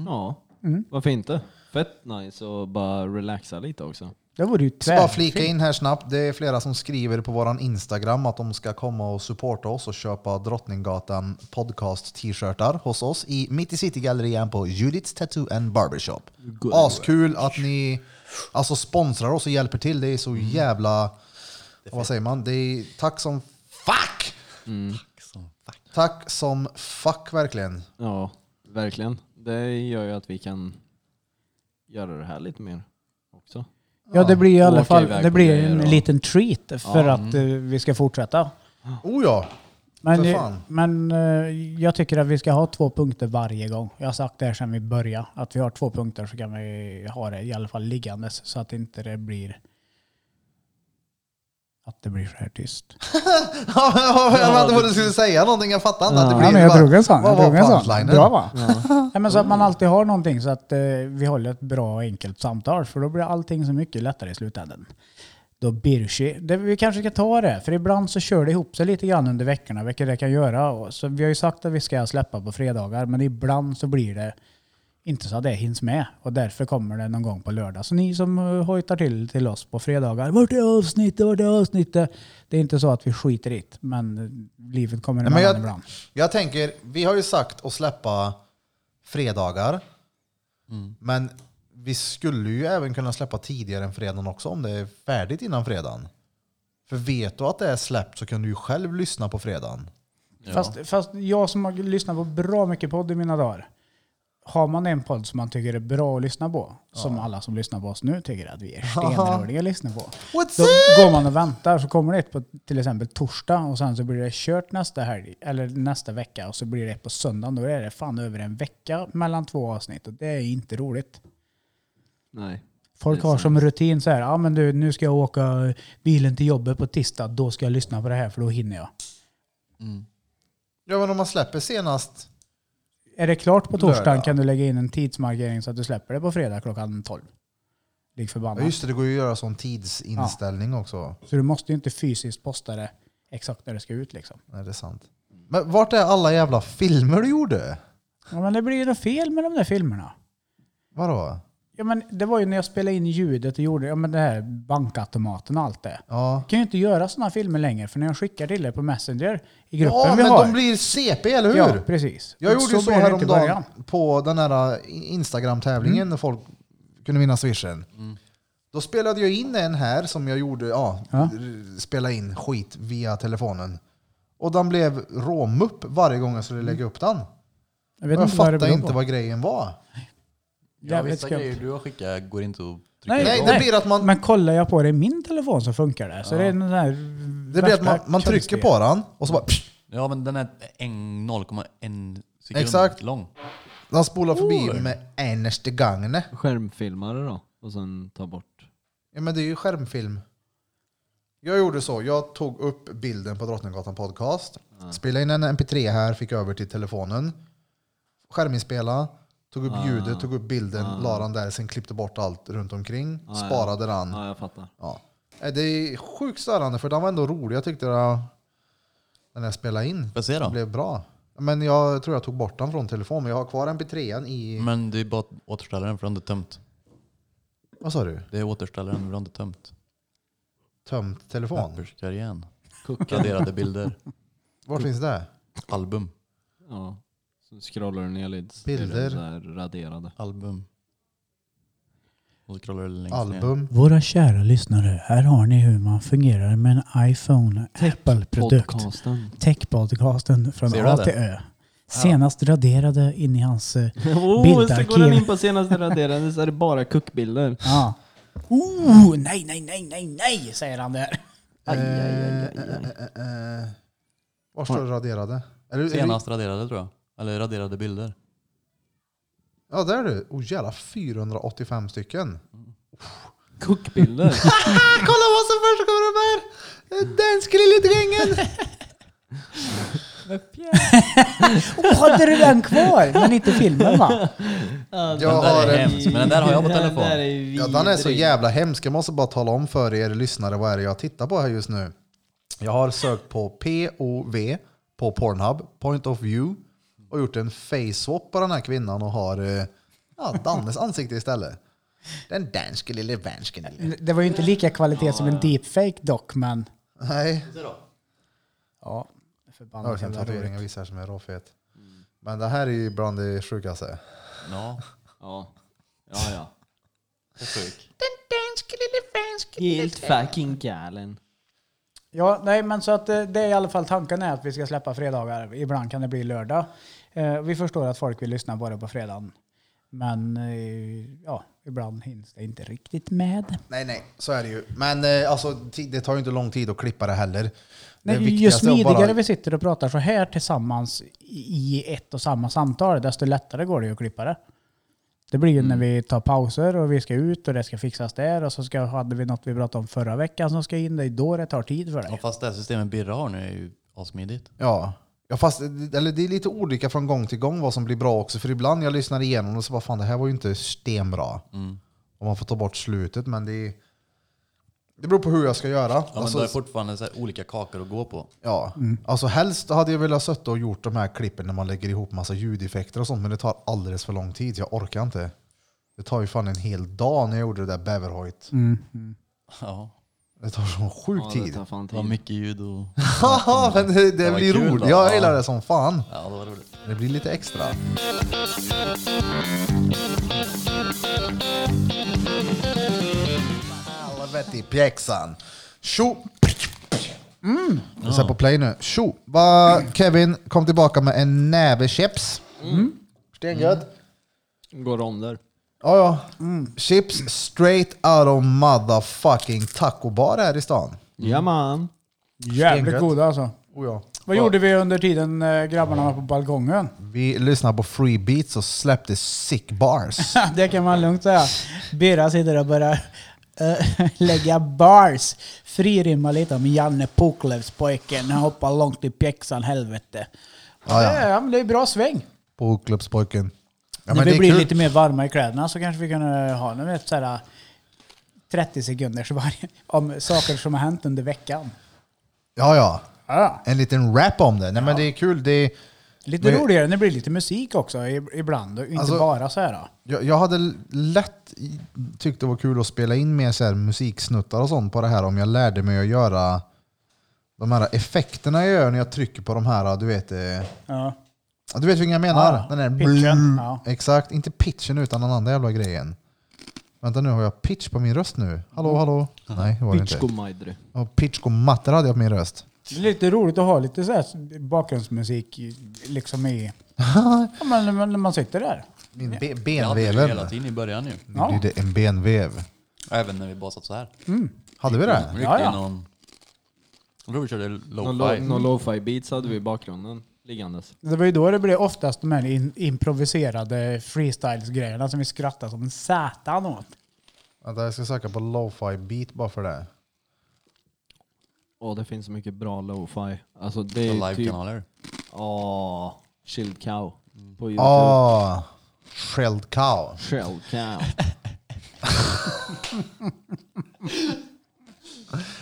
Speaker 6: Ja,
Speaker 3: Mm.
Speaker 6: varför inte? Fett nice och bara relaxa lite också.
Speaker 3: Det vore ju
Speaker 1: Så bara flika
Speaker 3: tvärfint.
Speaker 1: in här snabbt. Det är flera som skriver på våran Instagram att de ska komma och supporta oss och köpa Drottninggatan podcast t-shirtar hos oss i Mitt i City-gallerian på Judiths Tattoo and Barbershop. Askul att ni alltså sponsrar oss och hjälper till. Det är så jävla... Vad säger man? Mm. Det är Mm. tack som fuck! Tack som fuck verkligen.
Speaker 6: Ja, verkligen. Det gör ju att vi kan göra det här lite mer också.
Speaker 3: Ja, det blir i alla
Speaker 6: åka
Speaker 3: fall
Speaker 6: iväg
Speaker 3: det
Speaker 6: på
Speaker 3: blir
Speaker 6: grejer
Speaker 3: en
Speaker 6: och- Mm.
Speaker 3: liten treat för att eh, vi ska fortsätta.
Speaker 1: Oh ja!
Speaker 3: Men,
Speaker 1: För
Speaker 3: eh,
Speaker 1: fan.
Speaker 3: men eh, jag tycker att vi ska ha två punkter varje gång. Jag har sagt det här sedan vi började, att vi har två punkter så kan vi ha det i alla fall liggandes så att inte det blir att det blir så här tyst.
Speaker 1: jag vet inte vad du skulle säga någonting, jag fattar inte. att det
Speaker 3: Ja, men
Speaker 1: blir
Speaker 3: jag
Speaker 1: bara-
Speaker 3: drog en sån.
Speaker 1: Vad
Speaker 3: Jag
Speaker 1: var
Speaker 3: drog en sån.
Speaker 1: punchlinen?
Speaker 3: Bra va? Nej, men så att man alltid har någonting så att eh, vi håller ett bra och enkelt samtal för då blir allting så mycket lättare i slutändan. Då Birchi, det, vi kanske ska ta det, för ibland så kör det ihop sig lite grann under veckorna, vilket det kan göra. Och Så vi har ju sagt att vi ska släppa på fredagar, men ibland så blir det inte så att det hinns med. Och därför kommer det någon gång på lördag. Så ni som eh, hojtar till till oss på fredagar, vart är avsnittet, vart är avsnittet? Det är inte så att vi skiter i det, men eh, livet kommer
Speaker 1: Nej, men
Speaker 3: emellan
Speaker 1: jag,
Speaker 3: ibland.
Speaker 1: jag tänker, vi har ju sagt att släppa fredagar. Men vi skulle ju även kunna släppa tidigare än fredagen också om det är färdigt innan fredagen. För vet du att det är släppt så kan du ju själv lyssna på fredagen.
Speaker 3: Fast, fast jag som har lyssnat på bra mycket podd i mina dagar. Har man en podd som man tycker är bra att lyssna på, som alla som lyssnar på oss nu tycker att vi är stenröriga att lyssna på.
Speaker 1: What's
Speaker 3: Då
Speaker 1: up?
Speaker 3: går man och väntar så kommer det ett på till exempel torsdag och sen så blir det kört nästa helg, eller nästa vecka och så blir det ett på söndagen. Då är det fan över en vecka mellan två avsnitt och det är inte roligt.
Speaker 6: Nej.
Speaker 3: Folk har som rutin så här, ja ah, men du nu ska jag åka bilen till jobbet på tisdag, då ska jag lyssna på det här för då hinner jag.
Speaker 1: Ja men om man släpper senast,
Speaker 3: Är det klart på torsdagen
Speaker 1: Lördag.
Speaker 3: kan du lägga in en tidsmarkering så att du släpper det på fredag klockan 12. Lik
Speaker 1: ja
Speaker 3: förbannat.
Speaker 1: just det, det går ju att göra sån tidsinställning också.
Speaker 3: Så du måste ju inte fysiskt posta det exakt när det ska ut liksom.
Speaker 1: Nej, det är sant. Men vart är alla jävla filmer du gjorde?
Speaker 3: Ja, men det blir ju något fel med de där filmerna.
Speaker 1: Vadå?
Speaker 3: Ja, men det var ju när jag spelade in ljudet och gjorde ja, men det här bankautomaten och allt det.
Speaker 1: Ja.
Speaker 3: Jag kan ju inte göra sådana filmer längre för när jag skickar till dig på Messenger i gruppen
Speaker 1: Ja
Speaker 3: vi
Speaker 1: men
Speaker 3: har.
Speaker 1: de blir CP, eller hur?
Speaker 3: ja, precis.
Speaker 1: Jag gjorde ju så
Speaker 3: blir det inte i
Speaker 1: häromdagen
Speaker 3: början. Mm.
Speaker 1: på den här eh, Instagram-tävlingen när folk kunde vinna swishen. Då spelade jag in en här som jag gjorde, ja,
Speaker 3: Ja.
Speaker 1: r- spela in skit via telefonen. Och den blev råmupp varje gång jag skulle lägga upp den.
Speaker 3: Jag
Speaker 1: Jag,
Speaker 3: vet
Speaker 1: jag
Speaker 3: inte Mm. vad det
Speaker 1: fattar
Speaker 3: beror
Speaker 1: inte
Speaker 3: på.
Speaker 1: vad grejen var.
Speaker 2: Ja,
Speaker 3: Jävligt
Speaker 2: vissa
Speaker 3: skumt.
Speaker 2: grejer du har skickat går inte att trycka
Speaker 3: Nej,
Speaker 1: Nej,
Speaker 2: igång.
Speaker 1: det blir att man,
Speaker 3: Men kollar jag på det i min telefon så funkar det. Så det är den här
Speaker 1: det blir att man, man trycker på den och så bara... Psh,
Speaker 2: Ja men den är en- 0,1 sekund
Speaker 1: Exakt.
Speaker 2: lång.
Speaker 1: den spolar förbi med enaste gången.
Speaker 6: Skärmfilmare då? Och sen ta bort.
Speaker 1: Ja, men det är ju skärmfilm. Jag gjorde så, jag tog upp bilden på Drottninggatan podcast, spelade in en mp3 här, fick över till telefonen, skärminspela, tog upp ljudet, tog upp bilden, la den där, sen klippte bort allt runt omkring, sparade den.
Speaker 6: Ja, jag fattar.
Speaker 1: Ja. Eh, Det är sjukt störande för den var ändå rolig. Jag tyckte det, den jag spelade in
Speaker 2: Får jag se då?
Speaker 1: blev bra. Men jag tror jag tog bort den från telefonen. Men jag har kvar mp3 i...
Speaker 2: Men det är bara att återställa den för du har inte tömt.
Speaker 1: Vad sa du?
Speaker 2: Det är återställaren för du har inte tömt.
Speaker 1: Tömt telefon?
Speaker 2: Papperskarriären. Raderade bilder.
Speaker 1: Var finns det?
Speaker 2: Album.
Speaker 6: Ja. Så scrollar du ner lite. så är de
Speaker 1: Bilder.
Speaker 6: så här raderade.
Speaker 2: Album. Och så scrollar du längst ner.
Speaker 1: Album?
Speaker 3: Våra kära lyssnare, här har ni hur man fungerar med en iPhone Apple-produkt.
Speaker 6: Podcasten.
Speaker 3: Tech-podcasten från
Speaker 2: Ser du
Speaker 3: A
Speaker 2: det?
Speaker 3: till Ö. Senast raderade in i hans... eh,
Speaker 6: Oh, så
Speaker 3: Bildarkiv.
Speaker 6: går han in på senaste raderade så är det bara kuckbilder.
Speaker 3: Ja. Oh, nej, nej, nej, nej, nej, säger han där.
Speaker 6: Aj, aj, aj, aj,
Speaker 1: Eh,
Speaker 6: aj.
Speaker 1: eh, eh. Var står det raderade? Är du, är du,
Speaker 2: Senast raderade tror jag. Eller raderade bilder.
Speaker 1: ja, där är du. Oh jävlar, 485
Speaker 2: Mm.
Speaker 1: stycken.
Speaker 6: Kuckbilder.
Speaker 1: Ah, kolla vad som försiggår här! Eh, Danska lille drängen!
Speaker 3: Oh, hade du den kvar? Men inte filmen va?
Speaker 1: Jag
Speaker 2: den där
Speaker 1: har
Speaker 2: är
Speaker 1: en...
Speaker 2: hemsk, men den där har jag på telefon.
Speaker 6: Den där är vidrig.
Speaker 1: Ja, den är så jävla hemsk. Jag måste bara tala om för er lyssnare vad är det jag tittar på här just nu. Jag har sökt på POV på Pornhub, Point of View, och gjort en face-swap på den här kvinnan och har eh, ja, Dannes ansikte istället. Den danske lille vänsken. lille.
Speaker 3: Det var ju inte lika kvalitet som en deepfake dock, men...
Speaker 1: Nej.
Speaker 3: Ja,
Speaker 1: Jag har
Speaker 3: förbannat
Speaker 1: en
Speaker 3: jävla
Speaker 1: tatuering jag
Speaker 3: roligt.
Speaker 1: visar som är råfet.
Speaker 2: Mm.
Speaker 1: Men det här är ju bland det sjukaste.
Speaker 2: Ja.
Speaker 6: Ja, ja. ja.
Speaker 5: danske lille danske
Speaker 4: Helt
Speaker 6: fucking galen.
Speaker 3: Ja, nej, men så att eh, det är i alla fall tanken är att vi ska släppa fredagar. Ibland kan det bli lördag. Eh, Vi förstår att folk vill lyssna bara på fredagen. Men eh, ja, ibland hinns det inte riktigt med.
Speaker 1: Nej, nej, så är det ju. Men eh, alltså, ti- det tar ju inte lång tid att klippa det heller.
Speaker 3: Nej,
Speaker 1: det
Speaker 3: ju
Speaker 1: viktigaste är att bara-
Speaker 3: smidigare vi sitter och pratar så här tillsammans i i ett och samma samtal, desto lättare går det ju att klippa det. Det blir ju
Speaker 1: Mm.
Speaker 3: när vi tar pauser och vi ska ut och det ska fixas där och så ska, hade vi något vi pratade om förra veckan som ska in. Det är då det tar tid för
Speaker 2: Och
Speaker 3: dig.
Speaker 2: fast det här systemet Birra har nu är ju assmidigt.
Speaker 1: Ja. Ja, fast, eller det är lite olika från gång till gång vad som blir bra också. För ibland jag lyssnar igenom och så bara fan det här var ju inte stenbra.
Speaker 2: Mm.
Speaker 1: Och man får ta bort slutet men det är, Det beror på hur jag ska göra.
Speaker 2: Ja, men
Speaker 1: alltså,
Speaker 2: då är det fortfarande så här olika kakor att gå på.
Speaker 1: ja. alltså, helst hade jag velat suttit och gjort de här klippen när man lägger ihop massa ljudeffekter och sånt men det tar alldeles för lång tid. Jag orkar inte. Det tar ju fan en hel dag när jag gjorde det där bäverhojt.
Speaker 2: Ja,
Speaker 1: Det tar sån sjuk
Speaker 6: Ja, det
Speaker 1: tid.
Speaker 6: tar fan
Speaker 2: det var
Speaker 6: tid.
Speaker 2: mycket ljud och...
Speaker 1: Haha, men det, det,
Speaker 2: Det var
Speaker 1: blir
Speaker 2: kul
Speaker 1: roligt.
Speaker 2: då.
Speaker 1: Jag
Speaker 2: Ja.
Speaker 1: gillar det som fan.
Speaker 2: Ja, det var roligt.
Speaker 1: Det blir lite extra. Helvete i pjäxan. Tjo! Mm. Jag på play nu. Tjo! Va, Kevin kom tillbaka med en näve chips. Mm. Stengött.
Speaker 6: Går ronder.
Speaker 1: Ja, ja. Mm. Chips straight out of motherfucking taco bar här i stan.
Speaker 2: Mm.
Speaker 6: Ja man.
Speaker 1: Stengött.
Speaker 3: Jävligt goda alltså.
Speaker 1: Oh, ja.
Speaker 3: Vad gjorde vi under tiden eh, grabbarna var på balkongen?
Speaker 1: Vi lyssnade på Free Beats och släppte sick bars.
Speaker 3: Det kan man lugnt säga. Birra sitter och börjar eh, lägga bars. Fririmma lite om Janne Puklevs pojken. Han hoppar långt i pjäxan, helvete.
Speaker 1: Ja, ja.
Speaker 3: Det, är- men det är bra sväng.
Speaker 1: På klubbspojken. Ja,
Speaker 3: När vi
Speaker 1: är
Speaker 3: blir
Speaker 1: kul.
Speaker 3: lite mer varma i kläderna så kanske vi kan eh, ha någon, vet, så här, 30 sekunders varje om saker som har hänt under veckan.
Speaker 1: Ja, ja.
Speaker 3: Ja.
Speaker 1: En liten rap om det. Nej, men det är kul. Det är,
Speaker 3: Lite
Speaker 1: Men-
Speaker 3: roligare när det blir lite musik också i- ibland. och Inte
Speaker 1: Alltså-
Speaker 3: bara så här.
Speaker 1: jag, jag hade l- lätt i- tyckt det var kul att spela in mer så här musiksnuttar och sånt på det här om jag lärde mig att göra de här effekterna jag gör när jag trycker på de här, du vet, eh,
Speaker 3: Ja.
Speaker 1: du vet vilken jag menar?
Speaker 3: Ja,
Speaker 1: den där
Speaker 3: pitchen, ja.
Speaker 1: Exakt, inte pitchen utan den andra jävla grejen. Vänta nu, har jag pitch på min röst nu? Hallå, hallå? Nej, det var det inte.
Speaker 6: Bitchko Majdry.
Speaker 1: Ja, Pitch och matter hade jag på min röst.
Speaker 3: Det är lite roligt att ha lite så här bakgrundsmusik i- liksom i... ja, men när man- när man sitter där.
Speaker 1: Min be-
Speaker 2: Jag hade det hela
Speaker 1: benveven.
Speaker 2: tiden i början ju.
Speaker 1: Nu blir det en benvev.
Speaker 2: Även när vi bara satt så här.
Speaker 1: Hade vi det?
Speaker 2: Vi
Speaker 3: Ja,
Speaker 2: ja,
Speaker 3: ja.
Speaker 2: ja. någon... Jag tror vi körde
Speaker 6: Någon lo-
Speaker 2: lo-fi.
Speaker 6: någon lo-fi beats hade vi i bakgrunden liggandes.
Speaker 3: Det var ju då det blev oftast de här in, improviserade freestyles-grejerna som vi skrattade som en satan åt.
Speaker 1: Vänta, jag ska söka på lo-fi beat bara för det.
Speaker 6: Åh, det finns så mycket bra lo-fi. Alltså det är ju typ...
Speaker 2: Livekanaler.
Speaker 6: Åh, Chilled Cow
Speaker 2: Mm.
Speaker 6: på Youtube.
Speaker 1: Ah, Shelled cow.
Speaker 6: Chilled Cow.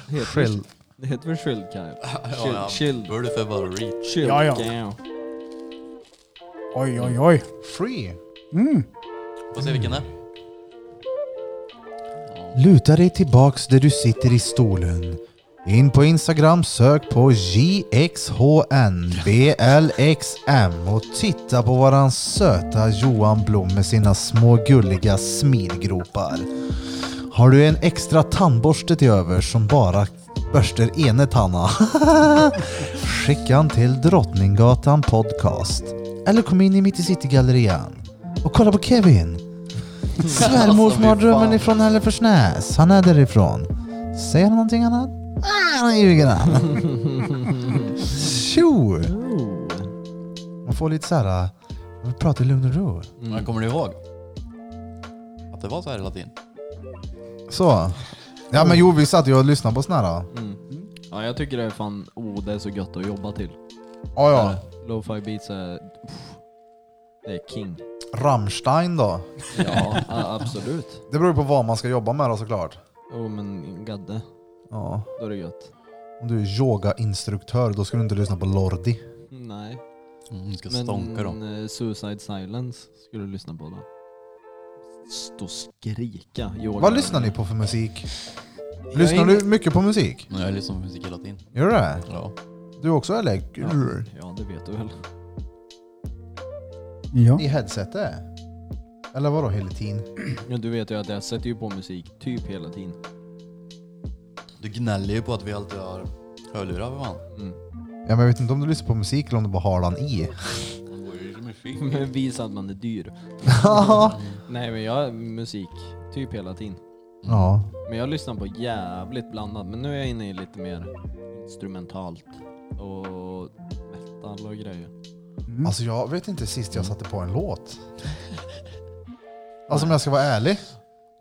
Speaker 6: Det heter-
Speaker 1: Shelled.
Speaker 6: Det heter väl Chilled Cow? Chill,
Speaker 2: Ja, ja.
Speaker 6: Chilled,
Speaker 2: Borde för bara reach.
Speaker 6: chilled
Speaker 3: Ja, ja.
Speaker 6: Cow.
Speaker 3: Oj, oj, oj.
Speaker 1: Free.
Speaker 2: Får se vilken det är.
Speaker 1: Luta dig tillbaks där du sitter i stolen. In på Instagram, sök på JXHNBLXM och titta på våran söta Johan Blom med sina små gulliga smilgropar. Har du en extra tandborste till över som bara börster ene tanna? Skicka den till Drottninggatan Podcast. Eller kom in i Mitt i City-gallerian och kolla på Kevin. Svärmorsmardrömmen ifrån Hälleforsnäs. Han är därifrån. Säger han någonting annat? Ah, nu ljuger han. Tjo! Man får lite såhär, man pratar i lugn och ro.
Speaker 6: Mm.
Speaker 2: Men kommer du ihåg? Att det var så här hela tiden?
Speaker 1: Så. Ja men jo, vi satt ju och lyssnade på såna här. äh.
Speaker 6: Ja, jag tycker det är fan, oh det är så gött att jobba till.
Speaker 1: Ja ja,
Speaker 6: Lo-fi beats är... pff, Det är king.
Speaker 1: Rammstein då.
Speaker 6: Ja, a- absolut.
Speaker 1: Det beror ju på vad man ska jobba med då såklart.
Speaker 6: Jo men gadde,
Speaker 1: Ja.
Speaker 6: då är det gött.
Speaker 1: Om du är yogainstruktör, då ska du inte lyssna på Lordi.
Speaker 6: Nej.
Speaker 2: Mm, ska stånka dem.
Speaker 6: Men eh, Suicide Silence skulle du lyssna på då. Stå och skrika. Yoga.
Speaker 1: Vad lyssnar ni på för musik? Lyssnar du mycket på musik?
Speaker 2: Men jag lyssnar på musik hela tiden.
Speaker 1: Gör du det?
Speaker 2: Ja.
Speaker 1: Du också eller? Gud.
Speaker 6: Ja, det vet du väl.
Speaker 3: Ja.
Speaker 1: I headsetet? Eller vadå hela tiden?
Speaker 6: Ja, du vet ju att jag sätter ju på musik typ hela tiden.
Speaker 2: Du gnäller ju på att vi alltid har hörlurar för fan.
Speaker 1: Ja, men jag vet inte om du lyssnar på musik eller om du bara har den i.
Speaker 6: Men Visa att man är dyr. Nej men jag musik typ hela tiden.
Speaker 1: ja.
Speaker 6: Men jag lyssnar på jävligt blandat. Men nu är jag inne i lite mer instrumentalt och metal och grejer.
Speaker 1: Alltså jag vet inte sist jag satte på en låt. Alltså om jag ska vara ärlig.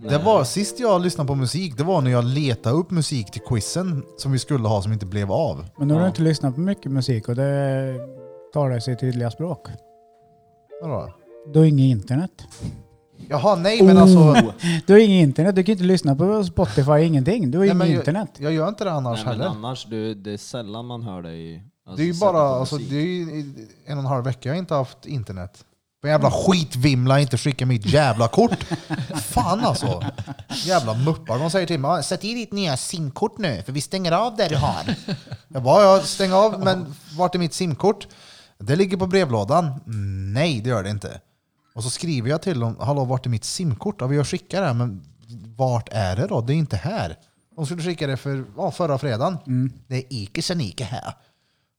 Speaker 1: Det var sist jag lyssnade på musik, det var när jag letade upp musik till quizen som vi skulle ha som inte blev av.
Speaker 3: Men nu har du
Speaker 6: Ja.
Speaker 3: inte lyssnat på mycket musik och det talar sig tydliga språk.
Speaker 1: Vadå?
Speaker 3: Du har inget internet.
Speaker 1: Jaha, nej men alltså.
Speaker 3: Du har inget internet, du kan inte lyssna på Spotify, ingenting. Du har
Speaker 1: Nej, men
Speaker 3: inget
Speaker 1: jag,
Speaker 3: internet.
Speaker 1: jag gör inte det annars
Speaker 6: Nej, men
Speaker 1: heller.
Speaker 6: annars, du, det är sällan man hör dig alltså,
Speaker 1: Det är ju
Speaker 6: sätta
Speaker 1: bara
Speaker 6: på
Speaker 1: alltså,
Speaker 6: musik.
Speaker 1: det är ju en och en halv vecka jag inte haft internet. Men jävla skitvimla inte skicka mitt jävla kort. Fan alltså. Jävla muppar. De säger till mig, "Ah, sätt i ditt nya simkort nu för vi stänger av det du har. Jag bara, jag stänger av, men vart är mitt simkort? Det ligger på brevlådan. Nej, det gör det inte. Och så skriver jag till dem, hallå vart är mitt simkort? Ja, vi har skickat det här, men vart är det då? Det är inte här. De skulle skicka det för, ja, förra fredagen.
Speaker 6: Mm.
Speaker 1: Det är Ike Sanike här.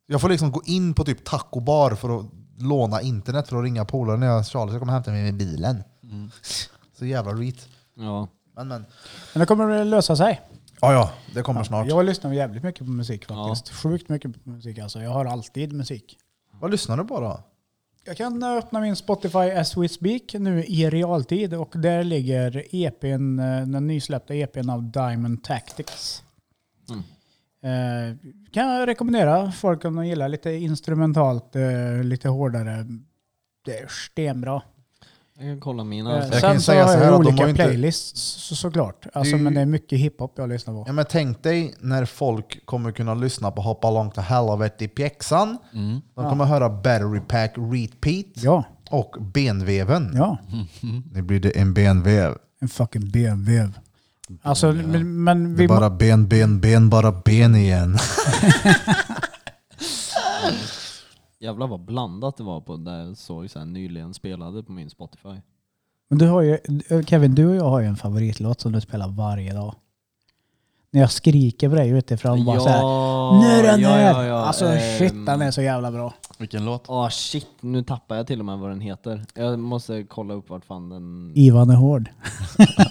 Speaker 1: Jag får liksom gå in på typ tacobar för att låna internet för att ringa polare när jag Charles, jag kommer hämta mig med bilen. Så jävla reet.
Speaker 6: Ja.
Speaker 1: Men men.
Speaker 3: Men det kommer att lösa sig.
Speaker 1: Ja, ja, det kommer snart.
Speaker 3: Jag lyssnar jävligt mycket på musik faktiskt. Sjukt mycket på musik alltså. Jag har alltid musik.
Speaker 1: Vad lyssnar du på då?
Speaker 3: Jag kan öppna min Spotify as we speak nu i realtid och där ligger EPn, eh, den nysläppta EPn av Diamond Tactics.
Speaker 1: Mm.
Speaker 3: Eh, kan jag rekommendera folk om de gillar lite instrumentalt, eh, lite hårdare. Det är stenbra.
Speaker 6: Jag kan kolla mina. Alltså,
Speaker 3: Eh,
Speaker 1: kan ju
Speaker 3: sen så har
Speaker 1: säga så här
Speaker 3: jag
Speaker 1: att de har
Speaker 3: olika
Speaker 1: ju inte-
Speaker 3: playlists så, såklart. Alltså,
Speaker 1: Det-
Speaker 3: Men det är mycket hiphop jag lyssnar på.
Speaker 1: Ja, men tänk dig när folk kommer kunna lyssna på Hoppa långt och helvete i pjäxan. De kommer höra Battery Pack Repeat
Speaker 3: Ja,
Speaker 1: och benveven.
Speaker 3: ja.
Speaker 1: Nu blir det en benvev.
Speaker 3: En fucking BMW. Alltså, men, men
Speaker 1: Det är
Speaker 3: vi...
Speaker 1: bara ben, ben, ben, bara ben igen.
Speaker 6: Jävlar vad blandat det var på det jag såg så här nyligen spelade på min Spotify.
Speaker 3: Men du har ju, Kevin, du och jag har ju en favoritlåt som du spelar varje dag. När jag skriker på dig utifrån bara såhär. Nu är den här! alltså
Speaker 6: Ehm.
Speaker 3: shit, den är så jävla bra.
Speaker 2: Vilken låt?
Speaker 6: Ah shit, nu tappar jag till och med vad den heter. Jag måste kolla upp vart fan den...
Speaker 3: Ivan är hård.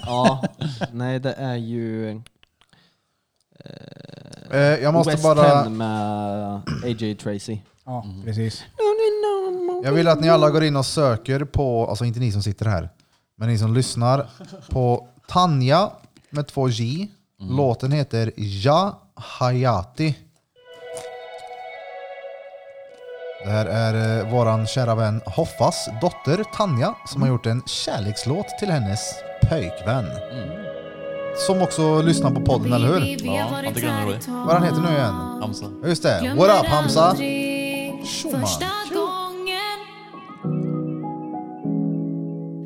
Speaker 6: ja, nej det är ju...
Speaker 1: Eh, jag måste
Speaker 6: West
Speaker 1: bara...
Speaker 6: 10 med AJ Tracy.
Speaker 3: Ja, precis.
Speaker 1: Jag vill att ni alla går in och söker på, alltså inte ni som sitter här, men ni som lyssnar, på Tanja med två J. Låten heter Ja Hayati. Det här är eh, våran kära vän Hoffas dotter Tanja som har gjort en kärlekslåt till hennes pojkvän. Som också lyssnar på podden, eller hur?
Speaker 2: Ja, han tycker den är rolig.
Speaker 1: Vad han heter nu igen?
Speaker 2: Hamsa.
Speaker 1: Ja, Just det, What up Hamza? Schumann.
Speaker 8: Första gången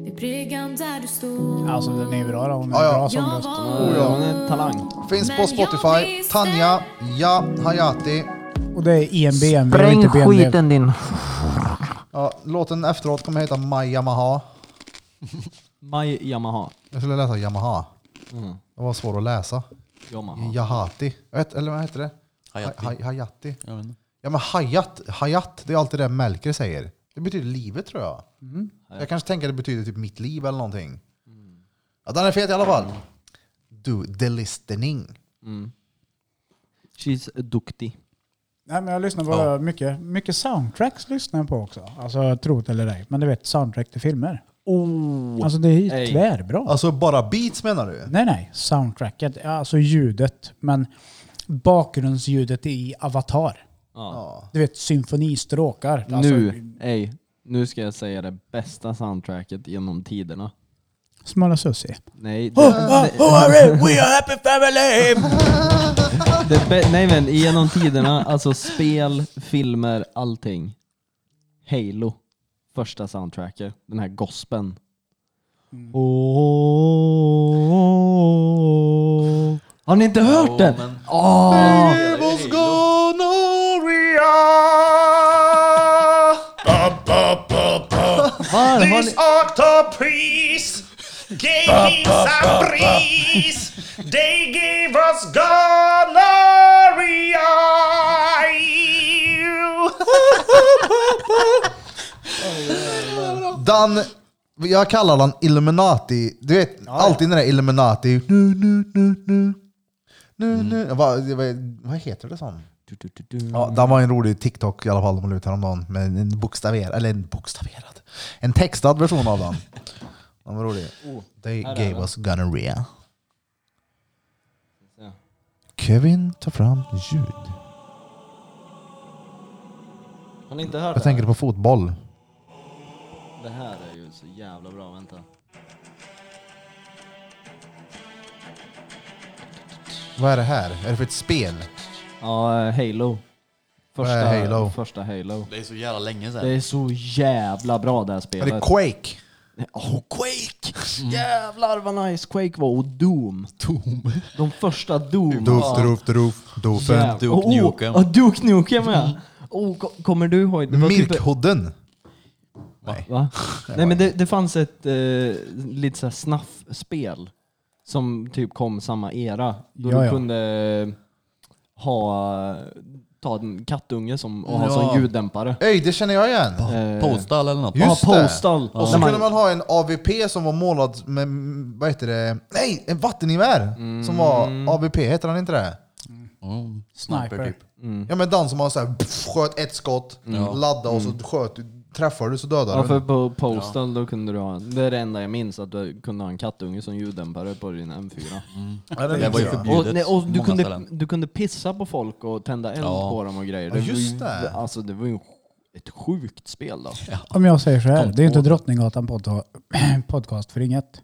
Speaker 8: Vid bryggan där du stod
Speaker 3: Alltså den är ju bra då. Hon är
Speaker 1: Ja, ja.
Speaker 3: bra
Speaker 8: Jag
Speaker 3: sångröst.
Speaker 8: var
Speaker 6: Ja, hon är en talang.
Speaker 1: Finns på Spotify. Tanja, ja, Hayati.
Speaker 3: Och det är en BMW och
Speaker 4: Spräng
Speaker 3: inte BMW.
Speaker 4: skiten din.
Speaker 1: Ja, låten efteråt kommer heta My Yamaha.
Speaker 6: Maj Yamaha.
Speaker 1: Jag skulle läsa Yamaha. Det var svårt att läsa.
Speaker 6: Yamaha.
Speaker 1: Yahati. Jag vet- Eller vad heter det?
Speaker 2: Hayati.
Speaker 1: Ha- ha- Hayati.
Speaker 2: Jag vet inte.
Speaker 1: Ja men hayat, hayat, det är alltid det Melker säger. Det betyder livet tror jag.
Speaker 2: Mm.
Speaker 1: Jag kanske tänker att det betyder typ mitt liv eller någonting. Ja, den är fet i alla fall. Du, the listening.
Speaker 6: She's duktig.
Speaker 3: Nej, men jag lyssnar på
Speaker 2: Ja.
Speaker 3: mycket, mycket soundtracks lyssnar jag på också. Alltså tro't eller ej. Men du vet soundtrack till filmer.
Speaker 6: Oh.
Speaker 3: Alltså det är ju
Speaker 6: Ej.
Speaker 3: tvärbra.
Speaker 1: Alltså bara beats menar du?
Speaker 3: Nej nej, soundtracket. Alltså ljudet. Men bakgrundsljudet i Avatar.
Speaker 1: Ja.
Speaker 3: Du vet symfonistråkar. Alltså,
Speaker 6: Nu, ej. Nu ska jag säga det bästa soundtracket genom tiderna.
Speaker 3: Smala Sussie.
Speaker 6: Nej. Det,
Speaker 3: We are happy family!
Speaker 6: det, bä- nej men genom tiderna, alltså spel, filmer, allting. Halo. Första soundtracket. Den här gospeln.
Speaker 1: Mm.
Speaker 6: Oh. Har ni inte hört den?
Speaker 2: men-
Speaker 6: Åh!
Speaker 1: Devil's gonorrhea! Ba, ba, ba, ba.
Speaker 6: Var, har ni-
Speaker 9: This octopus gave him some breeze. They gave us gonorrhea.
Speaker 1: Dan, jag kallar den Illuminati. Du vet, alltid när det är Illuminati. Nu, nu, nu, nu. Nu, nu. Vad, vad, vad heter det sån? Ja, den var en rolig TikTok i alla fall de la ut häromdagen. Med en bokstaverad, eller en bokstaverad. En textad version av den. Den var rolig. They gave us gonorrhea.
Speaker 6: Ja.
Speaker 1: Kevin tar fram ljud.
Speaker 6: Har ni inte hört
Speaker 1: Jag
Speaker 6: det?
Speaker 1: tänker på fotboll.
Speaker 6: Det här är ju så jävla bra, vänta.
Speaker 1: Vad är det här? Är det för ett spel?
Speaker 6: Ja, eh, Halo.
Speaker 1: Vad
Speaker 6: Första
Speaker 1: är Halo?
Speaker 6: Första Halo.
Speaker 2: Det är så jävla länge
Speaker 6: Det
Speaker 2: sedan.
Speaker 6: är så jävla bra det här
Speaker 1: Är
Speaker 6: spelet.
Speaker 1: det Quake?
Speaker 6: oh, Quake! Jävlar vad nice Quake var. Och Doom. Doom. De första Doom.
Speaker 1: Doof, doof, doof, doofen.
Speaker 6: Jävlar.
Speaker 2: Duke
Speaker 6: Oh,
Speaker 2: Nukem. Mm.
Speaker 6: Oh, Duke Nukem ja. Oh, ko- kommer du ihåg? Det var typ-
Speaker 1: Mirkhodden. Nej.
Speaker 6: Va? Nej men det, det fanns ett eh, lite såhär snaffspel som typ kom samma era. Då
Speaker 3: Ja,
Speaker 6: du
Speaker 3: ja.
Speaker 6: kunde eh, ha, ta en kattunge som, och ha
Speaker 2: Ja.
Speaker 6: som ljuddämpare.
Speaker 1: Öj, det känner jag igen.
Speaker 6: Eh,
Speaker 2: Postal eller något.
Speaker 1: Just
Speaker 6: ja,
Speaker 1: det.
Speaker 6: postal.
Speaker 1: Och så
Speaker 6: När man-
Speaker 1: kunde man ha en AVP som var målad med, mm, vad heter det? Nej, en vattengevär! Som var AVP, heter han inte det?
Speaker 2: Mm.
Speaker 3: Sniper.
Speaker 1: Ja men den som man så här, pff, sköt ett skott,
Speaker 2: Mm.
Speaker 1: laddade och
Speaker 6: Mm.
Speaker 1: så sköt du, träffade du så dödade
Speaker 6: Ja,
Speaker 1: du.
Speaker 6: för på Postal då kunde du ha, det är det enda jag minns, att du kunde ha en kattunge som ljuddämpare på din M4.
Speaker 1: Ja,
Speaker 2: Det var ju
Speaker 1: minns jag.
Speaker 2: förbjudet
Speaker 6: Och, nej, och
Speaker 2: på
Speaker 6: du,
Speaker 2: många
Speaker 6: kunde,
Speaker 2: ställen.
Speaker 6: du kunde pissa på folk och tända eld
Speaker 2: Ja.
Speaker 6: på dem och grejer.
Speaker 1: Ja, just
Speaker 6: var ju-
Speaker 1: det.
Speaker 6: Alltså det var ju ett sjukt spel då.
Speaker 3: Om jag säger så här, det är ju inte Drottninggatan podda- podcast för inget.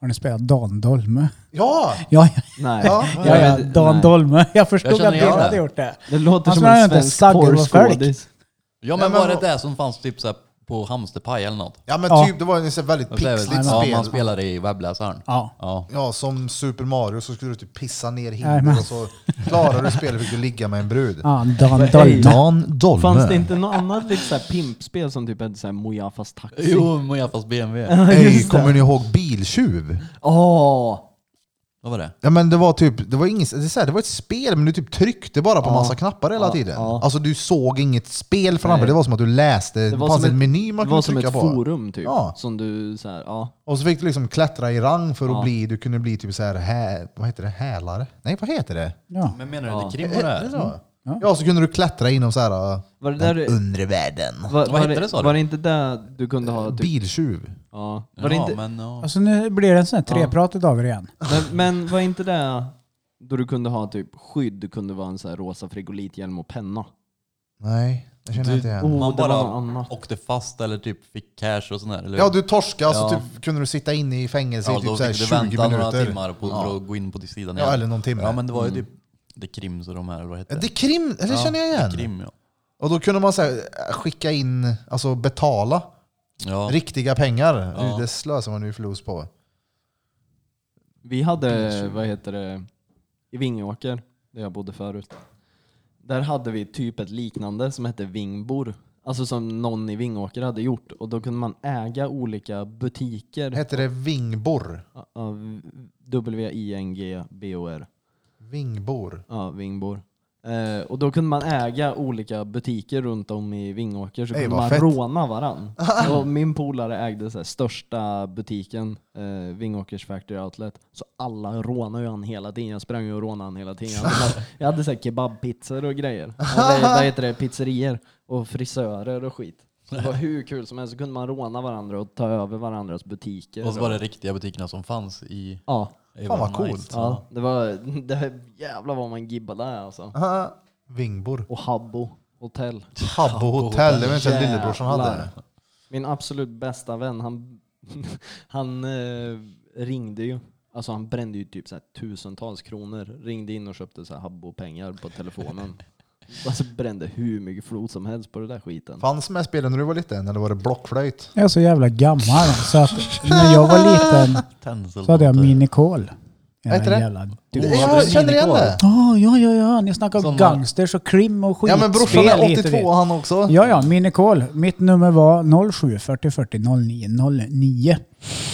Speaker 3: Har ni spelat Dan Dolme?
Speaker 1: Ja!
Speaker 3: Ja,
Speaker 6: Nej.
Speaker 1: Ja.
Speaker 3: ja, ja, ja Dan
Speaker 6: nej.
Speaker 3: Dolme. Jag
Speaker 2: Jag
Speaker 3: förstod
Speaker 2: känner
Speaker 3: att du
Speaker 2: igen
Speaker 3: hade
Speaker 2: det.
Speaker 3: gjort det. Alltså,
Speaker 6: Det låter
Speaker 3: Han
Speaker 6: som
Speaker 3: spelar
Speaker 6: en
Speaker 3: inte
Speaker 6: svensk
Speaker 3: sagg och folk.
Speaker 6: porrskådis.
Speaker 2: Ja
Speaker 1: Nej,
Speaker 2: men
Speaker 1: men
Speaker 2: var det
Speaker 1: vad-
Speaker 2: det som fanns typ så här på hamsterpaj eller något?
Speaker 1: Ja men
Speaker 3: Ja.
Speaker 1: typ, det var en så här väldigt
Speaker 2: Det blev-
Speaker 1: pixligt
Speaker 2: ja,
Speaker 1: spel.
Speaker 2: man spelar i webbläsaren.
Speaker 3: Ja.
Speaker 2: Ja.
Speaker 1: Ja, som Super Mario så skulle du typ pissa ner
Speaker 3: Nej,
Speaker 1: hinder
Speaker 3: men-
Speaker 1: och så klarar du spelet fick du ligga med en brud.
Speaker 3: Ja, Dan
Speaker 6: Hej.
Speaker 3: Dolme.
Speaker 1: Dan Dolme.
Speaker 6: Fanns det inte något annat lite såhär pimpspel som typ hette såhär Mojafas taxi?
Speaker 2: Jo, Mojafas BMW.
Speaker 1: Ey, kommer ni ihåg Biltjuv?
Speaker 6: Åh!
Speaker 2: Vad var det?
Speaker 1: Ja men det var typ, det var, inget, det, är så här, det var ett spel men du typ tryckte bara på massa knappar hela tiden.
Speaker 6: ja.
Speaker 1: Alltså du såg inget spel framför dig,
Speaker 6: Nej.
Speaker 1: det var som att du läste, det,
Speaker 6: Det var
Speaker 1: fanns
Speaker 6: som
Speaker 1: en
Speaker 6: ett-
Speaker 1: meny
Speaker 6: Det
Speaker 1: man
Speaker 6: var
Speaker 1: kunde
Speaker 6: som
Speaker 1: trycka
Speaker 6: ett
Speaker 1: på.
Speaker 6: forum typ.
Speaker 1: Ja.
Speaker 6: Som du såhär, ja.
Speaker 1: Och så fick du liksom klättra i rang för att
Speaker 6: Ja.
Speaker 1: bli, du kunde bli typ så här, hä, vad heter det, hälare? Nej vad heter det?
Speaker 3: Ja.
Speaker 2: Men menar du inte krim
Speaker 6: Eh,
Speaker 2: var det
Speaker 1: Är det
Speaker 2: här?
Speaker 1: så? Ja. så kunde du klättra inom så här,
Speaker 6: Var det där
Speaker 1: den
Speaker 6: du-
Speaker 1: undre världen.
Speaker 6: Var, var,
Speaker 2: hette
Speaker 6: det,
Speaker 2: det, sa du?
Speaker 6: var det inte där du kunde ha
Speaker 1: Äh,
Speaker 6: typ...
Speaker 1: Biltjuv.
Speaker 6: Ja. Var det
Speaker 2: Ja,
Speaker 6: inte,
Speaker 2: men ja.
Speaker 3: Alltså nu blir det en sån här treprat utav er igen.
Speaker 6: men, men var inte det Då du kunde ha typ skydd, kunde vara en så här rosa frigolithjälm och penna.
Speaker 1: Nej, det känner jag inte igen.
Speaker 6: Oh,
Speaker 2: Man
Speaker 6: det
Speaker 2: bara
Speaker 6: var något annat.
Speaker 2: åkte fast eller typ fick cash och sådär. Eller?
Speaker 1: Ja, du torskade så
Speaker 2: Ja.
Speaker 1: typ, kunde du sitta inne i fängelse
Speaker 2: ja,
Speaker 1: i typ
Speaker 2: då
Speaker 1: så här
Speaker 2: fick du
Speaker 1: 20
Speaker 2: vänta några
Speaker 1: minuter.
Speaker 2: timmar på, för att gå in på till sidan
Speaker 1: Ja, eller någon timme.
Speaker 2: Ja, men det var ju typ det krims och de här, vad heter
Speaker 1: Det är krim, det känner jag
Speaker 2: Det
Speaker 1: igen.
Speaker 2: krim, ja.
Speaker 1: Och då kunde man så här, äh, skicka in, alltså betala
Speaker 2: ja.
Speaker 1: riktiga pengar.
Speaker 2: Ja.
Speaker 1: Det slösar man ju förlust på.
Speaker 6: Vi hade, vad heter det, i Vingåker, där jag bodde förut. Där hade vi typ ett liknande som hette Vingbor. Alltså som någon i Vingåker hade gjort. Och då kunde man äga olika butiker.
Speaker 1: Hette det vingbor?
Speaker 6: Ja, W-I-N-G-B-O-R.
Speaker 1: Vingbor?
Speaker 6: Ja, Vingbor. Eh, och då kunde man äga olika butiker runt om i Vingåker så
Speaker 1: Ey,
Speaker 6: kunde
Speaker 1: vad
Speaker 6: man
Speaker 1: fett.
Speaker 6: råna varann. och min polare ägde så här, största butiken, eh, Vingåkers Factory Outlet. Så alla rånade ju han hela tiden. Jag sprang ju och rånade han hela tiden. Jag hade, så här- jag hade så här kebabpizzor och grejer. Eller, vad heter det? Pizzerier och frisörer och skit. Det var hur kul som helst. Så kunde man råna varandra och ta över varandras butiker.
Speaker 2: Och så var det riktiga butikerna som fanns i...
Speaker 6: Ja,
Speaker 2: i
Speaker 1: Fan, vad
Speaker 2: Nice.
Speaker 1: coolt.
Speaker 2: Ja.
Speaker 6: ja. Det var, det, jävlar vad man gibbade där alltså.
Speaker 1: Aha. Vingbor.
Speaker 6: och Habbo hotell.
Speaker 1: Habbo hotell, det var inte en lillebror som hade
Speaker 6: Jävlar.
Speaker 1: det.
Speaker 6: Min absolut bästa vän, han, han eh, ringde ju. Alltså han brände ju typ så här tusentals kronor. Ringde in och köpte så här Habbo-pengar på telefonen. alltså brände hur mycket flod som helst på den där skiten.
Speaker 1: Fanns med spelen när du var liten, eller var det blockflöjt?
Speaker 3: Jag är så jävla gammal så att när jag var liten
Speaker 2: Tändsel.
Speaker 3: så hade jag minikol.
Speaker 1: Vad heter det?
Speaker 3: det?
Speaker 1: Ja, jag känner igen det!
Speaker 3: ja, ja, ja. Ni snackar
Speaker 2: Som-
Speaker 3: gangsters och krim och skitspel.
Speaker 1: Ja men brorsan är
Speaker 3: hit och dit.
Speaker 1: 82 han också.
Speaker 3: Ja, ja, minikol. Mitt nummer var 07 40 40 09 09.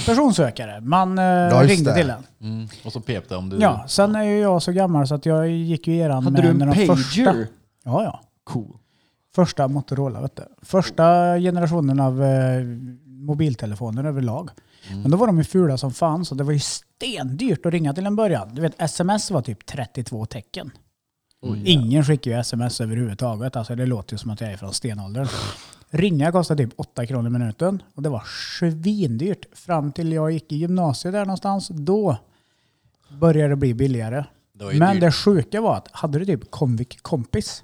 Speaker 3: Personsökare. Man eh,
Speaker 1: just
Speaker 3: ringde
Speaker 1: det.
Speaker 3: till den.
Speaker 2: Mm. Och så pep det om du...
Speaker 3: Ja, sen är ju jag så gammal så att jag gick ju eran
Speaker 6: Hade du en
Speaker 3: med när de första.
Speaker 6: pager?
Speaker 3: Ja, ja.
Speaker 6: Cool.
Speaker 3: Första Motorola, vet du. Första generationen av eh, mobiltelefoner överlag.
Speaker 2: Mm.
Speaker 3: Men då var de ju fula som fanns och det var ju stendyrt att ringa till en början. Du vet, sms var typ 32 tecken. Ingen skickar ju sms överhuvudtaget. Alltså det låter ju som att jag är från stenåldern. Ringa kostade typ 8 kronor i minuten och det var svindyrt. Fram till jag gick i gymnasiet där någonstans, då började det bli billigare.
Speaker 2: Det var ju
Speaker 3: Men
Speaker 2: dyrt.
Speaker 3: det sjuka var att hade du typ Comviq kompis,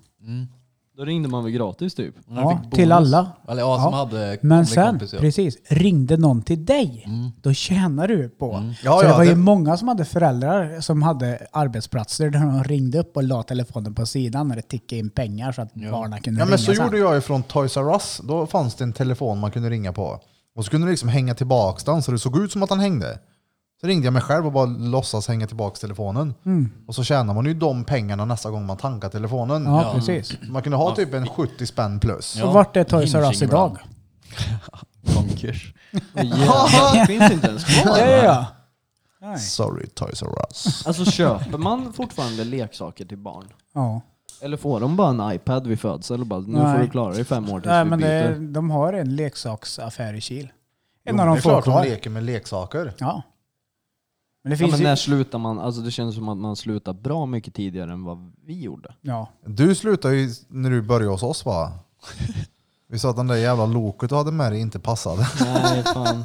Speaker 6: Då ringde man väl gratis typ?
Speaker 3: ja, till alla,
Speaker 2: Eller ja, som
Speaker 3: Ja.
Speaker 2: hade...
Speaker 3: men
Speaker 2: kompis,
Speaker 3: sen,
Speaker 2: ja.
Speaker 3: precis, ringde någon till dig, då tjänar du på.
Speaker 1: Ja,
Speaker 3: så
Speaker 1: ja,
Speaker 3: det var ju
Speaker 1: det-
Speaker 3: många som hade föräldrar som hade arbetsplatser där de ringde upp och la telefonen på sidan när det tickade in pengar så att barnen kunde
Speaker 1: Ja
Speaker 3: ringa
Speaker 1: men så
Speaker 3: sen.
Speaker 1: gjorde jag ju från Toys R Us. Då fanns det en telefon man kunde ringa på. Och så kunde du liksom hänga tillbaks den så det såg ut som att han hängde. Så ringde jag mig själv och bara låtsas hänga tillbaks telefonen.
Speaker 3: Mm.
Speaker 1: Och så tjänar man ju de pengarna nästa gång man tankar telefonen.
Speaker 3: Ja, precis.
Speaker 1: Man kunde ha typ en 70 spänn plus.
Speaker 3: Och vart är Toys R Us
Speaker 2: Hinging
Speaker 3: idag?
Speaker 2: Konkurs.
Speaker 6: Jävlar, det finns inte ens kvar.
Speaker 3: Ja, ja, ja.
Speaker 1: Sorry Toys R Us.
Speaker 6: Alltså köper man fortfarande leksaker till barn?
Speaker 3: ja.
Speaker 6: Eller får de bara en iPad vid födseln och bara nu
Speaker 3: Nej.
Speaker 6: får du klara dig i fem år tills
Speaker 3: Nej,
Speaker 6: vi
Speaker 3: men det,
Speaker 6: byter?
Speaker 3: de har en leksaksaffär i Kil. En
Speaker 1: Jo,
Speaker 3: av
Speaker 1: det
Speaker 3: de
Speaker 1: är
Speaker 3: få
Speaker 1: klart de
Speaker 3: kvar.
Speaker 1: leker med leksaker.
Speaker 3: Ja. Men det
Speaker 6: Ja,
Speaker 3: finns
Speaker 6: men
Speaker 3: ju...
Speaker 6: när slutar man? Alltså det känns som att man slutar bra mycket tidigare än vad vi gjorde.
Speaker 3: Ja.
Speaker 1: Du slutade ju när du började hos oss va? Vi sa att den där jävla loket du hade med dig inte passade.
Speaker 6: Nej fan.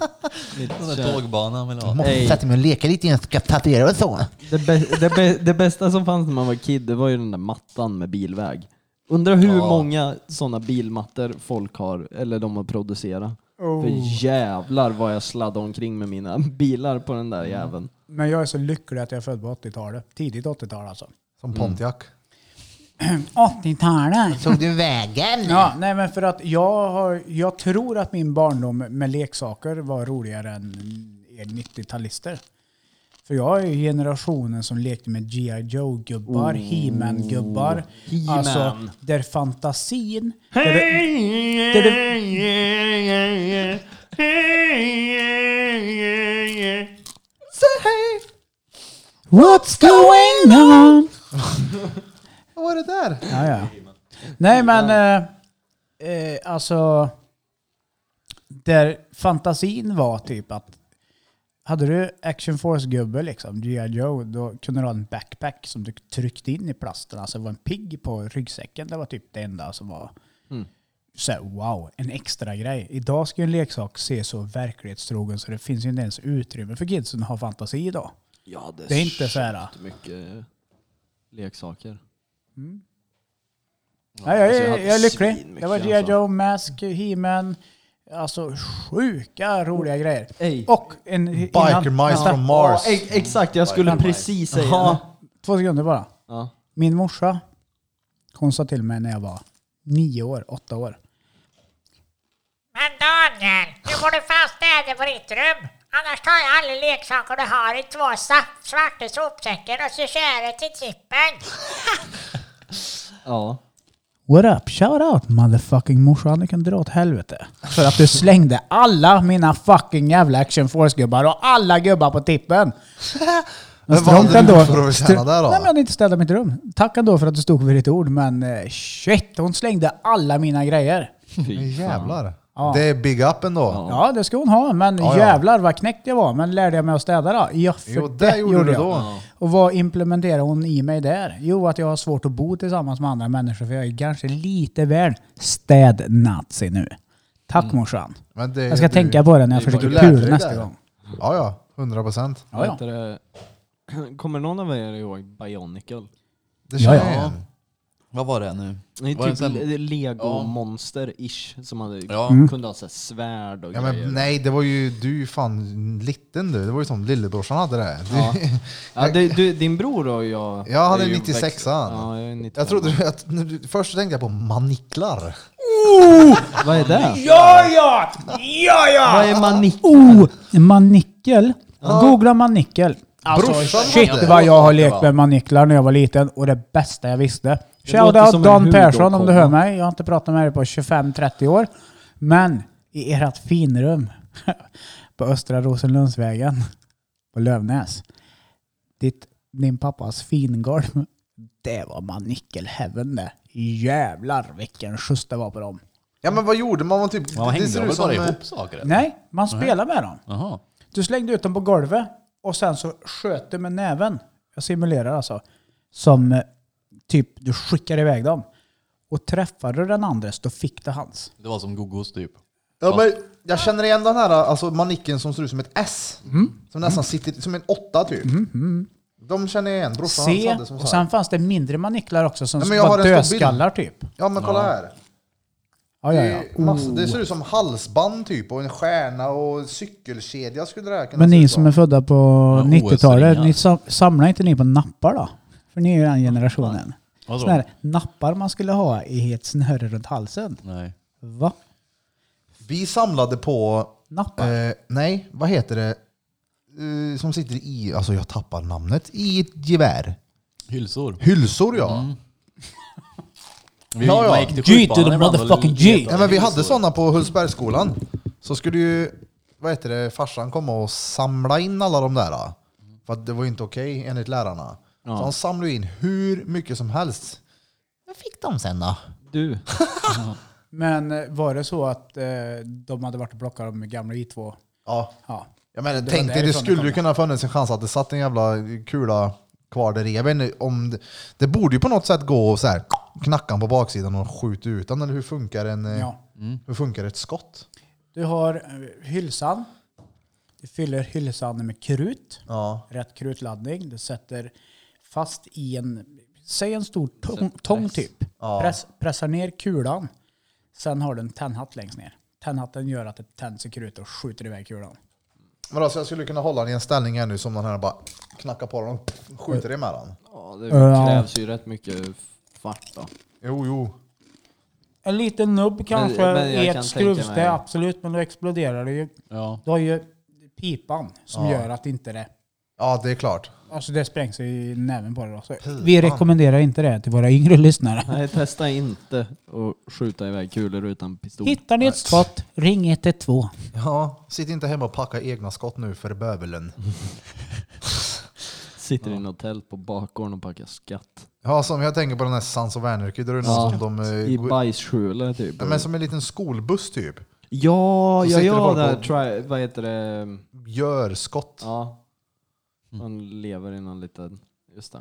Speaker 6: Mitt
Speaker 2: Den där
Speaker 6: kär-
Speaker 2: tågbanan vill ha.
Speaker 6: Ey,
Speaker 5: Satte mig och lekte lite innan jag ska tatuera och så.
Speaker 6: det, bä- det, bä- det bästa som fanns när man var kid det var ju den där mattan med bilväg. Undrar hur
Speaker 2: Ja.
Speaker 6: många sådana bilmattor folk har, eller de har producerat. För jävlar vad jag sladdade omkring med mina bilar på den där jäveln.
Speaker 3: Men jag är så lycklig att jag är född på 80-talet. Tidigt 80-tal alltså.
Speaker 1: Som Pontiac.
Speaker 3: 80-talet?
Speaker 5: Såg du vägen?
Speaker 3: Ja, nej men för att jag, har, jag tror att min barndom med leksaker var roligare än er 90-talister. För jag är ju generationen som lekte med G.I.
Speaker 5: Oh.
Speaker 3: Joe-gubbar, He-Man-gubbar.
Speaker 6: He-Man.
Speaker 3: Alltså, där fantasin... Där det, där det, What's going on?
Speaker 1: Vad var det där?
Speaker 3: Ja, ja. Nej men, eh, eh, alltså... Där fantasin var typ att hade du Action Force-gubbe, liksom, G.I. Joe, då kunde du ha en backpack som du tryckte in i plasten. Alltså det var en pigg på ryggsäcken. Det var typ det enda som var så här, wow, en extra grej. Idag ska ju en leksak se så verklighetstrogen så det finns ju inte ens utrymme för kidsen att ha fantasi idag.
Speaker 6: Ja,
Speaker 3: Det är inte så här,
Speaker 6: mycket eh, leksaker.
Speaker 3: Nej, jag,
Speaker 6: alltså, jag
Speaker 3: är,
Speaker 6: hade
Speaker 3: jag är lycklig.
Speaker 6: svinmycket,
Speaker 3: Det var G.I.
Speaker 6: alltså.
Speaker 3: Joe, Mask, He-Man. Alltså sjuka roliga grejer.
Speaker 6: Ey.
Speaker 3: Och en...
Speaker 1: Biker
Speaker 3: innan-
Speaker 1: Mice
Speaker 3: vänta,
Speaker 1: från Mars.
Speaker 6: Ja, ex- exakt, jag skulle precis säga
Speaker 3: Ja, två sekunder bara.
Speaker 6: Ja.
Speaker 3: Min morsa, hon sa till mig när jag var nio år, åtta år.
Speaker 9: Men Daniel, nu får du fan städa på ditt rum. Annars tar jag alla leksaker du har i två sa- svarta sopsäckar och så kör jag till tippen.
Speaker 6: Ja.
Speaker 3: What up? Shout out motherfucking morsan, du kan dra åt helvete. För att du slängde alla mina fucking jävla action force-gubbar och alla gubbar på tippen. Men
Speaker 1: vad hade
Speaker 3: strunt
Speaker 1: du
Speaker 3: ändå.
Speaker 1: gjort för att tjäna
Speaker 3: Stru-
Speaker 1: där då?
Speaker 3: Nej, men jag hade inte städat mitt rum. Tack ändå för att du stod vid ditt ord, men eh, shit, hon slängde alla mina grejer.
Speaker 1: Men
Speaker 6: Fy fan.
Speaker 1: Jävlar.
Speaker 3: Ja.
Speaker 1: Det är big up ändå.
Speaker 3: Ja, det ska hon ha, men
Speaker 1: Ja, ja.
Speaker 3: jävlar vad knäckt jag var. Men lärde jag mig att städa då? Ja, för
Speaker 1: Jo, det gjorde du
Speaker 3: jag.
Speaker 1: då.
Speaker 3: Och vad implementerar hon i mig där? Jo, att jag har svårt att bo tillsammans med andra människor för jag är kanske lite väl städnazi nu. Tack
Speaker 1: Mm.
Speaker 3: morsan.
Speaker 1: Men det,
Speaker 3: Jag ska
Speaker 1: du,
Speaker 3: tänka på det när jag
Speaker 6: det är bara-
Speaker 3: försöker
Speaker 1: du lärde dig
Speaker 3: pula nästa
Speaker 1: det.
Speaker 3: gång.
Speaker 1: Ja, ja. 100 procent.
Speaker 3: Ja, ja.
Speaker 6: Vad heter det? Kommer någon av er ihåg Bionicle?
Speaker 1: Det känner
Speaker 3: Ja, ja.
Speaker 1: jag igen.
Speaker 2: Vad var det nu?
Speaker 6: Det är
Speaker 2: Var det
Speaker 6: typ
Speaker 2: sen-
Speaker 6: le-
Speaker 2: Ja.
Speaker 6: lego-monster-ish som hade,
Speaker 2: Ja.
Speaker 3: Mm.
Speaker 6: kunde ha så här svärd och
Speaker 1: Ja,
Speaker 6: grejer.
Speaker 1: men, nej, det var ju du fan liten du. Det var ju som lillebrorsan hade det. Du,
Speaker 6: Ja. Ja, du, du, din bror och jag...
Speaker 1: Jag hade
Speaker 6: är ju
Speaker 1: 96an.
Speaker 6: växt- Ja, jag är 95.
Speaker 1: Jag trodde du- att, när du- först tänkte jag på maniklar.
Speaker 6: Vad är det?
Speaker 9: Ja, ja! Ja, ja!
Speaker 6: Vad är manik?
Speaker 3: Oh, manickel. Googla manickel. Alltså
Speaker 1: Brorsan hade.
Speaker 3: shit vad jag har lekt med maniclar när jag var liten och det bästa jag visste.
Speaker 6: låter som
Speaker 3: Shoutout
Speaker 6: en
Speaker 3: Dan
Speaker 6: hudåkomma.
Speaker 3: Persson om du hör mig. Jag har inte pratat med dig på 25-30 år. Men i ert finrum på Östra Rosenlundsvägen på Lövnäs. Ditt, din pappas fingolv. Det var manickel heaven det. Jävlar vilken skjuts det var på dem.
Speaker 1: Ja men vad gjorde man? man typ,
Speaker 2: Man hängde de väl bara
Speaker 1: eh,
Speaker 2: ihop saker? eller?
Speaker 3: Nej, man spelar med dem.
Speaker 2: Jaha.
Speaker 3: Du slängde ut dem på golvet och sen så sköt du med näven. Jag simulerar alltså. Som eh, typ du skickar iväg dem. Och träffade du den andres då fick du hans.
Speaker 2: Det var som Gogos typ.
Speaker 1: Ja, men jag känner igen den här alltså, manicken som ser ut som ett S.
Speaker 3: Mm.
Speaker 1: Som nästan sitter som en åtta typ. De känner jag igen. Brorsan hans
Speaker 3: Se,
Speaker 1: hade som
Speaker 3: och
Speaker 1: så här.
Speaker 3: sen fanns det mindre maniklar också som
Speaker 1: Ja, men jag
Speaker 3: var
Speaker 1: har en stor bild.
Speaker 3: dödskallar typ.
Speaker 1: Ja men kolla här.
Speaker 3: Ja,
Speaker 1: Det,
Speaker 3: ja, Oh.
Speaker 1: är
Speaker 3: ja.
Speaker 1: massa, det ser ut som halsband typ och en stjärna och cykelkedja skulle det här kunna
Speaker 3: Men
Speaker 1: se
Speaker 3: ni
Speaker 1: ut
Speaker 3: som är födda på
Speaker 2: Ja,
Speaker 3: 90-talet,
Speaker 2: OS-ringar.
Speaker 3: ni sam- samlar inte ni på nappar då? För ni är ju den generationen.
Speaker 2: Vadå?
Speaker 3: Såna här nappar man skulle ha i ett snöre runt halsen.
Speaker 2: Nej.
Speaker 3: Va?
Speaker 1: Vi samlade på,
Speaker 3: Nappar?
Speaker 1: eh, nej vad heter det, Eh, som sitter i, alltså jag tappar namnet, i ett gevär.
Speaker 2: Hylsor.
Speaker 1: Hylsor ja.
Speaker 3: Mm.
Speaker 2: Vi,
Speaker 1: Ja, ja.
Speaker 2: Man gick till
Speaker 3: G to the
Speaker 2: skjutbanan ibland och
Speaker 3: motherfucking
Speaker 2: letade
Speaker 3: G.
Speaker 1: Ja, men vi
Speaker 2: hylsor.
Speaker 1: hade sådana på Hultsbergsskolan. Så skulle ju vad heter det, farsan komma och samla in alla de där. då. För att det var ju inte okej enligt lärarna. Så han samlade ju in hur mycket som helst. Vad fick de sen då?
Speaker 6: Du.
Speaker 3: Men eh, var det så att eh, de hade varit och plockat de gamla I2?
Speaker 1: Ja,
Speaker 3: Ja.
Speaker 1: jag menar,
Speaker 3: var
Speaker 1: tänk dig, det
Speaker 3: därifrån det
Speaker 1: skulle
Speaker 3: kom,
Speaker 1: ju
Speaker 3: ja.
Speaker 1: kunna funnits en chans att det satt en jävla kula kvar där i. Jag vet inte om det, det borde ju på något sätt gå och så här, knacka på baksidan och skjuta ut den. Eller hur funkar, en, eh,
Speaker 3: ja.
Speaker 1: hur funkar ett skott?
Speaker 3: Du har eh, hylsan. Du fyller hylsan med krut.
Speaker 1: Ja.
Speaker 3: Rätt krutladdning. Du sätter fast i en, säg en stor tång, tång typ. Press, pressar ner kulan. Sen har du en tändhatt längst ner. Tändhatten gör att det tänds i krut och skjuter iväg kulan.
Speaker 1: Men alltså, jag skulle kunna hålla den i en ställning här nu som den här bara knackar på den och skjuter emellan.
Speaker 6: Ja, det
Speaker 3: Ja.
Speaker 6: krävs ju rätt mycket fart då.
Speaker 1: Jo, jo.
Speaker 3: En liten nubb kanske
Speaker 6: men jag
Speaker 3: i
Speaker 6: kan
Speaker 3: ett
Speaker 6: tänka mig-
Speaker 3: skruvstäd, absolut. Men då exploderar det ju.
Speaker 2: Ja.
Speaker 3: Du har ju pipan som gör att inte det
Speaker 1: Ja, det är klart.
Speaker 3: Alltså det sprängs i näven på det då. Så vi rekommenderar inte det till våra yngre lyssnare.
Speaker 6: Nej, testa inte att skjuta iväg kulor utan pistol.
Speaker 3: Hittar ni ett skott, ring 112.
Speaker 1: Ja, sitt inte hemma och packa egna skott nu för bövelen.
Speaker 6: Sitter i något tält på bakgården och packar skatt.
Speaker 1: Ja, som jag tänker på den här Sans och Wernerky, där det är någon som de... eh,
Speaker 6: I
Speaker 1: går-
Speaker 6: bajsskjule typ.
Speaker 1: Ja, men som en liten skolbuss typ.
Speaker 6: Ja,
Speaker 1: Så
Speaker 6: ja,
Speaker 1: sitter det
Speaker 6: ja,
Speaker 1: folk
Speaker 6: där
Speaker 1: och-
Speaker 6: try, vad heter det?
Speaker 1: Gör skott.
Speaker 6: Ja.
Speaker 1: Mm.
Speaker 6: Man lever i någon liten, just det.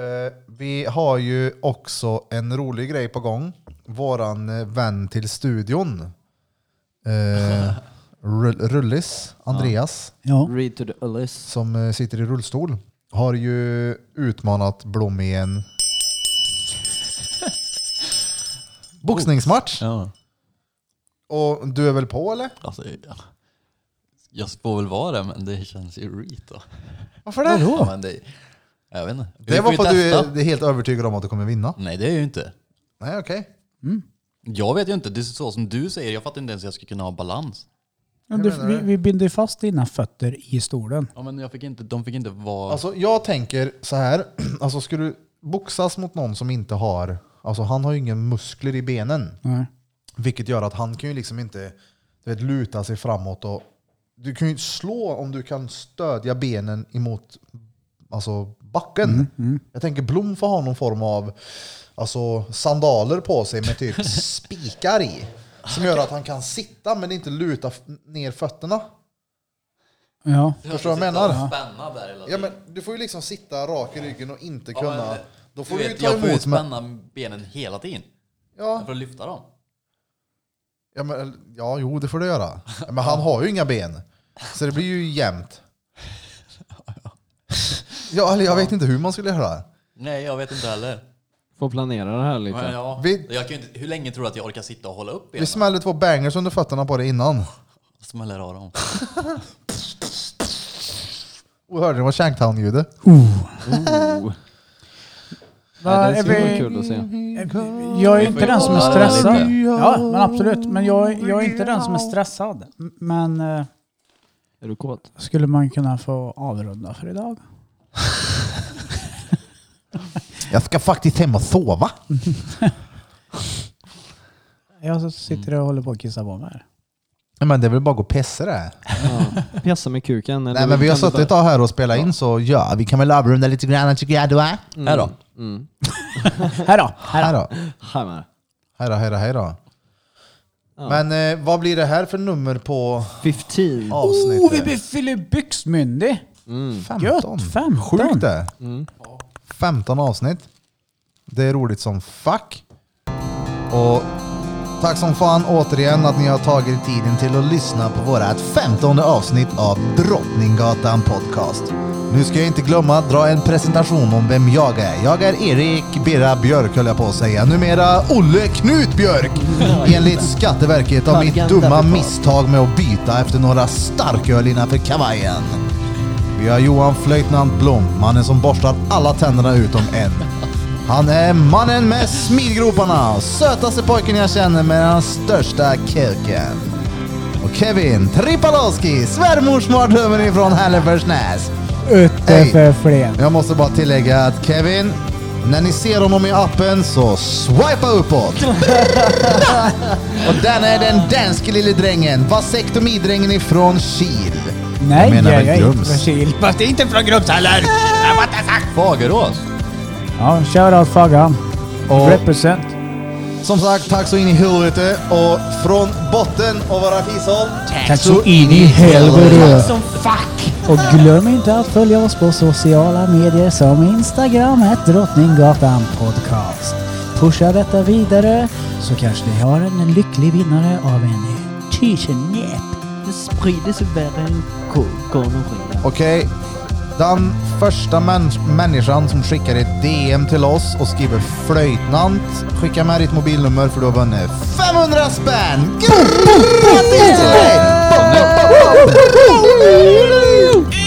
Speaker 1: Eh, vi har ju också en rolig grej på gång. Våran eh, vän till studion, eh, Rull- Rullis, Andreas,
Speaker 3: Ja.
Speaker 6: Read to the Alice.
Speaker 1: som eh, sitter i rullstol. har ju utmanat Blom i en boxningsmatch.
Speaker 2: Ja.
Speaker 1: Och du är väl på eller?
Speaker 2: Alltså, ja. Jag får väl vara det, men det känns ju reet då.
Speaker 1: Varför det?
Speaker 2: Ja, men det jag vet inte. Vi
Speaker 1: Det
Speaker 2: får
Speaker 1: var
Speaker 2: ju
Speaker 1: för att du
Speaker 2: testa.
Speaker 1: är, är helt övertygad om att du kommer vinna.
Speaker 2: Nej, det är ju inte.
Speaker 1: Nej, okej.
Speaker 2: Jag vet ju inte. Det är så som du säger. Jag fattar inte ens hur jag skulle kunna ha balans.
Speaker 3: Men du, vi, vi binder ju fast dina fötter i stolen.
Speaker 2: Ja, men jag fick inte, de fick inte vara...
Speaker 1: Alltså jag tänker så här. Alltså skulle du boxas mot någon som inte har... Alltså han har ju inga muskler i benen.
Speaker 3: Nej.
Speaker 1: Vilket gör att han kan ju liksom inte du vet, luta sig framåt. Och, du kan ju inte slå om du kan stödja benen emot alltså, backen. Jag tänker Blom får ha någon form av alltså, sandaler på sig med typ spikar i. Som gör att han kan sitta men inte luta f- ner fötterna.
Speaker 3: Ja.
Speaker 1: Förstår du vad jag menar?
Speaker 2: Ja. Spänna där hela
Speaker 1: Ja,
Speaker 2: tiden.
Speaker 1: men du får ju liksom sitta rak i ryggen och inte kunna...
Speaker 2: Ja, men,
Speaker 1: då får
Speaker 2: du
Speaker 1: du ju
Speaker 2: vet,
Speaker 1: ta
Speaker 2: jag får ju
Speaker 1: emot med...
Speaker 2: spänna benen hela tiden.
Speaker 1: Ja,
Speaker 2: För att lyfta dem.
Speaker 1: ja, men, ja, jo det får du göra. Ja, Men han har ju inga ben. Så det blir ju jämnt. Ja, eller jag vet inte hur man skulle göra.
Speaker 2: Nej, jag vet inte heller.
Speaker 6: Får planera det här lite.
Speaker 2: Men ja,
Speaker 1: Vi-
Speaker 2: jag kan ju inte, hur länge tror du att jag orkar sitta och hålla upp benen?
Speaker 1: Vi smällde två bangers under fötterna på dig innan.
Speaker 2: Smäller av dem.
Speaker 1: Och hörde ni vad Shanktown-ljudet?
Speaker 6: Oh. Nej, det
Speaker 3: är
Speaker 6: skulle
Speaker 3: vi-
Speaker 6: vara kul att se.
Speaker 3: Jag är inte den som är
Speaker 2: Ja, det är
Speaker 3: stressad.
Speaker 2: lite.
Speaker 3: Ja, men absolut. Men jag, jag är inte den som är stressad. M- Men eh,
Speaker 6: Är du kåt?
Speaker 3: skulle man kunna få avrunda för idag?
Speaker 1: Jag ska faktiskt hem och sova.
Speaker 3: Jag så sitter
Speaker 2: Mm.
Speaker 3: och håller på att kissa på mig här.
Speaker 1: Men det är väl bara att gå och pissa det.
Speaker 6: Ja. Pissa med kuken? eller
Speaker 1: Nej men vi har
Speaker 6: kan du
Speaker 1: suttit ett
Speaker 6: bara-
Speaker 1: tag här och spelat in så ja, vi kan väl avrunda lite grann tycker jag Mm. då. Hej
Speaker 2: Här då?
Speaker 3: Här då! Här då.
Speaker 1: då.
Speaker 6: Här med.
Speaker 1: Hej då, hej då, hej då. Men eh, vad blir det här för nummer på
Speaker 6: 15.
Speaker 1: avsnittet?
Speaker 3: Oh, vi blir filibyggsmyndig!
Speaker 2: Mm.
Speaker 1: 15.
Speaker 3: Gött, 15.
Speaker 1: Sjukt det. 15 avsnitt. Det är roligt som fuck. Och tack som fan återigen att ni har tagit tiden till att lyssna på vårat 15 avsnitt av Drottninggatan Podcast. Nu ska jag inte glömma att dra en presentation om vem jag är. Jag är Erik Birra Björk höll jag på att säga. Numera Olle Knut Björk! Enligt Skatteverket av mitt dumma misstag med att byta efter några starköl innanför kavajen. Vi har Johan Flöjtnant Blom, mannen som borstar alla tänderna utom en. Han är mannen med smilgroparna, sötaste pojken jag känner med den största kuken. Och Kevin Tripalowski, svärmorsmardrömmen ifrån Hälleforsnäs.
Speaker 3: Utte
Speaker 1: Hej.
Speaker 3: för Flen.
Speaker 1: Jag måste bara tillägga att Kevin, när ni ser honom i appen så swipa uppåt. Och den är den danske lille drängen, vasektomidrängen ifrån Kil.
Speaker 3: Nej,
Speaker 1: menar
Speaker 3: jag
Speaker 1: väl
Speaker 3: är inte
Speaker 1: Grums.
Speaker 3: förkyld. Fast det är inte från Grums heller!
Speaker 2: Fagerås?
Speaker 3: Ja, shoutout Faggan.
Speaker 1: Och-
Speaker 3: Represent.
Speaker 1: Som sagt, tack så in i helvete och från botten av våra fishåll.
Speaker 3: Tack så in i helvete. Och glöm inte att följa oss på sociala medier som Instagram, ett Drottninggatan podcast. Pusha detta vidare så kanske ni har en lycklig vinnare av en t-shirt.
Speaker 5: Det sprider sig värre än gonorré.
Speaker 1: Okej, den första mäns- människan som skickar ett DM till oss och skriver flöjtnant, skicka med ditt mobilnummer för du har vunnit 500 spänn! Grattis till dig!